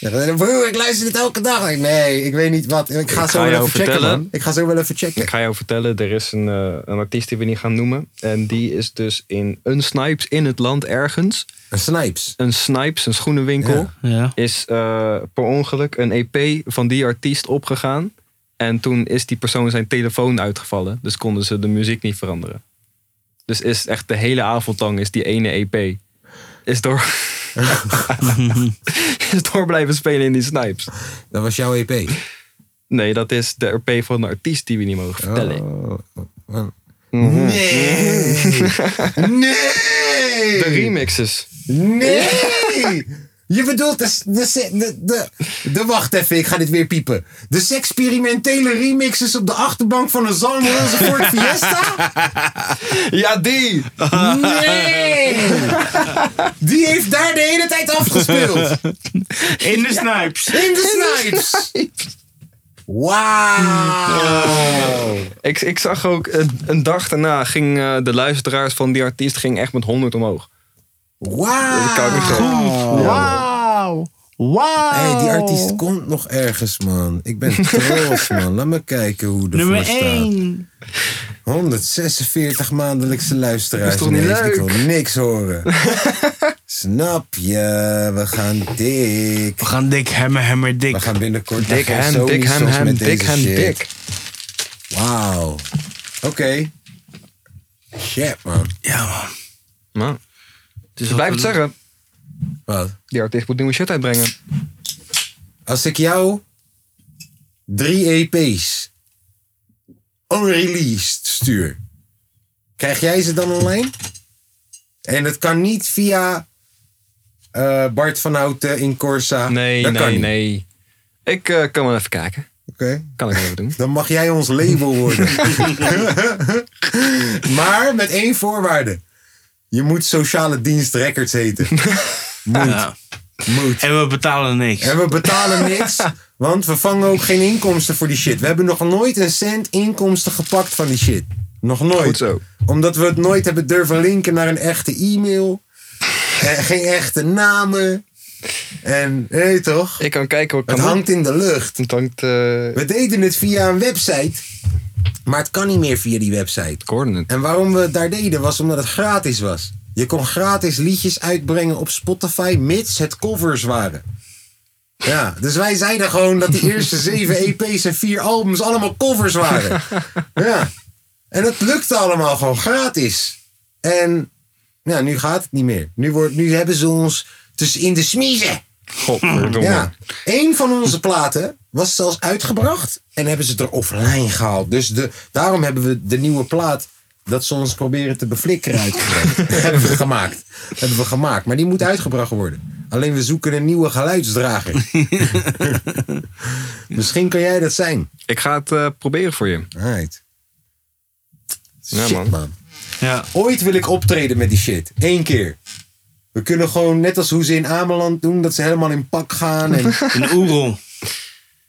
Dan zeg ik, Bro, ik luister dit elke dag. Ik, nee, ik weet niet wat. Ik ga
Ik
zo
ga
wel
jou
even checken,
vertellen.
man. Ik ga zo wel even checken.
Ik ga jou vertellen, er is een, eh, een artiest die we niet gaan noemen. En die is dus in een Snipes in het land ergens.
Een Snipes.
Een Snipes, een schoenenwinkel.
Ja.
Ja.
Is eh, per ongeluk een EP van die artiest opgegaan. En toen is die persoon zijn telefoon uitgevallen. Dus konden ze de muziek niet veranderen. Dus is echt de hele avond lang is die ene EP. Is door, [laughs] is door blijven spelen in die Snipes.
Dat was jouw E EP.
Nee, dat is de EP van de artiest die we niet mogen vertellen.
Oh. Nee!
[laughs]
Nee!
De remixes.
Nee! Je bedoelt de, de, se- de, de, de- Wacht even, ik ga dit weer piepen. De experimentele remixes op de achterbank van een Zalm Rozenvoort Fiesta?
Ja, die!
Nee! Die heeft daar de hele tijd afgespeeld.
In de snipes.
In de Snipes! Wauw!
Ik, ik zag ook, eh, een dag daarna ging eh, de luisteraars van die artiest ging echt met 100 omhoog. Dat kan ik
Wauw!
niet zeggen. Ja.
Wauw. Wauw.
Hey, die artiest komt nog ergens, man. Ik ben trots, man. Laat me kijken hoe de
Nummer
staat.
1.
146 maandelijkse luisteraars.
Is toch niet
ineens.
leuk?
Ik wil niks
[laughs]
horen. Snap je? We gaan dik.
We gaan dik hammer, hammer, dik.
We gaan binnenkort
Dik
naar
hem,
Sony
dik hem,
Songs
hem,
met
dik
deze
hem,
shit.
dik.
Wauw. Oké. Shit, man.
Ja, man.
Nou,
Dus
ze blijven het zeggen,
Wat?
die artiest moet nieuwe shit uitbrengen.
Als ik jou drie EP's unreleased stuur, krijg jij ze dan online? En dat kan niet via eh, Bart van Houten in Corsa.
Nee,
dat kan
nee,
niet.
nee. Ik eh, kan wel even kijken.
Oké.
Kan ik wel even [laughs] doen.
Dan mag jij ons label worden.
[laughs]
[laughs] maar met één voorwaarde. Je moet sociale dienst records
[laughs]
heten.
Ja.
Moet.
En we betalen niks.
En we betalen
[laughs]
niks, want we vangen ook geen inkomsten voor die shit. We hebben nog nooit een cent inkomsten gepakt van die shit. Nog nooit.
Goed zo.
Omdat we het nooit hebben durven linken naar een echte e-mail. Eh, geen echte namen. En, hé toch?
Ik kan kijken wat ik
Het
kan
hangt in de lucht.
doen. Het hangt... eh
We deden het via een website. Maar het kan niet meer via die website.
coördinate.
En waarom we het daar deden was omdat het gratis was. Je kon gratis liedjes uitbrengen op Spotify, mits het covers waren. Ja, dus wij zeiden gewoon dat die eerste zeven EP's en vier albums allemaal covers waren. Ja. En het lukte allemaal gewoon gratis. En nou, nu gaat het niet meer. Nu, wordt, nu hebben ze ons tussenin de smiezen.
Godverdomme.
Ja. Eén van onze platen was zelfs uitgebracht en hebben ze het er offline gehaald. Dus de, daarom hebben we de nieuwe plaat dat ze ons proberen te beflikkeren uitgebracht.
[laughs]
hebben we gemaakt. Hebben we gemaakt. Maar die moet uitgebracht worden. Alleen we zoeken een nieuwe
[laughs]
geluidsdrager. Misschien kan jij dat zijn.
Ik ga het eh, proberen voor je.
Right.
Ja,
Shit,
man.
man.
Ja.
Ooit wil ik optreden met die shit. Eén keer. We kunnen gewoon, net als hoe ze in Ameland doen, dat ze helemaal in pak gaan.
[laughs]
En
Een oerol.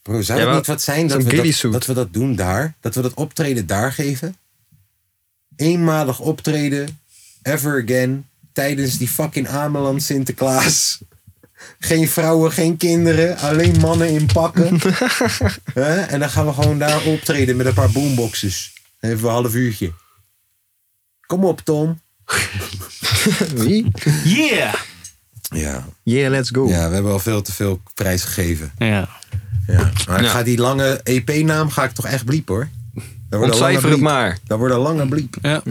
Bro, zou het
Ja, wel,
niet wat zijn dat
zo'n
we dat,
ghillie suit.
dat we dat doen daar? Dat we dat optreden daar geven? Eenmalig optreden, ever again, tijdens die fucking Ameland Sinterklaas. [laughs] Geen vrouwen, geen kinderen, alleen mannen in
[laughs]
pakken. Hè? en dan gaan we gewoon daar optreden met een paar boomboxes. Dan hebben we een half uurtje. Kom op, Tom.
Wie?
Yeah!
Ja,
Yeah, let's go.
ja, we hebben al veel te veel prijs gegeven.
Ja.
Ja. Maar ik
Ja.
ga die lange EP-naam ga ik toch echt bliep hoor. Dat wordt een lange
Ontcijfer het
bliep.
maar.
Dat wordt een lange bliep.
ja.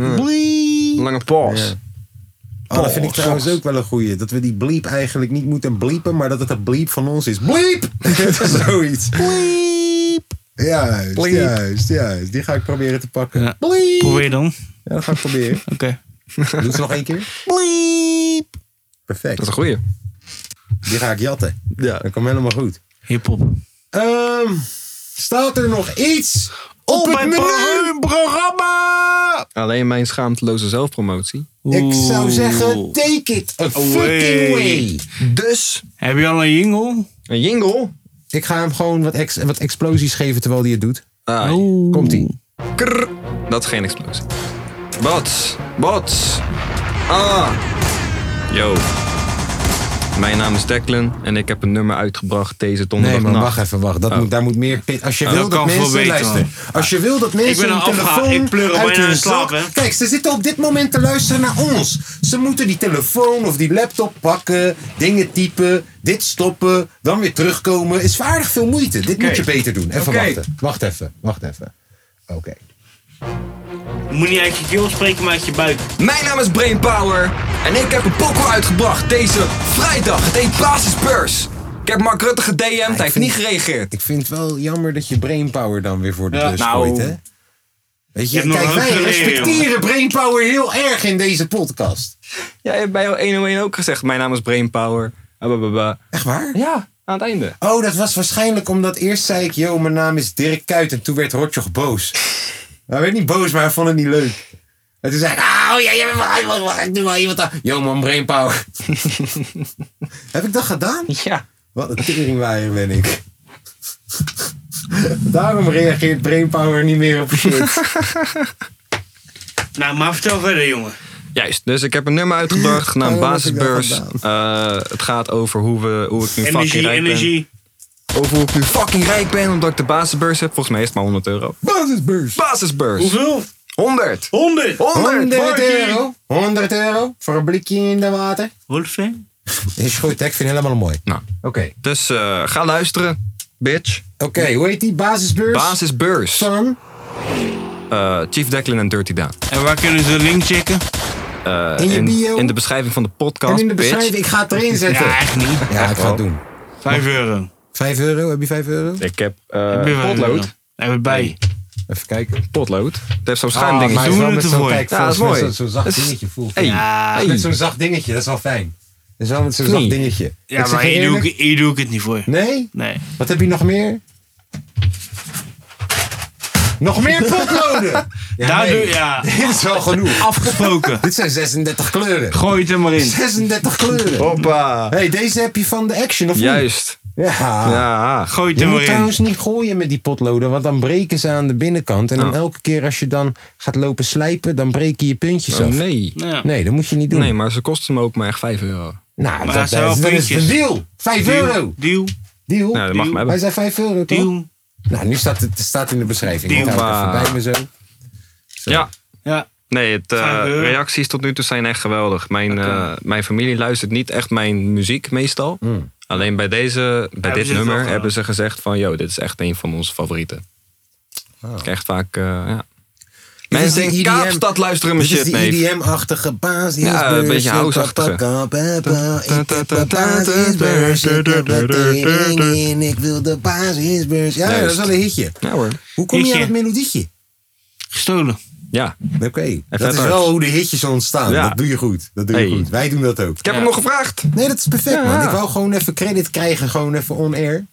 Lange pause.
Ja. Oh, dat vind ik trouwens ook wel een goeie. Dat we die bleep eigenlijk niet moeten bliepen, maar dat het een bleep van ons is. Bleep! [laughs] Zoiets. Bleep! Juist,
Bleep.
juist, juist. Die ga ik proberen te pakken.
Ja.
Bleep!
Probeer dan.
Ja, dat ga ik proberen.
[laughs]
Oké.
Doe het nog één keer.
Bleep. Dat is
Perfect.
een goeie.
Die ga ik jatten.
Ja.
Dat komt helemaal goed.
Hip-hop.
Ehm, staat er nog iets op het menu?
programma!
Alleen mijn schaamteloze zelfpromotie.
Ik zou zeggen, take it a fucking way.
Dus.
Heb je al een jingle?
Een jingle.
Ik ga hem gewoon wat, ex- wat explosies geven terwijl hij het doet.
Ah,
Komt-ie.
krrr. Dat is geen explosie. Wat? Wat? Ah. Yo. Mijn naam is Declan en ik heb een nummer uitgebracht deze
Nee,
donderdag
maar wacht even, wacht. Dat
Oh.
moet, daar moet meer pit. Als je wil
dat
dat
kan veel
mensen
beter,
luisteren. Als je wil dat mensen
ben
hun
al afgehaald.
telefoon
Ik pleur er
uit
bijna
hun
in slaap,
zak-
hè.
Kijk, ze zitten op dit moment te luisteren naar ons. Ze moeten die telefoon of die laptop pakken, dingen typen, dit stoppen, dan weer terugkomen. Is vaardig veel moeite. Dit moet je beter doen. Even
Oké.
wachten. Wacht even, wacht even. Oké.
Je moet niet uit je keel spreken, maar uit je buik.
Mijn naam is Brainpower en ik heb een pokoe uitgebracht deze vrijdag. Het heet Basisbeurs. Ik heb Mark Rutte gedM'd, hij heeft niet gereageerd.
Ik vind het wel jammer dat je brainpower dan weer voor de
Ja.
bus
Nou.
gooit, hè? Weet je,
hebt nog
kijk,
een
wij
hoop te leren,
respecteren brainpower heel erg in deze podcast.
Jij hebt bij jou 101 ook gezegd, mijn naam is Brainpower. Abababa.
Echt waar?
Ja, aan het einde.
Oh, dat was waarschijnlijk omdat eerst zei ik, yo, mijn naam is Dirk Kuyt. En toen werd Rotjoch
[laughs]
boos. Hij werd niet boos, maar hij vond het niet leuk. En toen zei ik, oh ja, jij bent wel- wel- wel- ik doe wel iemand aan. Yo man,
[laughs]
brainpower. Heb ik dat gedaan?
Ja.
Wat een teringwaaier ben ik. [laughs] Daarom reageert brainpower niet meer op shit.
Nou, maar vertel verder, jongen.
Juist, dus ik heb een nummer uitgebracht genaamd
Oh, dat heb ik wel
Basisbeurs. Eh, het gaat over hoe, we, hoe ik nu fucking
Energie,
rijk ben.
energie.
Over hoe ik nu fucking rijk ben omdat ik de basisbeurs heb. Volgens mij is het maar 100 euro.
Basisbeurs.
Basisbeurs!
Hoeveel?
100!
100!
100!
100 euro. 100 euro voor een blikje in de water.
Wolfgang?
Is goed, hè? ik vind het helemaal mooi.
Nou,
Oké.
dus eh, ga luisteren, bitch.
Oké, hoe heet die basisbeurs?
Basisbeurs.
Van?
Eh, Chief Declan en Dirty Daan.
En waar kunnen ze de link checken?
Eh,
In je bio?
in de beschrijving van de podcast.
En in de
bitch.
beschrijving, ik ga het erin zetten.
Ja,
Ja,
echt niet.
ik ga het doen.
5 euro.
5 euro, heb je 5 euro?
Ik heb eh,
Weer wel een euro.
potlood.
Hebben we het bij.
Even kijken.
Potlood. Het heeft zo'n schuimding.
Ah, maar-
het is Ah, wel
doen
met
het
zo'n-
ervoor.
kijk,
Ja,
volgens
dat
mij
is mooi.
Zo'n zo'n
Dat
zacht
is-
dingetje voelt.
Hey.
Ja,
Hey.
Met zo'n zacht dingetje, dat is wel fijn. Dat is wel met zo'n zacht dingetje.
ja
Ik zeg
maar
je
hier doe,
eerlijk-
ik, hier doe ik het niet voor.
Nee?
Nee.
Wat heb je nog meer? Nog meer potloden! ja,
Daar
nee.
doe
[laughs]
ja.
Dit is wel genoeg.
Afgesproken.
Dit zijn 36 kleuren.
Gooi het er maar in.
36 kleuren.
Hoppa.
hey, deze heb je van de Action, of niet?
Oh. Juist.
Ja.
Ah.
Ja.
Gooi het
Je
er
moet
maar in.
trouwens niet gooien met die potloden, want dan breken ze aan de binnenkant. En dan
Oh.
elke keer als je dan gaat lopen slijpen, dan breken je puntjes
Oh,
af.
nee.
Ja.
Nee, dat moet je niet doen.
Nee, maar ze kosten me ook maar echt 5 euro.
Nou,
Maar
dat,
dat zijn
dat,
wel
dat is
puntjes.
een deal. 5 euro.
Deal. Deal.
Deal.
Nou, dat mag me
Hij
hebben.
zei 5 euro, toch?
Deal.
Nou, nu staat het staat in de beschrijving. Ik
Deal.
hou het even bij me zo.
Ja.
Ja.
Nee, het, eh,
Vijf euro.
reacties tot nu toe zijn echt geweldig. Mijn, eh, mijn familie luistert niet echt mijn muziek meestal. Alleen bij, deze, bij
Hebben ze het
dit
wel
nummer
gedaan.
hebben ze gezegd van... ...yo, dit is echt een van onze favorieten. Ik krijg vaak... eh, ja.
is de
Mensen in
EDM.
Kaapstad luisteren mijn
Dit is E
shit,
die
nee.
EDM-achtige baas. die
Ja,
is
een beetje
beurs.
house-achtige.
Ik pak een papa, ik heb een basisbeurs. Ik heb een tering in, ik wil de basisbeurs. Ja, dat is wel een hitje.
Ja hoor.
Hoe kom je
Hitje.
aan het melodietje?
Gestolen.
Ja.
Oké, dat is
hard.
wel hoe de hitjes ontstaan.
Ja.
Dat doe je goed. Dat doe je
Hey.
goed. Wij doen dat ook.
Ik heb hem nog gevraagd.
Nee, dat is perfect, man. Ik wou gewoon even credit krijgen, gewoon even on-air.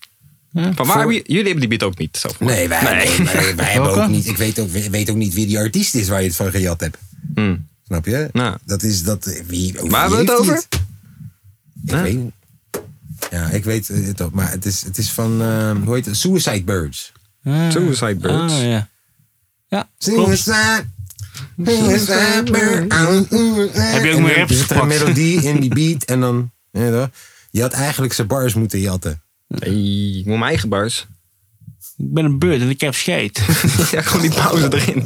Van waar hebben jullie hebben die beat ook niet? Zo.
Nee, wij,
Nee.
nee, wij, wij hebben ook niet. Ik weet ook, weet ook niet wie die artiest is waar je het van gejat hebt. Snap je?
Ja.
Dat is dat. eh, Wie, over
Waar
wie
hebben we het
heeft
over?
hij het? Ik weet niet. Ja, ik weet eh, het ook. Maar het is, het is van. eh, hoe heet het? Suicide Birds.
Suicide Birds.
Ah, ja.
Suicide. Suicide Birds.
Heb je ook
En
meer
dan
raps
zit er een
gepakt?
melodie in die beat en dan. ja, toch? Je had eigenlijk zijn bars moeten jatten.
Nee, ik moet mijn eigen bars. [laughs]
Ik ben een beurt en ik heb
[laughs]
scheid.
ja, gewoon die pauze erin.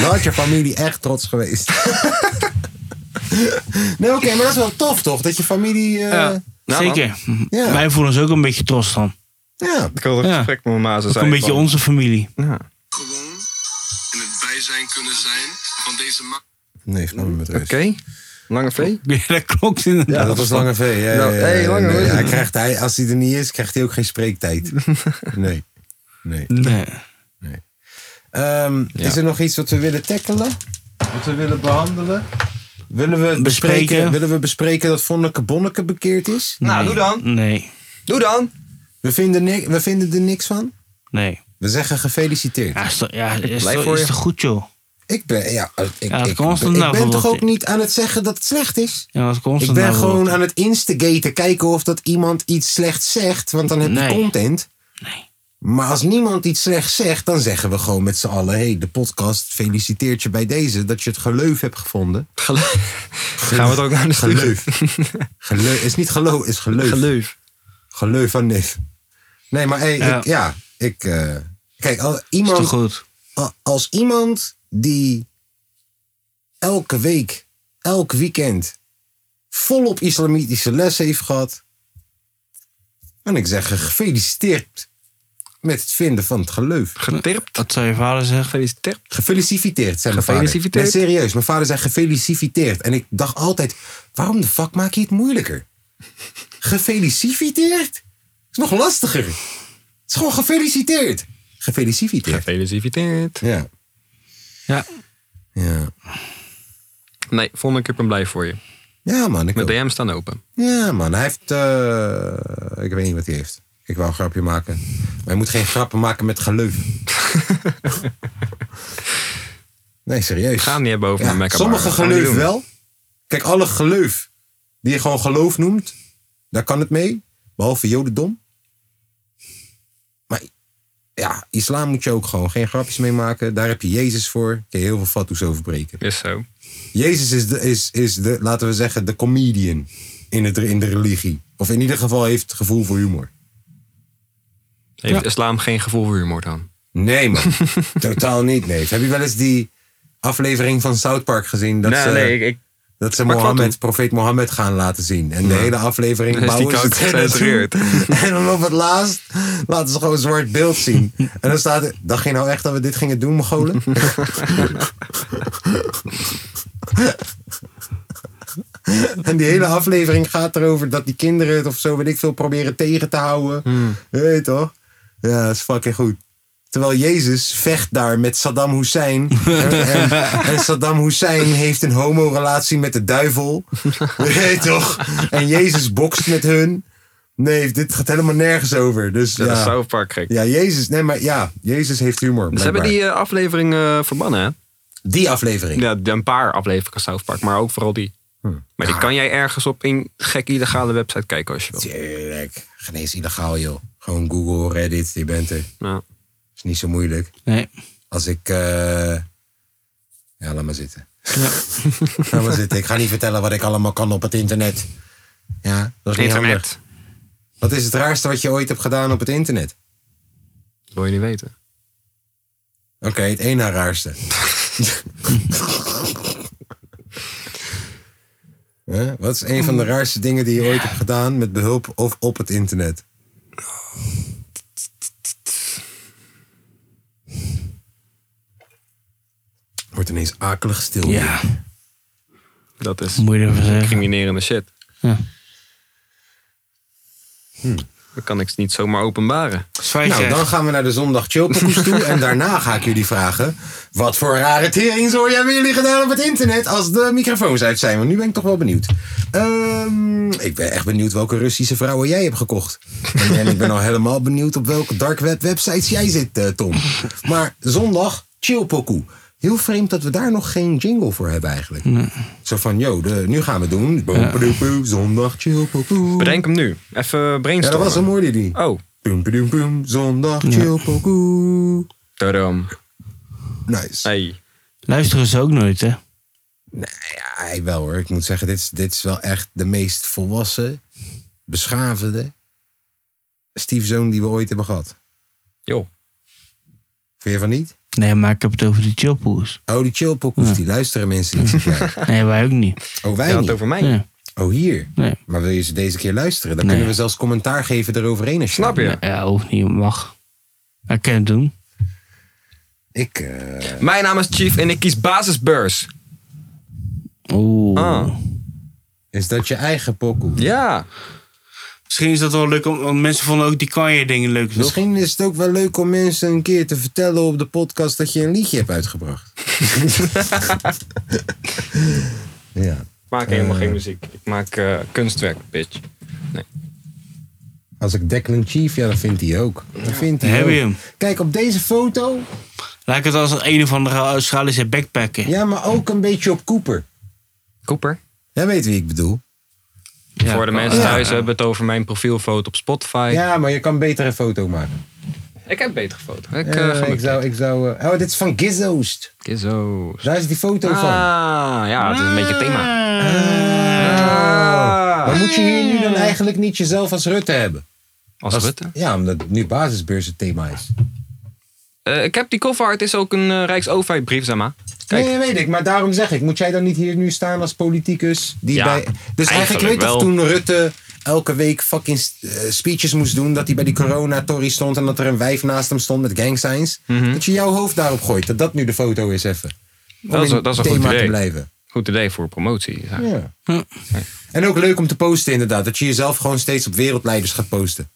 Dan had je familie echt trots geweest. [laughs] nee, oké, maar dat is wel tof toch? Dat je familie. eh,
Ja. Nou, man.
Zeker.
Ja.
Wij voelen ons ook een beetje trots dan.
ja.
Ik had een
Ja.
gesprek met mijn ma. Ze
Ook
zei
een beetje
van-
onze
[laughs]
familie.
gewoon in het bijzijn kunnen zijn van deze man.
Nee, laat me met rust.
Oké. Lange V.
Ja, dat klopt inderdaad.
Ja, dat was Lange V. Ja,
Nou,
ja, ja,
hey,
ja,
Lange
nee.
V.
hij krijgt, hij, als hij er niet is, krijgt hij ook geen spreektijd. [laughs] Nee. nee.
Nee.
Ehm, Is er nog iets wat we willen tackelen? Wat we willen behandelen? Willen we bespreken,
Bespreken.
willen we bespreken dat Vonneke Bonneke bekeerd is?
Nou, doe dan.
Nee.
Doe dan.
We vinden, ni- we vinden er niks van.
Nee.
We zeggen gefeliciteerd.
Ja, is toch, ja, is
blijf
toch,
voor
is
je.
toch goed, joh.
Ik ben, ja, ik, ik,
Ja, dat
ik
kan ons
ben,
dan
ik
nou
ben
wel
toch
wat-
ook niet aan het zeggen dat het slecht is?
Ja, dat komt nou,
Ik ben gewoon aan het instigaten, kijken of dat iemand iets slechts zegt, want dan heb je
Nee.
content.
Nee.
Maar als niemand iets slechts zegt, dan zeggen we gewoon met z'n allen: hey, de podcast feliciteert je bij deze dat je het geleuf hebt gevonden.
Gaan we het ook naar de studio?
Geleuf. geleuf. Is niet geloof, is geleuf. Geleuf,
Geleuf.
van neef. Nee, maar hey,
Ja.
ik, ja, ik. eh, kijk, al, iemand.
Is toch goed?
A- als iemand die elke week, elk weekend volop islamitische les heeft gehad, kan ik zeggen gefeliciteerd met het vinden van het geloof.
Getirpt.
Dat zou je vader zeggen.
Gefeliciteerd.
Gefeliciteerd, zei mijn vader.
Gefeliciteerd?
Nee, serieus. Mijn vader zei gefeliciteerd. En ik dacht altijd, waarom de fuck maak je het moeilijker? Gefeliciteerd? is nog lastiger. Het is gewoon gefeliciteerd. Gefeliciteerd.
Gefeliciteerd.
Ja.
Ja.
Ja.
Nee, volgende keer ben blij voor je.
Ja, man. Ik
Mijn
ook.
DM staan open.
Ja, man. Hij heeft. eh, ik weet niet wat hij heeft. Ik wou een grapje maken. Maar je moet geen grappen maken met geloof.
[laughs]
nee, serieus.
Gaan niet hebben over
Ja,
mijn Mac.
sommige geloof wel. Kijk, alle geloof die je gewoon geloof noemt, daar kan het mee. Behalve jodendom. Maar ja, islam moet je ook gewoon geen grapjes mee maken. Daar heb je Jezus voor. Kun je heel veel fatsoes over breken.
Is zo.
Jezus is, de, is, is de, laten we zeggen, de comedian in, het, in de religie. Of in ieder geval heeft het gevoel voor humor.
Heeft islam geen gevoel voor humor dan?
Nee, man. Totaal niet, nee. Heb je wel eens die aflevering van South Park gezien? Dat
Nou,
eh, ze,
ik...
dat ze
maar ik wou
Mohammed, profeet Mohammed gaan laten zien. En de hele aflevering
Dan is die
bouwen ze
kant
het naartoe.
gecensureerd.
[laughs] En dan op het laatst laten ze gewoon een zwart beeld zien. En dan staat er, dacht je nou echt dat we dit gingen doen, Mogolen? [laughs] En die hele aflevering gaat erover dat die kinderen het of zo, weet ik veel, proberen tegen te houden.
Hmm.
Je weet toch? Ja, dat is fucking goed. Terwijl Jezus vecht daar met Saddam Hussein. en, en, en Saddam Hussein heeft een homorelatie met de duivel. Je weet toch? En Jezus bokst met hun. Nee, dit gaat helemaal nergens over. Dus
Dat is
ja.
South Park gek.
ja, Jezus. Nee, maar ja, Jezus heeft humor.
Ze hebben
blijkbaar.
die eh, aflevering eh, verbannen, hè?
die aflevering.
Ja, een paar afleveringen South Park, maar ook vooral die.
Hm.
Maar die kan jij ergens op een gek illegale website kijken als je wil.
Tuurlijk. Geen eens illegaal, joh. Gewoon Google, Reddit, je bent er.
Nou,
Is niet zo moeilijk.
Nee.
Als ik... eh, Ja, laat maar zitten. [laughs] laat maar zitten. Ik ga niet vertellen wat ik allemaal kan op het internet. Ja, dat is niet handig.
internet.
Wat is het raarste wat je ooit hebt gedaan op het internet?
Dat wil je niet weten.
Oké, het ene raarste. [laughs] Hè? Wat is een van de raarste dingen die je ooit hebt gedaan met behulp of op het internet? Wordt ineens akelig stil.
Ja,
Dat is
moet je ervan zeggen.
criminerende shit.
Ja.
Dat Hm. kan ik niet zomaar openbaren.
Nou, dan gaan we naar de zondag chillpokoes toe. En daarna ga ik jullie vragen. Wat voor rare teringzooi hebben jullie gedaan op het internet als de microfoons uit zijn? Want nu ben ik toch wel benieuwd. Ehm, ik ben echt benieuwd welke Russische vrouwen jij hebt gekocht. En, en ik ben al helemaal benieuwd op welke dark web websites jij zit, eh, Tom. Maar zondag chillpokoe. Heel vreemd dat we daar nog geen jingle voor hebben eigenlijk. Zo van, yo, de, nu gaan we het doen. Boom, padoem, boem, Zondag chillpokoe.
Bedenk hem nu. Even
Ja, dat
brainstormen.
was een mooi die.
Oh,
Boom, boom, boom, zondag, chill, pokoe.
daarom.
Nice.
Hey.
Luisteren ze ook nooit, hè?
Ja, hij wel hoor. Ik moet zeggen, dit is, dit is wel echt de meest volwassen, beschavende stiefzoon die we ooit hebben gehad.
Joh.
Vind je van niet?
Nee, maar ik heb het over de chillpoes.
Oh, die chill pokoes, die luisteren mensen niet. zeg
[laughs]
jij.
Nee, wij ook niet.
Oh,
Je
wij
had het
niet.
over mij.
Nee.
Oh, hier.
Nee.
Maar wil je ze deze keer luisteren? Dan
Nee.
kunnen we zelfs commentaar geven eroverheen. Als je
Snap je?
Ja, hoeft niet, mag. Maar Ik kan het doen.
Ik, eh,
Mijn naam is Chief en ik kies basisbeurs.
Oeh.
Ah,
is dat je eigen pokoe?
ja.
Misschien is dat wel leuk, om- want mensen vonden ook die Kanye dingen leuk, toch?
Misschien is het ook wel leuk om mensen een keer te vertellen op de podcast dat je een liedje hebt
[laughs]
uitgebracht. ja,
Ik maak helemaal geen muziek. Ik maak eh, kunstwerk, bitch.
als ik Declan Chief, ja, dan vindt hij ook. Dan vindt hij
Heb
ook.
je hem.
Kijk, op deze foto,
Lijkt het als een of andere Australische backpacker.
ja, maar ook een beetje op Cooper.
Cooper.
Jij weet wie ik bedoel.
Ja.
Voor de mensen thuis hebben het over mijn profielfoto op Spotify.
Ja, maar je kan beter een foto maken.
Ik heb betere foto. Ik
Eh,
eh, ga
ik
met
zou, ik zou, eh, oh, dit is van Gizzoost.
Gizzo.
Daar is die foto
Ah,
van.
ja, het is een beetje thema.
Ah. Maar moet je hier nu dan eigenlijk niet jezelf als Rutte hebben?
Als Rutte.
Ja, omdat het nu basisbeurs het thema is.
Eh, ik heb die cover art, is ook een eh, Rijksoverheid brief, zeg maar. Kijk,
Nee, weet ik. Maar daarom zeg ik, moet jij dan niet hier nu staan als politicus? Die
Ja,
bij... Dus eigenlijk,
eigenlijk
weet je
wel.
toch toen Rutte elke week fucking eh, speeches moest doen... dat hij bij die corona-tory stond en dat er een wijf naast hem stond met gang signs?
Mhm.
Dat je jouw hoofd daarop gooit, dat dat nu de foto is even. Om
Dat is-
in
dat is
het
een goed
thema te
idee.
blijven.
goed idee voor promotie. Ja.
Ja. En ook leuk om te posten inderdaad. Dat je jezelf gewoon steeds op wereldleiders gaat posten.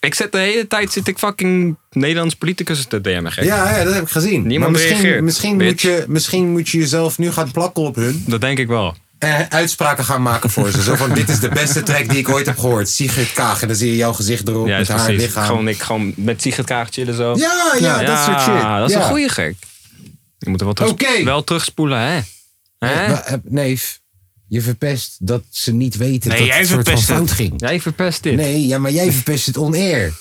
Ik zit de hele tijd, zit ik fucking Nederlands politicus te DM'en. gek.
Ja, ja dat heb ik gezien.
Niemand
maar
reageert,
misschien, misschien,
bitch.
moet je, misschien moet je jezelf nu gaan plakken op hun.
Dat denk ik wel.
eh, uitspraken gaan maken voor ze. Zo van, dit is de beste track die ik ooit heb gehoord. Sigrid Kaag. En dan zie je jouw gezicht erop
Ja,
met
is
haar
precies.
lichaam.
Gewoon, ik, gewoon met Sigrid Kaag chillen zo.
Ja, ja, dat soort shit.
dat is
Ja.
een goede gek. Je moet er wel, terug,
Oké.
wel terugspoelen, hè? hè?
Maar, eh, neef, je verpest dat ze niet weten
Nee,
dat
jij
het soort van
verpest het.
fout ging.
Jij verpest dit.
Nee, ja, maar jij verpest het on-air.
Oh.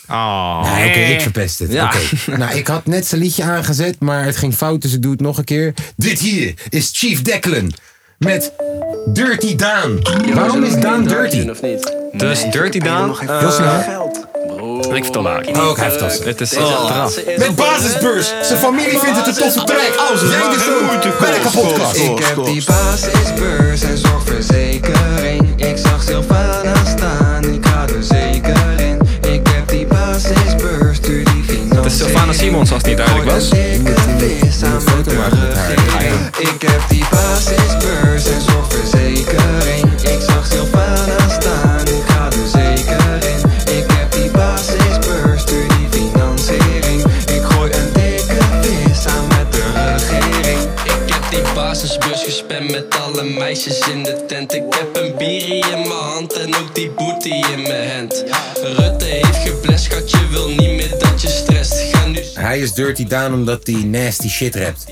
Ah, Oké, ik verpest het.
Ja.
Oké. Nou, ik had net zijn liedje aangezet, maar het ging fout, dus ik doe het nog een keer. Dit hier is Chief Declan met Dirty Daan. Waarom is Daan dirty? Ah.
Dus Dirty Daan.
Heel snel.
ik vertel haar.
Oh, ik heb het al.
Het is achteraf.
Met basisbeurs. Zijn familie vindt het een toffe track. Als jij dit doet, ben ik een podcast.
Ik
Ik heb die basisbeurs en zorgverzekering. Ik zag Sylvana staan, ik ga er zeker in. Ik heb die basisbeurs, stuur die financiën.
Het is Sylvana Simons, als het niet
Oh,
duidelijk was.
Ik heb die basisbeurs en zorgverzekering. Ik zag Sylvana staan, ik ga er zeker in. Ik heb die basisbeurs, stuur die financiering. Ik gooi een dikke vis aan met de regering. Ik heb die basisbeurs gespend met alle meisjes in de tent. Ik heb een bierie in mijn hand en ook die booty in mijn hand. Rutte heeft geblest, schat, je wil niet meer dat je stresst. Ga nu
Hij is Dirty Daan omdat hij nasty shit rapt.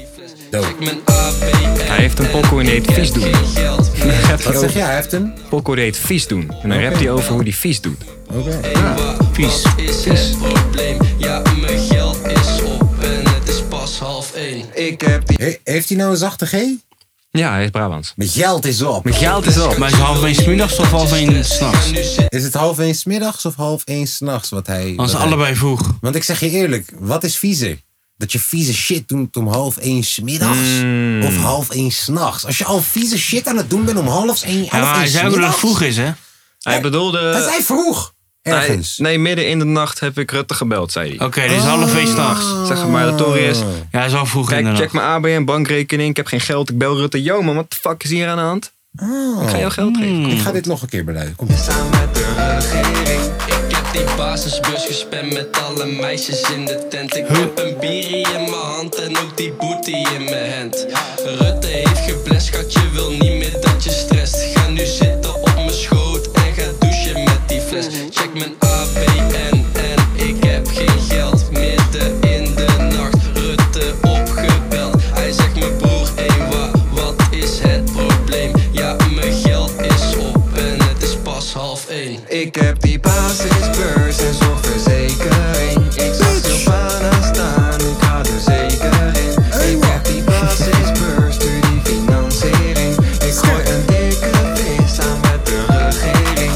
Dope.
mijn APR.
Hij heeft een pokoe en die heet Vies doen.
[laughs] Geen geld,
hij rapt
Wat
hij
zeg
over-
jij, Heften?
Poco deed vies doen. En dan rapt hij over hoe hij vies doet.
Oké.
Vies.
is het probleem? Ja, mijn geld is op en het is pas half één. Ik heb die
He- heeft hij nou een zachte G?
Ja, hij is Brabants.
Mijn geld is op.
Mijn geld is op.
Maar is het half één 's middags of half één 's nachts?
Is het half één 's middags of half één 's nachts wat hij...
Als
wat hij-
allebei vroeg.
Want ik zeg je eerlijk, wat is viezer? Dat je vieze shit doet om half één 's middags
Hmm.
of half één 's nachts. Als je al vieze shit aan het doen bent om half één, half
Ja, maar
één
hij
's
zei ook dat het
middags.
vroeg is, hè? Oké,
Hij
Hij
bedoelde...
zei vroeg.
Nee,
Ergens.
nee, midden in de nacht heb ik Rutte gebeld, zei hij.
dus half één 's
Oh.
nachts.
Zeg maar, de toren is...
Ja, hij is al vroeg in
Kijk,
de
check
nacht.
mijn ABN bankrekening. Ik heb geen geld. Ik bel Rutte. Yo man, wat de fuck is hier aan de hand?
Oh.
Ik ga jou geld geven.
Hmm.
Ik ga dit nog een keer beluiden. Kom eens.
samen met de regering. Ik heb die basisbus gespamd met alle meisjes in de tent. Ik heb een bierie in mijn hand en ook die booty in mijn hand. Rutte heeft geblest, schatje wil niet meer dat je stresst. Ga nu zitten op mijn schoot en ga douchen met die fles. Check mijn ABN en ik heb geen geld. Midden in de nacht, Rutte opgebeld. Hij zegt mijn broer, hé wa, wat is het probleem? Ja, mijn geld is op en het is pas half één. Ik heb die basisbeurs en zorgverzekering. Ik zag Silvana staan, ik ga er zeker in. Ik heb die basisbeurs, stuur die financiering. Ik gooi een dikke vis aan met de regering.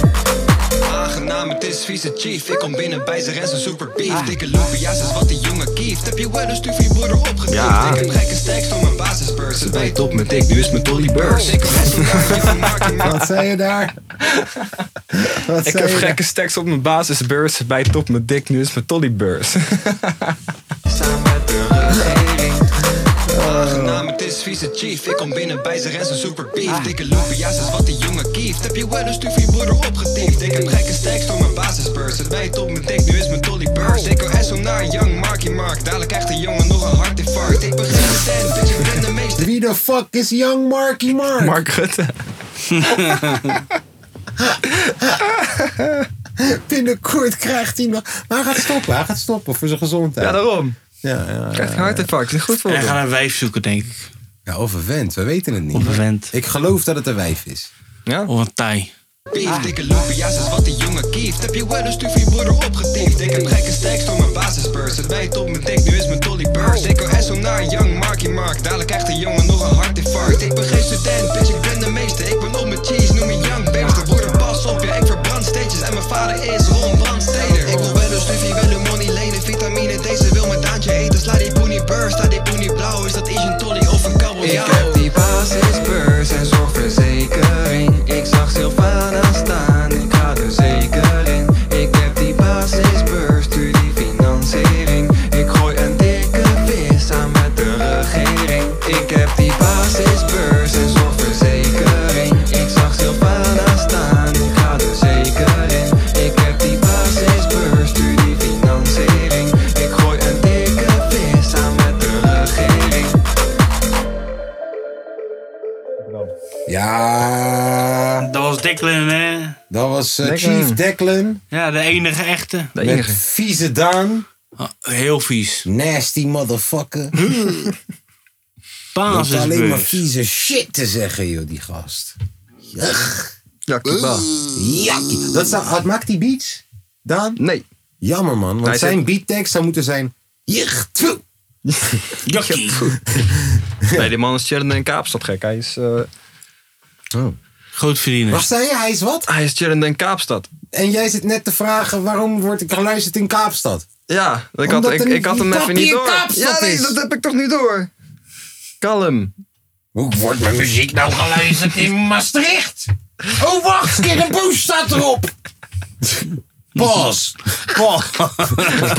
Aangenaam, het is vieze chief. Ik kom binnen bij zijn en zijn super beef. Dikke loefia's is wat die jongen kieft. Heb je wel een stufie broeder opgetikt?
Ja.
Ik heb gekke stacks door mijn basisbeurs. Het wijt
Top met dik, nu is mijn
Oh,
dolly beurs.
Ik heb restaurantje van Mark
Wat zei je daar? Wat zei
Ik heb
je daar?
gekke stacks op mijn basisbeurs. Bij top mijn dik, nu is mijn tollybeurs.
Samen met de regering. Aangenaam, het is vieze chief. Ik kom binnen bij zijn en zijn super beef. Dikke loefia's is wat die jongen kieft. Heb je wel een stufie broeder opgetiefd? Ik heb gekke stacks door mijn basisbeurs. Het wijt op mijn dik, nu is mijn dollybeurs. Ik wil SO naar Young Marky Mark. Dadelijk krijgt de jongen nog een hartinfarct. Ik begin de tent, bitch, ik ben de meeste.
Wie de fuck is Young Marky Mark?
[laughs] Mark Rutte.
Binnenkort krijgt hij nog... Maar hij gaat stoppen. Hij gaat stoppen voor zijn gezondheid.
Ja, daarom.
Ja, ja, ja.
Krijgt een hartinfarct. Is niet goed voor
En hij gaat
hem.
een wijf zoeken, denk ik.
Ja, of een vent. We weten het niet.
Of een vent.
Ik geloof dat het een wijf is.
Ja?
Of een Thai.
Beef, dikke loefia's is wat die jongen kieft. Heb je wel een stufie broeder opgetiefd? Ik heb gekke stacks door mijn basisbeurs. Het wijt op mijn dik, nu is mijn dollybeurs. Ik wil SO naar Young Marky Mark. Dadelijk krijgt de jongen nog een hartinfarct. Ik ben geen student, bitch, ik ben de meester. Ik ben op mijn cheese, noem me Young Beester. Broeder, pas op, ja, ik verbrand steentjes. En mijn vader is Ron Brandsteder. Ik wil wel een stufie, wel een money lenen. Vitamine, deze wil mijn daantje eten. Sla die poenie beurs, sla die poenie blauw. Is dat is een tolly of een kabeljauw? Ik heb die basisbeurs en zorgverzekering. Ik zag Sylvana staan, ik ga er zeker in. Ik heb die basisbeurs, stuur die financiering. Ik gooi een dikke vis aan met de regering. Ik heb die basisbeurs en zorgverzekering. Ik zag Sylvana staan, ik ga er zeker in. Ik heb die basisbeurs, stuur die financiering. Ik gooi een dikke vis aan met de regering.
Ja,
Dat was Declan, hè?
dat was eh,
Declan.
Chief Declan
Ja, de enige echte.
De
met
enige.
vieze Daan.
Ah, heel vies.
Nasty motherfucker. Dat is alleen maar
Basisbeurs.
vieze shit te zeggen, joh, die gast.
Jakkieba.
Jakkie. Dat zou, had- maakt die beats, Daan?
Nee.
Jammer, man. Want
Hm. Hij zit-
zijn beattekst zou moeten zijn... Jicht, tjoe.
Jokkie.
Nee, die man is chillende in Kaapstad gek. Hij is, eh, Oh.
Groot
Wacht,
verdienen.
zei je? Hij is wat?
hij is chillende in Kaapstad.
En jij zit net te vragen waarom word ik geluisterd in Kaapstad?
Ja, ik had,
Omdat
ik,
er niet-
ik had
die
hem even
papier
niet door.
Kaapstad
ja, nee,
is.
dat heb ik toch niet door. Kalm.
Hoe wordt mijn muziek nou geluisterd in Maastricht? Oh, wacht, Kiddenboes staat erop. Pas. Pas.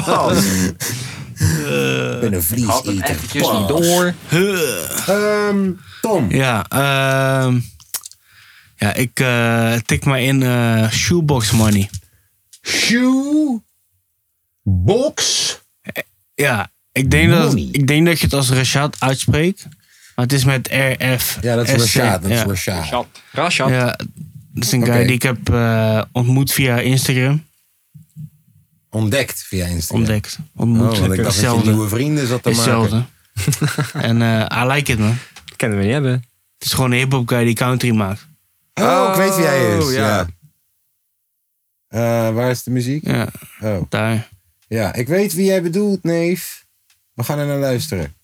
Pas.
Ik ben een vlieseter.
Is niet door.
Ehm, Tom.
Ja, ehm ja ik eh, tik maar in eh, shoebox money.
Shoe. Box.
Ja, ik denk, dat,
Money.
ik denk dat je het als Rashad uitspreekt. Maar het is met RF.
Ja, dat is
SC.
Rashad. Dat is
ja.
Rashad.
Rashad. Rashad.
Ja, dat is een guy
Oké.
die ik heb eh, ontmoet via Instagram.
Ontdekt via Instagram.
Ontdekt.
Oh,
Ontmoet.
want ik dacht dat je
hetzelfde.
nieuwe vrienden zat te maken.
hetzelfde. en eh I like it man.
Kennen we niet hebben.
Het is gewoon een hip-hop guy die country maakt.
Oh, ik weet wie hij is.
Oh,
Ja.
ja.
Eh, waar is de muziek?
Ja,
Oh,
daar.
ja. Ik weet wie jij bedoelt, neef. We gaan er naar luisteren.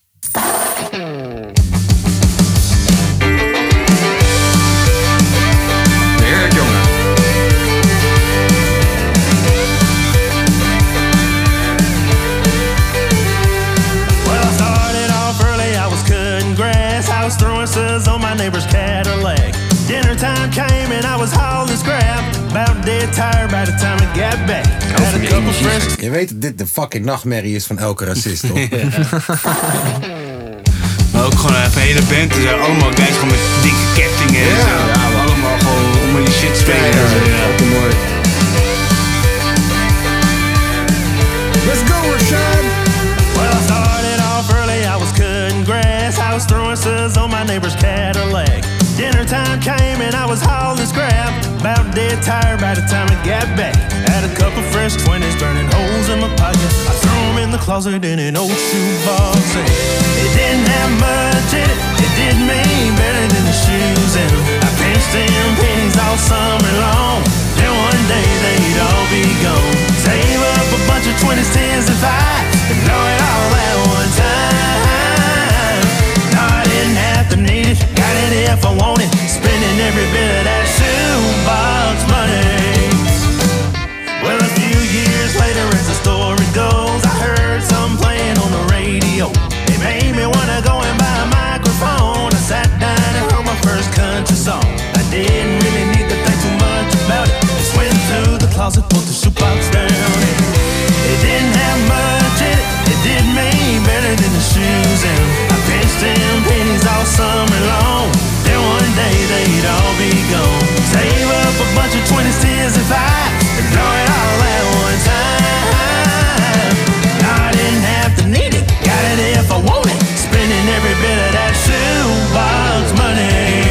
Heerlijk, jongen.
Well, I started off early, I was cutting grass. I was throwing suds on my neighbor's Cadillac. Dinner time came and I was hauling scrap. About dead tired by the time I got back. Had a couple friends
Je weet dat dit de fucking nachtmerrie is van elke racist, toch? [laughs]
Maar ook gewoon even hele band. Er zijn allemaal guys gewoon met dikke kettingen en zo. Ja, we allemaal gewoon om in die shit spelen. en zo, ja.
mooi.
Let's go, Rashad! Well, I started off early, I was cutting grass. I was throwing suds on my neighbor's Cadillac. Dinner time came and I was hauling scrap. About dead tired by the time I got back. Had a couple fresh 20s burning holes in my pocket. I threw 'em in the closet in an old shoebox. And It didn't have much in it, it did me better than the shoes. And I pinched them pennies all summer long. Then one day they'd all be gone. Save up a bunch of 20s, 10s, and 5s, and blow it all at one time. No, I didn't have to need it, got it if I wanted. Spending every bit of that shoebox money. Well, a few years later, as the story goes, I heard some playing on the radio. It made me wanna go and buy a microphone. I sat down and wrote my first country song. I didn't really need to think too much about it. Just went through the closet, pulled the shoebox down. And it didn't have much in it. It did me better than the shoes. And I pinched them pennies all summer long. Then one day they'd all be gone. Save up a bunch of 20s, 10s, and 5s and blow it all at one time. No, I didn't have to need it, got it if I want it. Spending every bit of that shoebox money.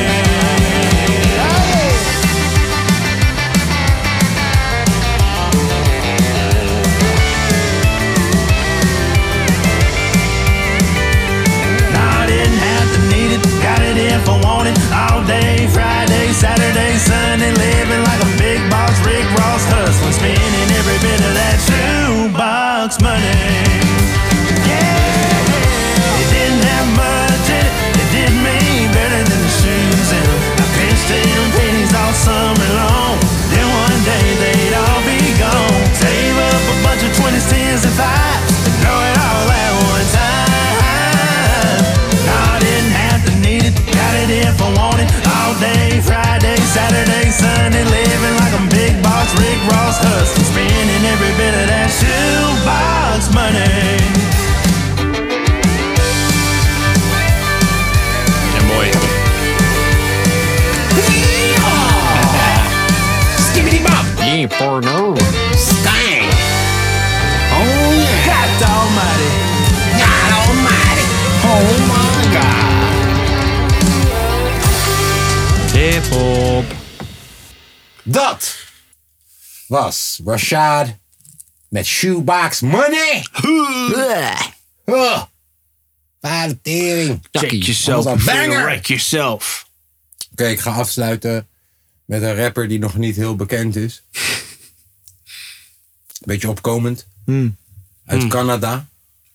No, I didn't have to need it, got it if I wanted. All day, Friday, Saturday, Sunday, living like a big boss, Rick Ross hustling, spending every bit of that shoebox money. Yeah, it didn't have much in it, it did me better than the shoes, and I pinched them pennies all summer long. Then one day they'd all be gone. Save up a bunch of 20s, 10s, and 5s, and blow it all at one time. No, I didn't have to need it, got it if I wanted. All day, Friday, Saturday, Sunday, living like a big boss, Rick Ross hustling, spending every bit of that shoebox money.
Ja, mooi. Yeah, porno.
God almighty. God almighty. Oh my god.
Hip-hop.
Dat was Rashad met Shoebox Money. Oh, Waar de tering.
Check yourself
Dat was een
before you
banger.
wreck yourself.
Oké, ik ga afsluiten met een rapper die nog niet heel bekend is. Beetje opkomend. Uit Canada,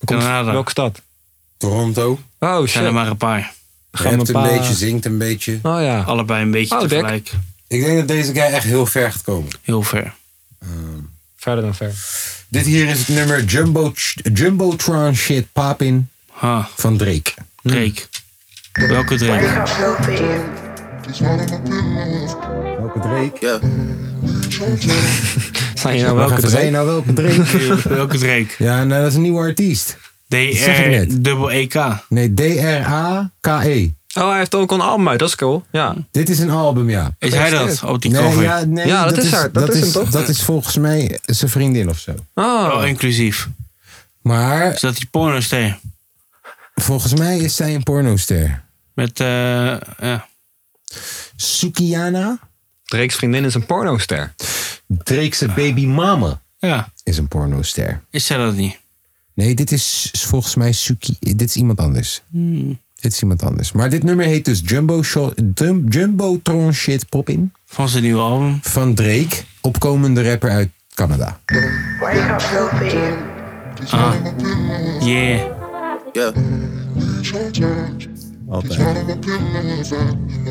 Canada.
Welke stad?
Toronto.
Oh, shit.
zijn er maar een paar.
Gaan we
Rapt een
een paar-
beetje, zingt een beetje.
Oh ja.
Allebei een beetje
Oh, dek.
tegelijk.
Ik denk dat deze guy echt heel ver gaat komen.
Heel ver.
Verder dan ver.
Dit hier is het nummer Jumbo, Jumbotron Shit Poppin
Ha,
van Drake.
Drake. Welke Drake?
Welke Drake?
Zijn je nou
Welke
welke
Drake?
twee?
nou welke Drake?
Welke Drake?
ja, nou, dat is een nieuwe artiest. zeg ik
DR
net.
dubbel EK.
Nee, D-R-A-K-E.
Oh, hij heeft ook een album uit. Dat is cool. Ja.
E. Dit is een album, ja.
Is hij dat op die
Nee,
cover?
ja, nee,
Ja, dat is haar. Dat is hem, toch?
Dat is volgens mij zijn vriendin of zo.
Oh.
Wel inclusief. Is
Maar
dat die pornoster?
volgens mij is zij een pornoster.
Met, eh, ja.
Sukiana?
Drake's vriendin is een pornoster.
Drake's baby mama
ja,
is een pornoster.
is zij dat niet?
Hmm.
Nee, dit is volgens mij Suki. Dit is iemand anders. Dit is iemand anders. Maar dit nummer heet dus Jumbo, Shot, Jum- Jumbotron Shit Pop In.
Van zijn nieuwe album.
Van Drake, opkomende rapper uit Canada.
Ah. Yeah.
We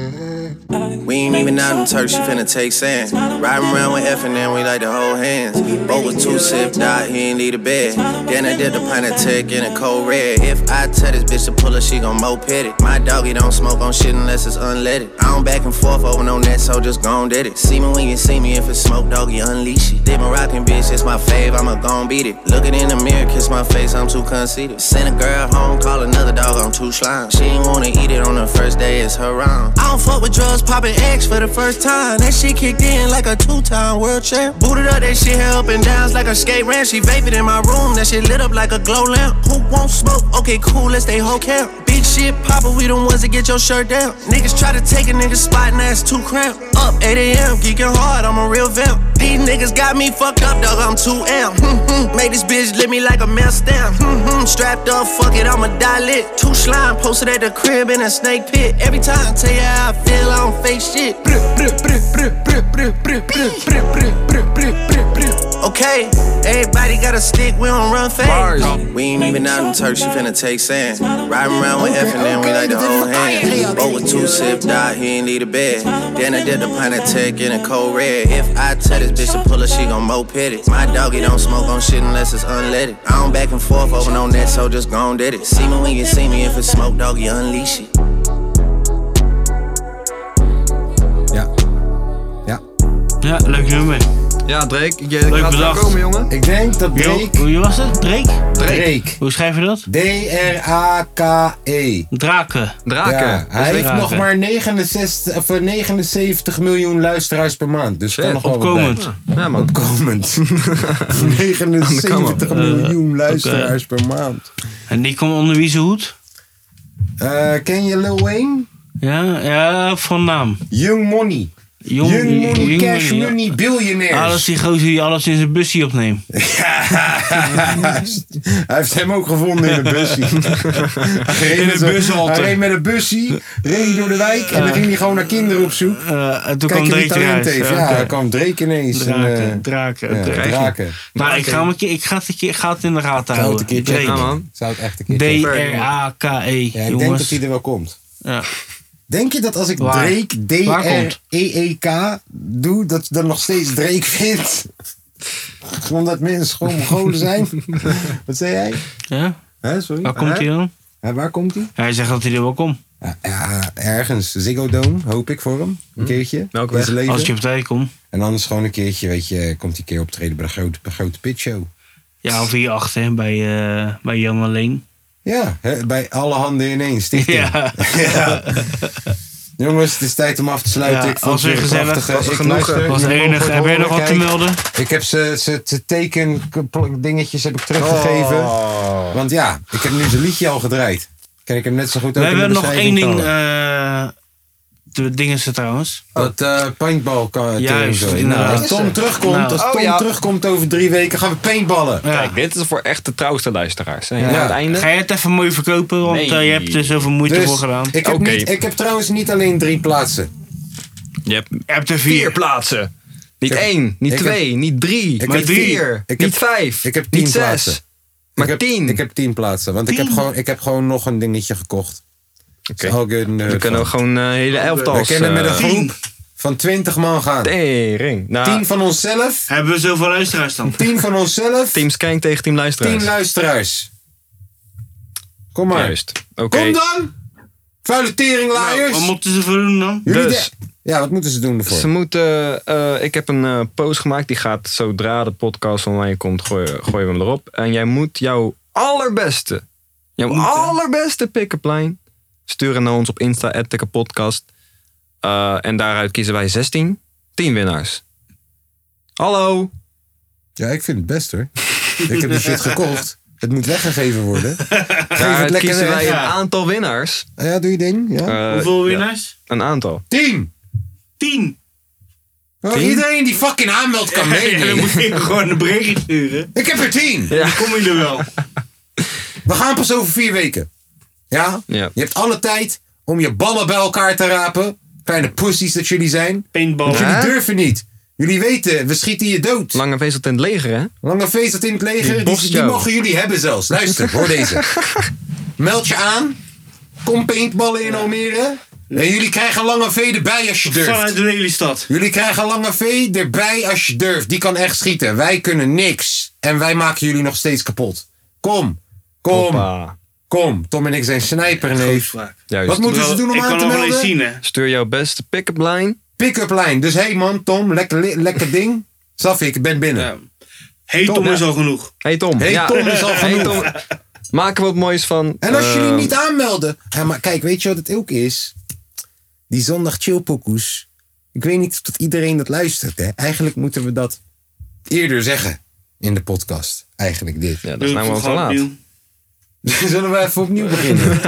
ain't even out in Turk, she finna take sand. Riding around with F and then we like to hold hands. Both with two sip dot, he ain't need a bed. Then I did the pint of tech in a cold red. If I tell this bitch to pull her, she gon' moped it. My doggy don't smoke on shit unless it's unleaded. I don't back and forth over no net, so just gon' did it. See me when you see me, if it's smoke, doggy, unleash it. Did Moroccan bitch, it's my fave, I'ma gon' beat it. Looking in the mirror, kiss my face, I'm too conceited. Send a girl home, call another dog, I'm too slime. She ain't wanna eat it on the first day, it's her round. I don't fuck with drugs, poppin' X for the first time. That shit kicked in like a two-time world champ. Booted up, that shit held up and downs like a skate ramp. She vapid in my room, that shit lit up like a glow lamp. Who won't smoke? Okay, cool, let's stay whole camp. Big shit poppin', we the ones that get your shirt down. Niggas try to take a nigga's spot, now it's too cramped. Up 8 a.m., geeking hard, I'm a real vamp. These niggas got me fucked up, dog, I'm 2M. Mm-hmm. Made this bitch lick me like a man stamp. Mm-hmm. Strapped up, fuck it, I'ma die lit. Two slime posted at the crib in a snake pit. Every time I tell you how I feel, I don't fake shit. Brr, brr, brr, brr, brr, brr, brr, brr, brr, brr, brr, brr, brr, brr. Okay, everybody got a stick, we don't run fast. We ain't even out in Turk, she finna take sand. Riding around with F and then we like to hold hands. Roll with two sip dot, he ain't need a bed. Then I did the pint of tech in a cold red. If I tell this bitch to pull her, she gon' moped it. My doggy don't smoke on shit unless it's unleaded. I don't back and forth over no net, so just gon' did it. See me when you see me, if it's smoke, doggy, unleash it.
Ja. Ja.
Ja, leuk nummer.
Ja, Drake, je gaat wel
bedacht.
komen, jongen.
Ik denk dat
Yo,
Drake...
Wie was het? Drake?
Drake.
Hoe schrijf je dat?
D-R-A-K-E.
Draken.
Draken.
E. Ja, hij heeft
Draken.
nog maar 69, of eh, 79 miljoen luisteraars per maand. Dus kan
Shit,
nog wel wat bij.
Opkomend.
[laughs] Ja, man.
Opkomend.
Aan de
79 miljoen luisteraars per maand.
En die komt onder wie zijn hoed?
Eh, ken je Lil Wayne?
Ja, ja, van naam.
Young Money.
Jong-
Young Money,
Jong-
Cash
Jong-
Money, Ah,
Alles
Billionaires.
die gozer die alles in zijn busje opneemt.
Hij heeft hem ook gevonden in een busje. in
een bushalte.
Hij reed met een busje, reed door de wijk en dan ging hij gewoon naar kinderen op zoek.
Eh, en toen
Kijk
kwam
wie
Drake
talent
eruit.
heeft.
Ja,
Ja,
oké.
daar kwam Drake ineens. en, eh,
Draken, draken,
ja,
oké.
draken.
Maar ik ga, hem een keer, ik, ga het een keer, ik ga het in de gaten
Zou het
houden.
een keer checken.
Ja,
Drake.
man.
Zou het echt een keer checken.
D-R-A-K-E.
Ja, ik denk dat
E, jongens.
hij er wel komt.
Ja.
Denk je dat als ik
Waar?
Drake
Waar komt?
D-R-E-E-K E, doe, dat je dan nog steeds Drake vindt? Omdat mensen gewoon Mongolen
[laughs]
zijn? Wat zei jij?
Ja?
Hè, sorry?
Waar komt hij dan?
Hè, waar komt hij?
Hij zegt dat hij er wel komt.
Ja, ja, ergens. Ziggo Dome, hoop ik voor hem. Een keertje.
Welke
in
weg?
zijn leven.
Hm. Als je op tijd komt.
En anders gewoon een keertje, weet je, komt hij een keer optreden bij de grote, bij de grote pitshow.
Ja, of hierachter hè, bij, eh bij Jan Alleen.
Ja, hè, bij alle handen ineens. Stichting. [laughs]
Ja.
Jongens, het is tijd om af te sluiten.
Ja,
ik vond
was
het
weer
weer
gezellig.
prachtig.
Was
Ik
genoegen.
luister.
Was
Jullie
enig.
mogen
Heb jij nog
horen,
wat te
kijk.
melden?
Ik heb ze, ze, ze teken dingetjes heb ik teruggegeven.
Oh.
Want ja, ik heb nu zijn liedje al gedraaid. Kan ik hem net zo goed ook
We
in de
hebben nog één
beschrijving
ding.
knallen?
eh de dingen ze trouwens.
Oh.
dat eh paintball kan
Juist,
zo.
inderdaad.
Nou, als Tom terugkomt,
Nou.
als Tom
Oh, ja.
terugkomt over drie weken, gaan we paintballen.
Ja.
Kijk, dit is voor echt de trouwste luisteraars. hè. Aan het einde.
Ga je het even mooi verkopen? Want
Nee.
eh, je hebt er zoveel moeite
Dus
voor gedaan.
ik heb,
Oké.
niet, ik heb trouwens niet alleen drie plaatsen.
Je hebt
Je hebt er
vier
vier.
plaatsen. Niet
Ik heb-
één, niet
ik heb-
twee, niet drie,
heb
maar
drie.
vier,
Ik
niet
heb-
vijf,
ik heb tien
niet zes,
plaatsen.
maar
ik heb,
tien.
Ik heb tien plaatsen. Want Ik, heb
Tien?
gewoon, ik heb gewoon nog een dingetje gekocht.
Oké.
All good in the
we
hood
kunnen
van.
ook gewoon eh, hele elftal. eh,
We kunnen met een groep van 20 man gaan.
Tering. Nou,
Tien van onszelf,
Hebben we zoveel luisteraars
[laughs]
dan?
tien van onszelf,
Team Skank tegen Team Luisteraars.
tien luisteraars. Kom maar.
Juist. Oké.
Kom dan! Vuile
Nou,
teringlaaiers!
wat moeten ze voor doen dan?
Jullie
Dus.
de- Ja, wat moeten ze doen
Ze
ervoor?
moeten, eh, ik heb een eh, post gemaakt. Die gaat zodra de podcast online komt, gooien, gooien we hem erop. En jij moet jouw allerbeste, jouw allerbeste pick-up line sturen naar ons op Insta, @tikkepodcast. Eh, en daaruit kiezen wij 16 teamwinnaars. Hallo.
Ja, ik vind het best hoor. ik heb die shit gekocht. Het moet weggegeven worden. Geef het
Daaruit
lekker
kiezen wij
weg. Ah,
een aantal winnaars.
Ja, doe je ding. Ja.
Eh,
Hoeveel
ja,
winnaars?
een aantal.
Tien!
[laughs]
Tien.
Oh,
Tien?
iedereen die fucking aanmeldt kan
En dan
meedoen.
moet je gewoon een berichtje sturen.
Ik heb er tien!
Dan kom je er wel.
We gaan pas over vier weken. Ja?
Ja.
Je hebt alle tijd om je ballen bij elkaar te rapen. Kleine pussies dat jullie zijn.
Paintball.
Want
Ja.
jullie durven niet. Jullie weten, we schieten je dood.
Lange vezelt in het leger, hè?
Lange feest dat in het leger.
Die
Die,
bost
die
jou.
mogen jullie hebben zelfs. Luister, hoor deze. Meld je aan. Kom paintballen in Almere. En jullie krijgen lange V erbij als je
Vanuit
durft.
de Lelystad.
Jullie krijgen lange V erbij als je durft. Die kan echt schieten. Wij kunnen niks. En wij maken jullie nog steeds kapot. Kom. Kom.
Hoppa.
Kom. Tom en ik zijn snijperneef.
Juist.
Wat moeten ze doen om
ik
aan
kan
te
nog alleen
melden?
zien, hè.
Stuur jouw beste pick-up line.
Pick-up lijn. Dus hé hey man, Tom. Lekker, li- lekker ding. Safi, ik ben binnen.
Ja. Hey,
Tom,
Tom is
ja.
al genoeg.
Hey Tom.
Hey,
ja.
Tom is al
Hey,
genoeg.
Tom. Maken we wat moois van.
En als jullie
Ehm.
eh,
niet aanmelden. Ja, maar kijk, weet je wat het ook is? Die zondag chillpokoes. Ik weet niet of dat iedereen dat luistert. Hè? Eigenlijk moeten we dat eerder zeggen in de podcast. Eigenlijk dit.
Ja, dat is nou wel te laat.
[laughs] Zullen we even opnieuw
[laughs]
beginnen?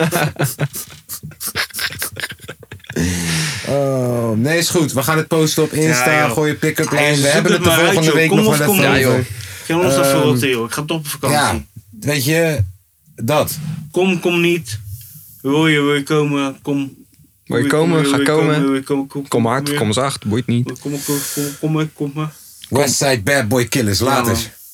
Oh, nee, is goed. We gaan het posten op Insta.
Ja, joh.
gooi je pick-up lijn.
Hey,
We
zoek
hebben het
het
de
maar uit,
volgende
joh.
week
Kom
nog
op,
wel
kom
even
op.
over.
Ja, joh.
Geen ons dat
Ehm,
voor joh. Ik ga toch op
Ja,
vakantie.
weet je, dat.
Kom, kom niet. Wil je, wil je komen? Kom.
Wil je komen?
wil je
Ga komen.
Wil je komen?
Kom hard, kom zacht, boeit niet.
Kom, kom, kom, kom, kom, kom.
Westside Bad Boy Killers,
Ja,
later.
man.